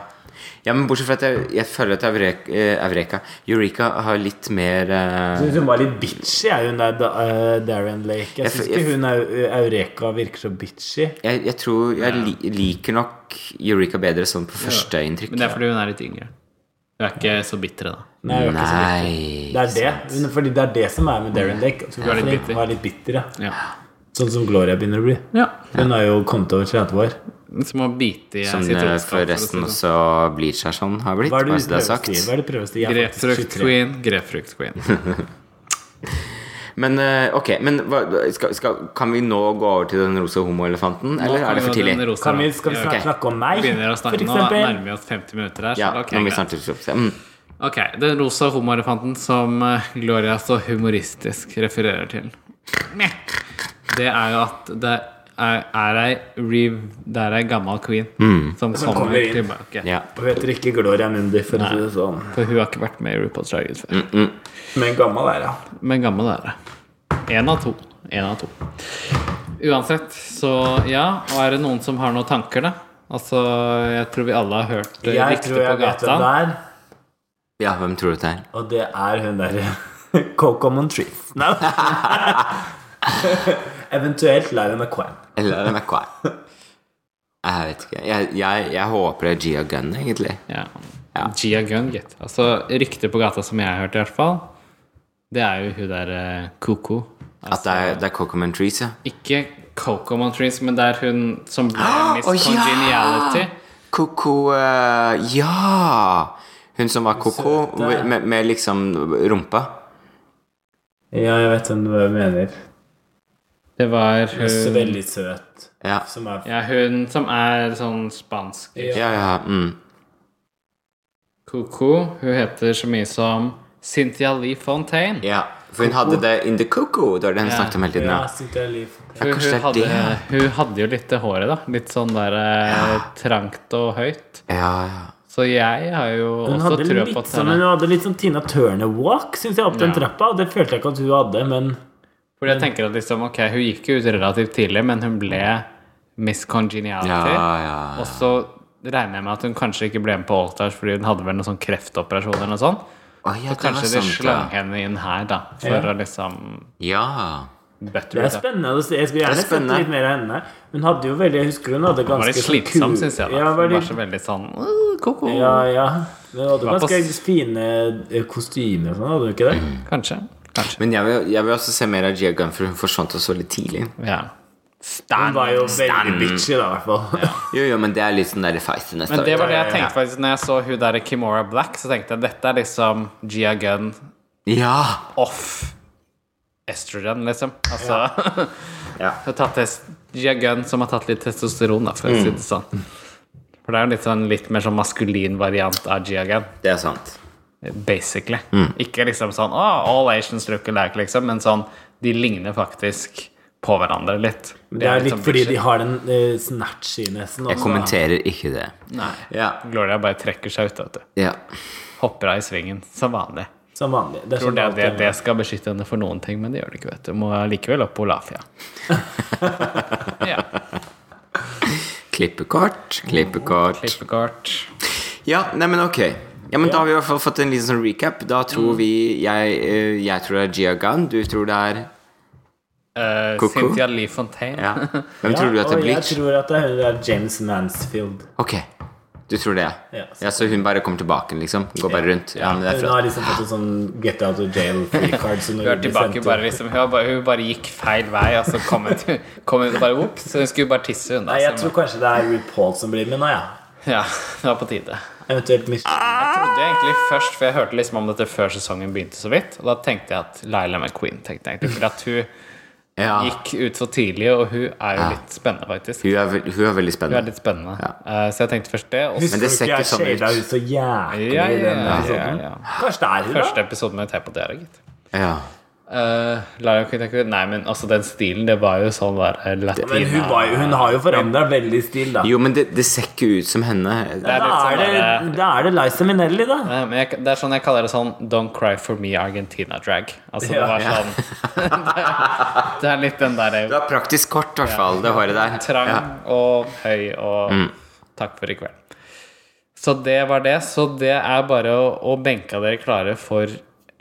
[SPEAKER 1] ja, men bortsett fra at jeg, jeg føler at Eureka, Eureka Eureka har litt mer eh,
[SPEAKER 2] Jeg synes hun var litt bitchy, er hun der, da- eh, Darren Lake. Jeg
[SPEAKER 1] Jeg
[SPEAKER 2] syns
[SPEAKER 1] f- jeg
[SPEAKER 2] ikke hun er, eh, Eureka virker så bitchy.
[SPEAKER 1] jeg, jeg tror jeg li, liker nok Eureka bedre sånn på første inntrykk.
[SPEAKER 3] Men det er fordi hun er litt yngre. Hun er ikke så bitter, da.
[SPEAKER 2] Nei, hun er ikke så bitter.
[SPEAKER 1] Nei
[SPEAKER 2] det er det. Hun- Fordi det er det som er med Darren Lake. at Hun
[SPEAKER 3] er litt
[SPEAKER 2] litt
[SPEAKER 3] bitter.
[SPEAKER 2] var litt bitter, ja.
[SPEAKER 3] Ja.
[SPEAKER 2] Sånn som Gloria begynner å bli. Hun er jo kommet over 30 år.
[SPEAKER 3] Som å bite i
[SPEAKER 1] Som eh,
[SPEAKER 3] sitronskall, for å si det
[SPEAKER 1] forresten
[SPEAKER 3] sånn.
[SPEAKER 1] også blir seg sånn har
[SPEAKER 2] liksom.
[SPEAKER 1] blitt.
[SPEAKER 2] Hva er det
[SPEAKER 1] Bare
[SPEAKER 2] du
[SPEAKER 1] så det er
[SPEAKER 2] prøver å
[SPEAKER 1] sagt.
[SPEAKER 2] si? Hva er det du prøver å si? Jeg er faktisk
[SPEAKER 3] Grepfrukt
[SPEAKER 2] 23.
[SPEAKER 3] queen. Grepfrukt queen.
[SPEAKER 1] Men eh, ok, men hva, skal, skal, kan vi nå gå over til den rosa homoelefanten, eller er det for tidlig?
[SPEAKER 3] Den rosa
[SPEAKER 2] Kan vi,
[SPEAKER 3] da.
[SPEAKER 2] skal vi
[SPEAKER 3] Ja,
[SPEAKER 2] snart
[SPEAKER 1] Ok.
[SPEAKER 2] snakke om meg,
[SPEAKER 3] vi begynner å
[SPEAKER 2] for
[SPEAKER 3] snakke Nå nærmer
[SPEAKER 2] eksempel?
[SPEAKER 3] vi oss 50 minutter her. Så
[SPEAKER 1] Ja,
[SPEAKER 3] ok,
[SPEAKER 1] nå må vi
[SPEAKER 3] greit.
[SPEAKER 1] snart til slutt. Mm.
[SPEAKER 3] ok, Den rosa homoelefanten som eh, Gloria så humoristisk refererer til, Meh. det er jo at det er, er ei rev, Det er ei gammel queen som,
[SPEAKER 2] Som
[SPEAKER 3] kommer,
[SPEAKER 2] kommer inn.
[SPEAKER 3] tilbake.
[SPEAKER 1] Mm. Ja.
[SPEAKER 2] Hun heter ikke Gloria Mundi, for å si det sånn.
[SPEAKER 3] For hun har ikke vært med i RuPaul's Drag Race før.
[SPEAKER 2] Men gammel er hun.
[SPEAKER 3] Men gammel er det. Én av to. En av to. Uansett, så ja. Og er det noen som har noen tanker, da? Altså, jeg tror vi alle har hørt eh,
[SPEAKER 2] Jeg
[SPEAKER 3] rykter
[SPEAKER 2] tror
[SPEAKER 3] på
[SPEAKER 2] jeg vet
[SPEAKER 3] gata.
[SPEAKER 2] hvem det er.
[SPEAKER 1] ja, hvem tror du det er?
[SPEAKER 2] Og det er hun derre Coco Montrese. Nei. Eventuelt Lyra McQuan.
[SPEAKER 1] Eller er det McQuarrie? Jeg vet ikke. Jeg, jeg, jeg håper det er Gia Gunn, egentlig.
[SPEAKER 3] Ja.
[SPEAKER 1] Ja.
[SPEAKER 3] Gia Gunn, gitt. Altså, rykter på gata som jeg har hørt, i hvert fall, det er jo hun der eh, Coco.
[SPEAKER 1] At det
[SPEAKER 3] Altså-
[SPEAKER 1] er, det er Coco Montrese.
[SPEAKER 3] Ikke Coco Montrese, men det er hun som ble Miss
[SPEAKER 1] Ah, Å, ja!
[SPEAKER 3] Congeniality.
[SPEAKER 1] Coco eh, Ja! Hun som var Coco
[SPEAKER 2] Søte.
[SPEAKER 1] med, med liksom rumpa.
[SPEAKER 2] Ja, jeg vet hvem du mener.
[SPEAKER 3] Det var
[SPEAKER 2] Så
[SPEAKER 3] hun
[SPEAKER 2] veldig søt.
[SPEAKER 1] Ja,
[SPEAKER 2] Som er
[SPEAKER 3] Ja, hun som er sånn spansk.
[SPEAKER 1] ja. ja mm.
[SPEAKER 3] Coco, hun heter så mye som Cynthia Lee Fontaine.
[SPEAKER 1] Ja, for hun hadde det in the coco. Det var det hun
[SPEAKER 3] Ja.
[SPEAKER 1] snakket om hele tiden.
[SPEAKER 2] ja,
[SPEAKER 1] Ja.
[SPEAKER 2] Cynthia Leaf.
[SPEAKER 3] Hun,
[SPEAKER 1] kanskje
[SPEAKER 3] hun, hadde,
[SPEAKER 1] det er
[SPEAKER 3] hun hadde jo litt det håret, da. Litt sånn der eh, trangt og høyt.
[SPEAKER 1] Ja, ja.
[SPEAKER 3] Så jeg har jo
[SPEAKER 2] Hun
[SPEAKER 3] også
[SPEAKER 2] hadde,
[SPEAKER 3] trua på
[SPEAKER 2] litt
[SPEAKER 3] at
[SPEAKER 2] sånn, hun hadde litt sånn Tina Turner-walk, syns jeg, opp den
[SPEAKER 3] Ja.
[SPEAKER 2] trappa. Og det følte jeg ikke at hun hadde, men
[SPEAKER 3] Fordi jeg tenker at liksom, ok, hun gikk jo ut relativt tidlig, men hun ble Miss Congeniality.
[SPEAKER 1] Ja, ja, ja.
[SPEAKER 3] Og så regner jeg med at hun kanskje ikke ble med på Alltars fordi hun hadde vel noen sånn kreftoperasjon eller noe sånt.
[SPEAKER 1] Å, ja,
[SPEAKER 3] Så
[SPEAKER 1] det var
[SPEAKER 3] kanskje de
[SPEAKER 1] sant,
[SPEAKER 3] slang
[SPEAKER 1] ja.
[SPEAKER 3] henne inn her, da, for
[SPEAKER 2] Ja.
[SPEAKER 3] å liksom
[SPEAKER 1] Ja.
[SPEAKER 3] butter
[SPEAKER 2] Det er
[SPEAKER 3] it up.
[SPEAKER 2] spennende å se. Jeg skulle
[SPEAKER 1] Det
[SPEAKER 2] gjerne
[SPEAKER 1] er
[SPEAKER 2] sett
[SPEAKER 1] spennende.
[SPEAKER 2] litt mer av henne. Hun hadde jo veldig Jeg husker hun hadde
[SPEAKER 3] Hun var
[SPEAKER 2] ganske
[SPEAKER 3] litt
[SPEAKER 2] sånn
[SPEAKER 3] slitsom,
[SPEAKER 2] kul-
[SPEAKER 3] syns jeg. da
[SPEAKER 2] Ja,
[SPEAKER 3] Hun
[SPEAKER 2] var
[SPEAKER 3] var
[SPEAKER 2] litt,
[SPEAKER 3] så veldig sånn «Åh, Ko-ko.
[SPEAKER 2] ja, ja. Hun hadde
[SPEAKER 3] var på
[SPEAKER 2] ganske
[SPEAKER 3] s-
[SPEAKER 2] fine eh, kostymer og sånn, hadde hun ikke det?
[SPEAKER 3] Kanskje. Kanskje.
[SPEAKER 1] Men jeg vil, jeg vil også se mer av Gia Gunn, for hun forsvant også litt tidlig.
[SPEAKER 3] Ja.
[SPEAKER 2] Hun var jo veldig bitchy, da, i hvert fall.
[SPEAKER 1] Jo, jo, men det er litt sånn der feite neste
[SPEAKER 3] Men det var det
[SPEAKER 2] Ja,
[SPEAKER 3] jeg
[SPEAKER 2] ja, ja.
[SPEAKER 3] tenkte faktisk Når jeg så hun der Kimora Black, så tenkte jeg dette er liksom Gia Gunn
[SPEAKER 1] Ja!
[SPEAKER 3] off estrogen, liksom. Altså Hun
[SPEAKER 1] Ja.
[SPEAKER 3] har tatt test Gia Gunn som har tatt litt testosteron, da, for å
[SPEAKER 2] Mm.
[SPEAKER 3] si det sånn. For det er jo litt sånn litt mer sånn maskulin variant av Gia Gunn,
[SPEAKER 1] Det er sant.
[SPEAKER 3] basically.
[SPEAKER 2] Mm.
[SPEAKER 3] Ikke liksom sånn Å, all Asians look alike, liksom, men sånn De ligner faktisk på hverandre litt.
[SPEAKER 2] Det er litt
[SPEAKER 3] sånn
[SPEAKER 2] fordi
[SPEAKER 3] bitchy.
[SPEAKER 2] de har den eh, snatchy nesten.
[SPEAKER 1] Jeg kommenterer ikke det.
[SPEAKER 3] Nei.
[SPEAKER 1] Ja.
[SPEAKER 3] Gloria bare trekker seg ut, vet du.
[SPEAKER 1] ja.
[SPEAKER 3] Hopper av i svingen, som vanlig.
[SPEAKER 2] Som vanlig. Det er
[SPEAKER 3] Tror
[SPEAKER 2] sånn
[SPEAKER 3] det, det,
[SPEAKER 2] alltid-
[SPEAKER 3] det skal beskytte henne for noen ting, men det gjør det ikke, vet du. Må likevel opp på Olafia. ja.
[SPEAKER 1] Klippekort, klippekort.
[SPEAKER 3] Klippekort.
[SPEAKER 1] Ja, nei, men ok. Ja, men Da har vi i hvert fall fått en liten sånn recap. Da tror vi Jeg, eh, jeg tror det er Gia Gunn, du tror det er
[SPEAKER 3] Eh,
[SPEAKER 1] Ko-ko.
[SPEAKER 3] Cynthia Lee Fontaine.
[SPEAKER 1] ja. Hvem tror du at det
[SPEAKER 2] og
[SPEAKER 1] blir?
[SPEAKER 2] Jeg tror at det er James Mansfield.
[SPEAKER 1] Ok, du tror det?
[SPEAKER 2] Ja,
[SPEAKER 1] Ja, Så hun bare kommer tilbake, liksom? Går bare rundt? Ja, men det er
[SPEAKER 2] Hun
[SPEAKER 1] fra
[SPEAKER 2] har liksom fått en sånn get out of jail free card. Som
[SPEAKER 3] Hun er tilbake bare liksom Hun bare, hun bare gikk feil vei, og så kom hun, til- kom hun bare opp. Så hun skulle bare tisse unna.
[SPEAKER 2] Nei, jeg
[SPEAKER 3] så-
[SPEAKER 2] tror kanskje det er RuPaul som blir med nå, ja.
[SPEAKER 3] Ja, det var på tide.
[SPEAKER 2] Eventuelt Miss
[SPEAKER 3] Jeg trodde egentlig først, for jeg hørte liksom om dette før sesongen begynte så vidt, og da tenkte jeg at Laila McQueen tenkte jeg egentlig, for at hun
[SPEAKER 1] ja.
[SPEAKER 3] gikk ut for tidlig, og hun er jo litt spennende, faktisk.
[SPEAKER 1] Hun, er, vel- hun er
[SPEAKER 3] Hun er
[SPEAKER 1] veldig spennende.
[SPEAKER 3] litt spennende. Eh, så jeg tenkte først det. Og så
[SPEAKER 1] Men det ser ikke sånn ut.
[SPEAKER 2] ut. så jævlig
[SPEAKER 3] ja,
[SPEAKER 2] i
[SPEAKER 3] ja,
[SPEAKER 2] den
[SPEAKER 3] ja, ja,
[SPEAKER 2] episoden.
[SPEAKER 3] ja.
[SPEAKER 2] Kanskje det er hun,
[SPEAKER 3] Første
[SPEAKER 2] da?
[SPEAKER 3] episoden med T på dere, gitt.
[SPEAKER 1] Ja.
[SPEAKER 3] Eh, Lara Queen Tech- Nei, men altså den stilen, det var jo sånn der eh, latina
[SPEAKER 2] Men hun, var, jo- hun har jo forandra veldig stil, da.
[SPEAKER 1] Jo, men det, det ser ikke ut som henne.
[SPEAKER 3] Det er
[SPEAKER 2] Da
[SPEAKER 3] litt sånn
[SPEAKER 2] er det, da er det Liza Minnelli, da.
[SPEAKER 3] der, eh, men jeg, Det er sånn jeg kaller det sånn Don't cry for me Argentina-drag. Altså det
[SPEAKER 2] Ja.
[SPEAKER 3] var
[SPEAKER 1] Ja.
[SPEAKER 3] sånn Det er litt den
[SPEAKER 1] Du
[SPEAKER 3] der eh,
[SPEAKER 1] har praktisk kort, i hvert fall, det håret der.
[SPEAKER 3] trang og høy og Takk for i kveld. Så det var det. Så det er bare å, å benke dere klare for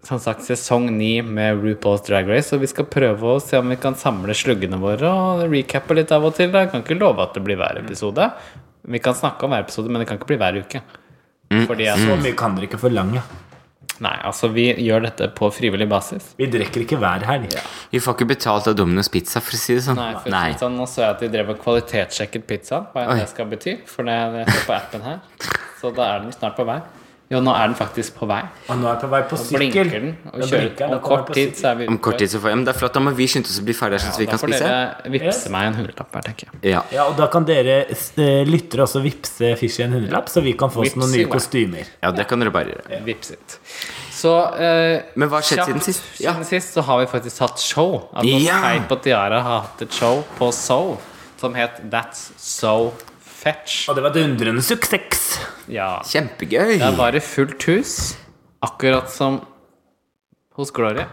[SPEAKER 3] som sagt, sesong ni med RuPaul's Drag Race. Og vi skal prøve å se om vi kan samle sluggene våre og recappe litt av og til. da. Jeg kan ikke love at det blir hver episode. Vi kan snakke om hver episode, men det kan ikke bli hver uke. Fordi at
[SPEAKER 2] Så mye kan dere ikke forlange.
[SPEAKER 3] Nei, altså vi gjør dette på frivillig basis.
[SPEAKER 2] Vi drikker ikke hver helg.
[SPEAKER 1] Vi får ikke betalt av Domino's Pizza, for å si det sånn.
[SPEAKER 3] Nei, for
[SPEAKER 1] Nei.
[SPEAKER 3] Sånn, nå så jeg at de drev og kvalitetssjekket pizzaen, hva enn det skal bety. For det jeg ser på appen her. Så da er den snart på vei. Jo, nå er den faktisk på vei.
[SPEAKER 2] Og nå er jeg på vei på sykkel.
[SPEAKER 3] Blinker den og
[SPEAKER 2] Nå
[SPEAKER 3] kjører.
[SPEAKER 2] blinker den,
[SPEAKER 3] Om
[SPEAKER 2] da kommer
[SPEAKER 3] kort
[SPEAKER 2] jeg på
[SPEAKER 3] tid
[SPEAKER 2] sykkel.
[SPEAKER 3] så er vi
[SPEAKER 1] Om kort tid så får ja, Men det er flott, da må vi skynde oss å bli ferdige, sånn at vi
[SPEAKER 3] Da
[SPEAKER 1] kan
[SPEAKER 3] får
[SPEAKER 1] spise.
[SPEAKER 3] dere
[SPEAKER 2] Yes.
[SPEAKER 3] vippse meg en hundrelapp her, tenker jeg.
[SPEAKER 1] Ja.
[SPEAKER 2] Ja, og da kan dere s- eh, lyttere også vippse Fishy en hundrelapp, så vi kan få oss
[SPEAKER 3] Vips i
[SPEAKER 2] noen nye
[SPEAKER 3] meg.
[SPEAKER 2] kostymer.
[SPEAKER 1] ja, det kan dere bare gjøre.
[SPEAKER 3] Vips it. Så eh,
[SPEAKER 1] Men hva har skjedd
[SPEAKER 3] kjapt,
[SPEAKER 1] siden sist? Ja.
[SPEAKER 3] Siden sist så har vi faktisk hatt show. Altså,
[SPEAKER 1] Ja.
[SPEAKER 3] Teip og Tiara har hatt et show på So som het That's So Fetch.
[SPEAKER 2] Og det var et undrende suksess.
[SPEAKER 3] Ja.
[SPEAKER 1] Kjempegøy!
[SPEAKER 3] Der var det fullt hus, akkurat som hos Gloria.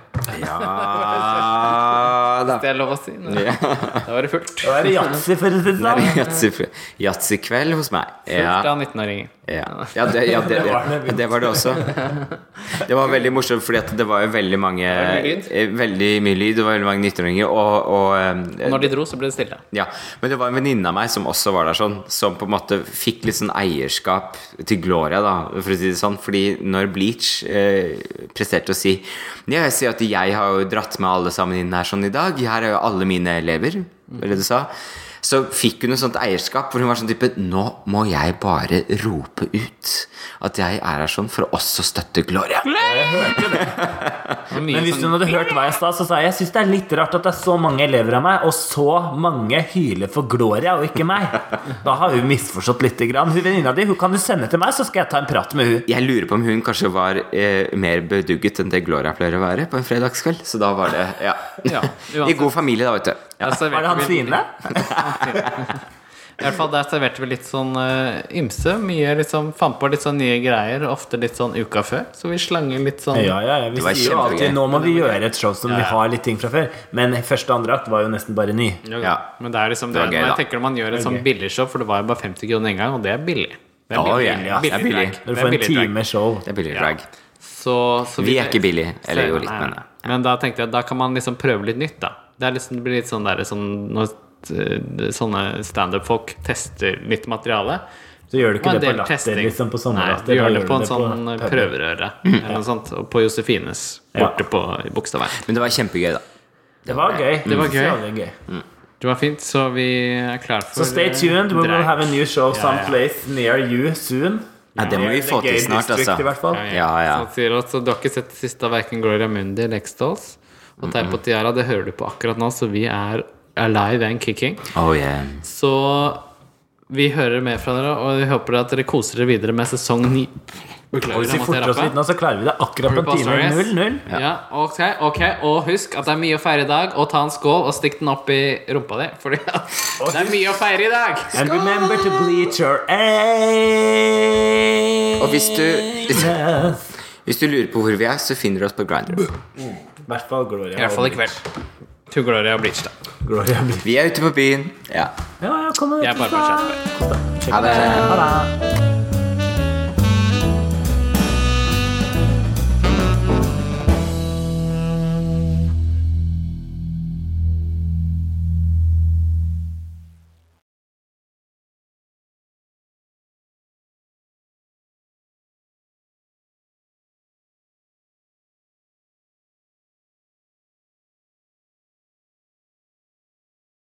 [SPEAKER 1] Ja da.
[SPEAKER 3] Det er lov å si. Nei. Da var det fullt.
[SPEAKER 2] Da er det yatzy, for å si det sånn.
[SPEAKER 1] Yatzy- Yatzy-kveld hos meg. Ja.
[SPEAKER 3] Fullt av 19-åringer.
[SPEAKER 1] Ja, ja, det, ja det, det, det var det også. Det var veldig morsomt, fordi at det var jo veldig mange
[SPEAKER 3] var mye lyd.
[SPEAKER 1] eh, Veldig mye lyd. Det var veldig mange 19-åringer. Og, og eh,
[SPEAKER 3] Når de dro, så ble det stille.
[SPEAKER 1] ja. Men det var en venninne av meg som også var der, sånn, som på en måte fikk litt sånn eierskap til Gloria, da, for å si det sånn. Fordi når Bleach eh, presterte å si Ja, jeg sier at jeg har jo dratt med alle sammen inn her sånn i dag. Her er jo alle mine elever. Var det du sa? Så fikk hun et sånt eierskap hvor hun var sånn type Nå må jeg bare rope ut at jeg er her sånn for å også støtte Gloria.
[SPEAKER 3] Det var mye
[SPEAKER 2] Men hvis
[SPEAKER 3] sånn-
[SPEAKER 2] hun hadde hørt hva jeg sa, så sa jeg jeg syns det er litt rart at det er så mange elever av meg, og så mange hyler for Gloria og ikke meg. Da har hun misforstått lite grann. Hun venninna di hun kan du sende til meg, så skal jeg ta en prat med hun.
[SPEAKER 1] Jeg lurer på om hun kanskje var eh, mer bedugget enn det Gloria pleier å være på en fredagskveld. Så da var det Ja.
[SPEAKER 3] Ja,
[SPEAKER 1] I god familie, da, vet du. Ja.
[SPEAKER 3] Altså, jeg vet
[SPEAKER 2] Var det han
[SPEAKER 3] ikke hvilken-
[SPEAKER 2] Svine?
[SPEAKER 3] I hvert fall der serverte vi litt sånn eh, ymse. Mye liksom Fant på litt sånn nye greier, ofte litt sånn uka før. Så vi slanger litt sånn
[SPEAKER 2] Ja, ja, ja. Vi
[SPEAKER 1] var
[SPEAKER 2] sier jo alltid
[SPEAKER 1] kjempegøy.
[SPEAKER 2] nå må vi gjøre et show som
[SPEAKER 3] Ja,
[SPEAKER 2] vi
[SPEAKER 3] ja.
[SPEAKER 2] har litt ting fra før. Men første og andre akt var jo nesten bare ny.
[SPEAKER 3] Jo,
[SPEAKER 1] Ja.
[SPEAKER 3] Men det er liksom det,
[SPEAKER 1] Det var gøy,
[SPEAKER 3] når jeg
[SPEAKER 1] da.
[SPEAKER 3] tenker når man gjør et sånn
[SPEAKER 2] gøy.
[SPEAKER 3] billigshow, for det var jo bare 50 kroner en gang, og det er billig. Det er
[SPEAKER 1] Ja,
[SPEAKER 3] billig,
[SPEAKER 1] ja, ja.
[SPEAKER 3] billig,
[SPEAKER 1] Det er billig.
[SPEAKER 3] drag.
[SPEAKER 2] Når du
[SPEAKER 3] Det er
[SPEAKER 2] får en
[SPEAKER 3] billig drag.
[SPEAKER 2] time show.
[SPEAKER 1] Det er billig
[SPEAKER 3] Ja.
[SPEAKER 1] drag.
[SPEAKER 3] Så, så
[SPEAKER 1] Vi er ikke billige, eller jo litt,
[SPEAKER 3] Nei,
[SPEAKER 1] men-
[SPEAKER 3] nei. Men da tenkte jeg da kan man liksom prøve litt nytt, da. Det, er liksom, det blir litt sånn der sånn, når eh, sånne standup-folk tester nytt materiale.
[SPEAKER 2] Så gjør du ikke
[SPEAKER 3] Og en
[SPEAKER 2] det på
[SPEAKER 3] del
[SPEAKER 2] latter,
[SPEAKER 3] testing.
[SPEAKER 2] liksom, på
[SPEAKER 3] Nei, du
[SPEAKER 2] sommerlatter, da
[SPEAKER 3] gjør det
[SPEAKER 2] gjør
[SPEAKER 3] på
[SPEAKER 2] du
[SPEAKER 3] en
[SPEAKER 2] det på
[SPEAKER 3] sånn
[SPEAKER 2] puben.
[SPEAKER 3] prøverøre eller noe sånt. Og på Josefines
[SPEAKER 2] Ja.
[SPEAKER 3] borte på i Bogstadveien.
[SPEAKER 1] Men det var kjempegøy, da.
[SPEAKER 2] Det var gøy.
[SPEAKER 3] Det var
[SPEAKER 2] Så
[SPEAKER 3] gøy.
[SPEAKER 2] jævlig gøy.
[SPEAKER 3] Det var fint, så vi er klare for
[SPEAKER 2] Så stay
[SPEAKER 3] eh,
[SPEAKER 2] tuned. We will
[SPEAKER 3] drag.
[SPEAKER 2] have a new show
[SPEAKER 3] ja.
[SPEAKER 2] someplace near you soon.
[SPEAKER 1] Ja, det må vi få til
[SPEAKER 2] Gay
[SPEAKER 1] snart,
[SPEAKER 2] district,
[SPEAKER 1] altså.
[SPEAKER 2] i hvert fall.
[SPEAKER 3] Ja,
[SPEAKER 1] Ja, ja.
[SPEAKER 3] Så han sier at så du har ikke sett det siste av hverken Gloria Mundi eller Extols. Og Teip og Tiara, det hører du på akkurat nå, så vi er alive and kicking.
[SPEAKER 1] Oh, yeah.
[SPEAKER 3] Så vi hører mer fra dere, og vi håper at dere koser dere videre med sesong ni. Beklager,
[SPEAKER 2] Hvis vi
[SPEAKER 3] jeg måtte
[SPEAKER 2] forter oss
[SPEAKER 3] rappe.
[SPEAKER 2] litt nå, så klarer vi det akkurat på
[SPEAKER 3] RuPaul's
[SPEAKER 2] en time.
[SPEAKER 3] Drag Race.
[SPEAKER 2] 0-0.
[SPEAKER 3] Ja. ok, ok Og husk at det er mye å feire i dag. Og ta en skål og stikk den opp i rumpa di, Fordi at det er mye å feire i dag!
[SPEAKER 2] And remember to bleach your ass.
[SPEAKER 1] Og hvis du, hvis du lurer på hvor vi er, så finner du oss på Grindr.
[SPEAKER 2] I hvert fall Gloria.
[SPEAKER 3] I hvert fall i
[SPEAKER 2] og-
[SPEAKER 3] kveld. To Gloria og Bleach, da.
[SPEAKER 2] Gloria blir
[SPEAKER 1] Vi er ute på byen. Ja.
[SPEAKER 2] Ja, ja, kom og
[SPEAKER 3] Jeg er bare på
[SPEAKER 2] Ha
[SPEAKER 3] chat.
[SPEAKER 1] Ha det.
[SPEAKER 2] det.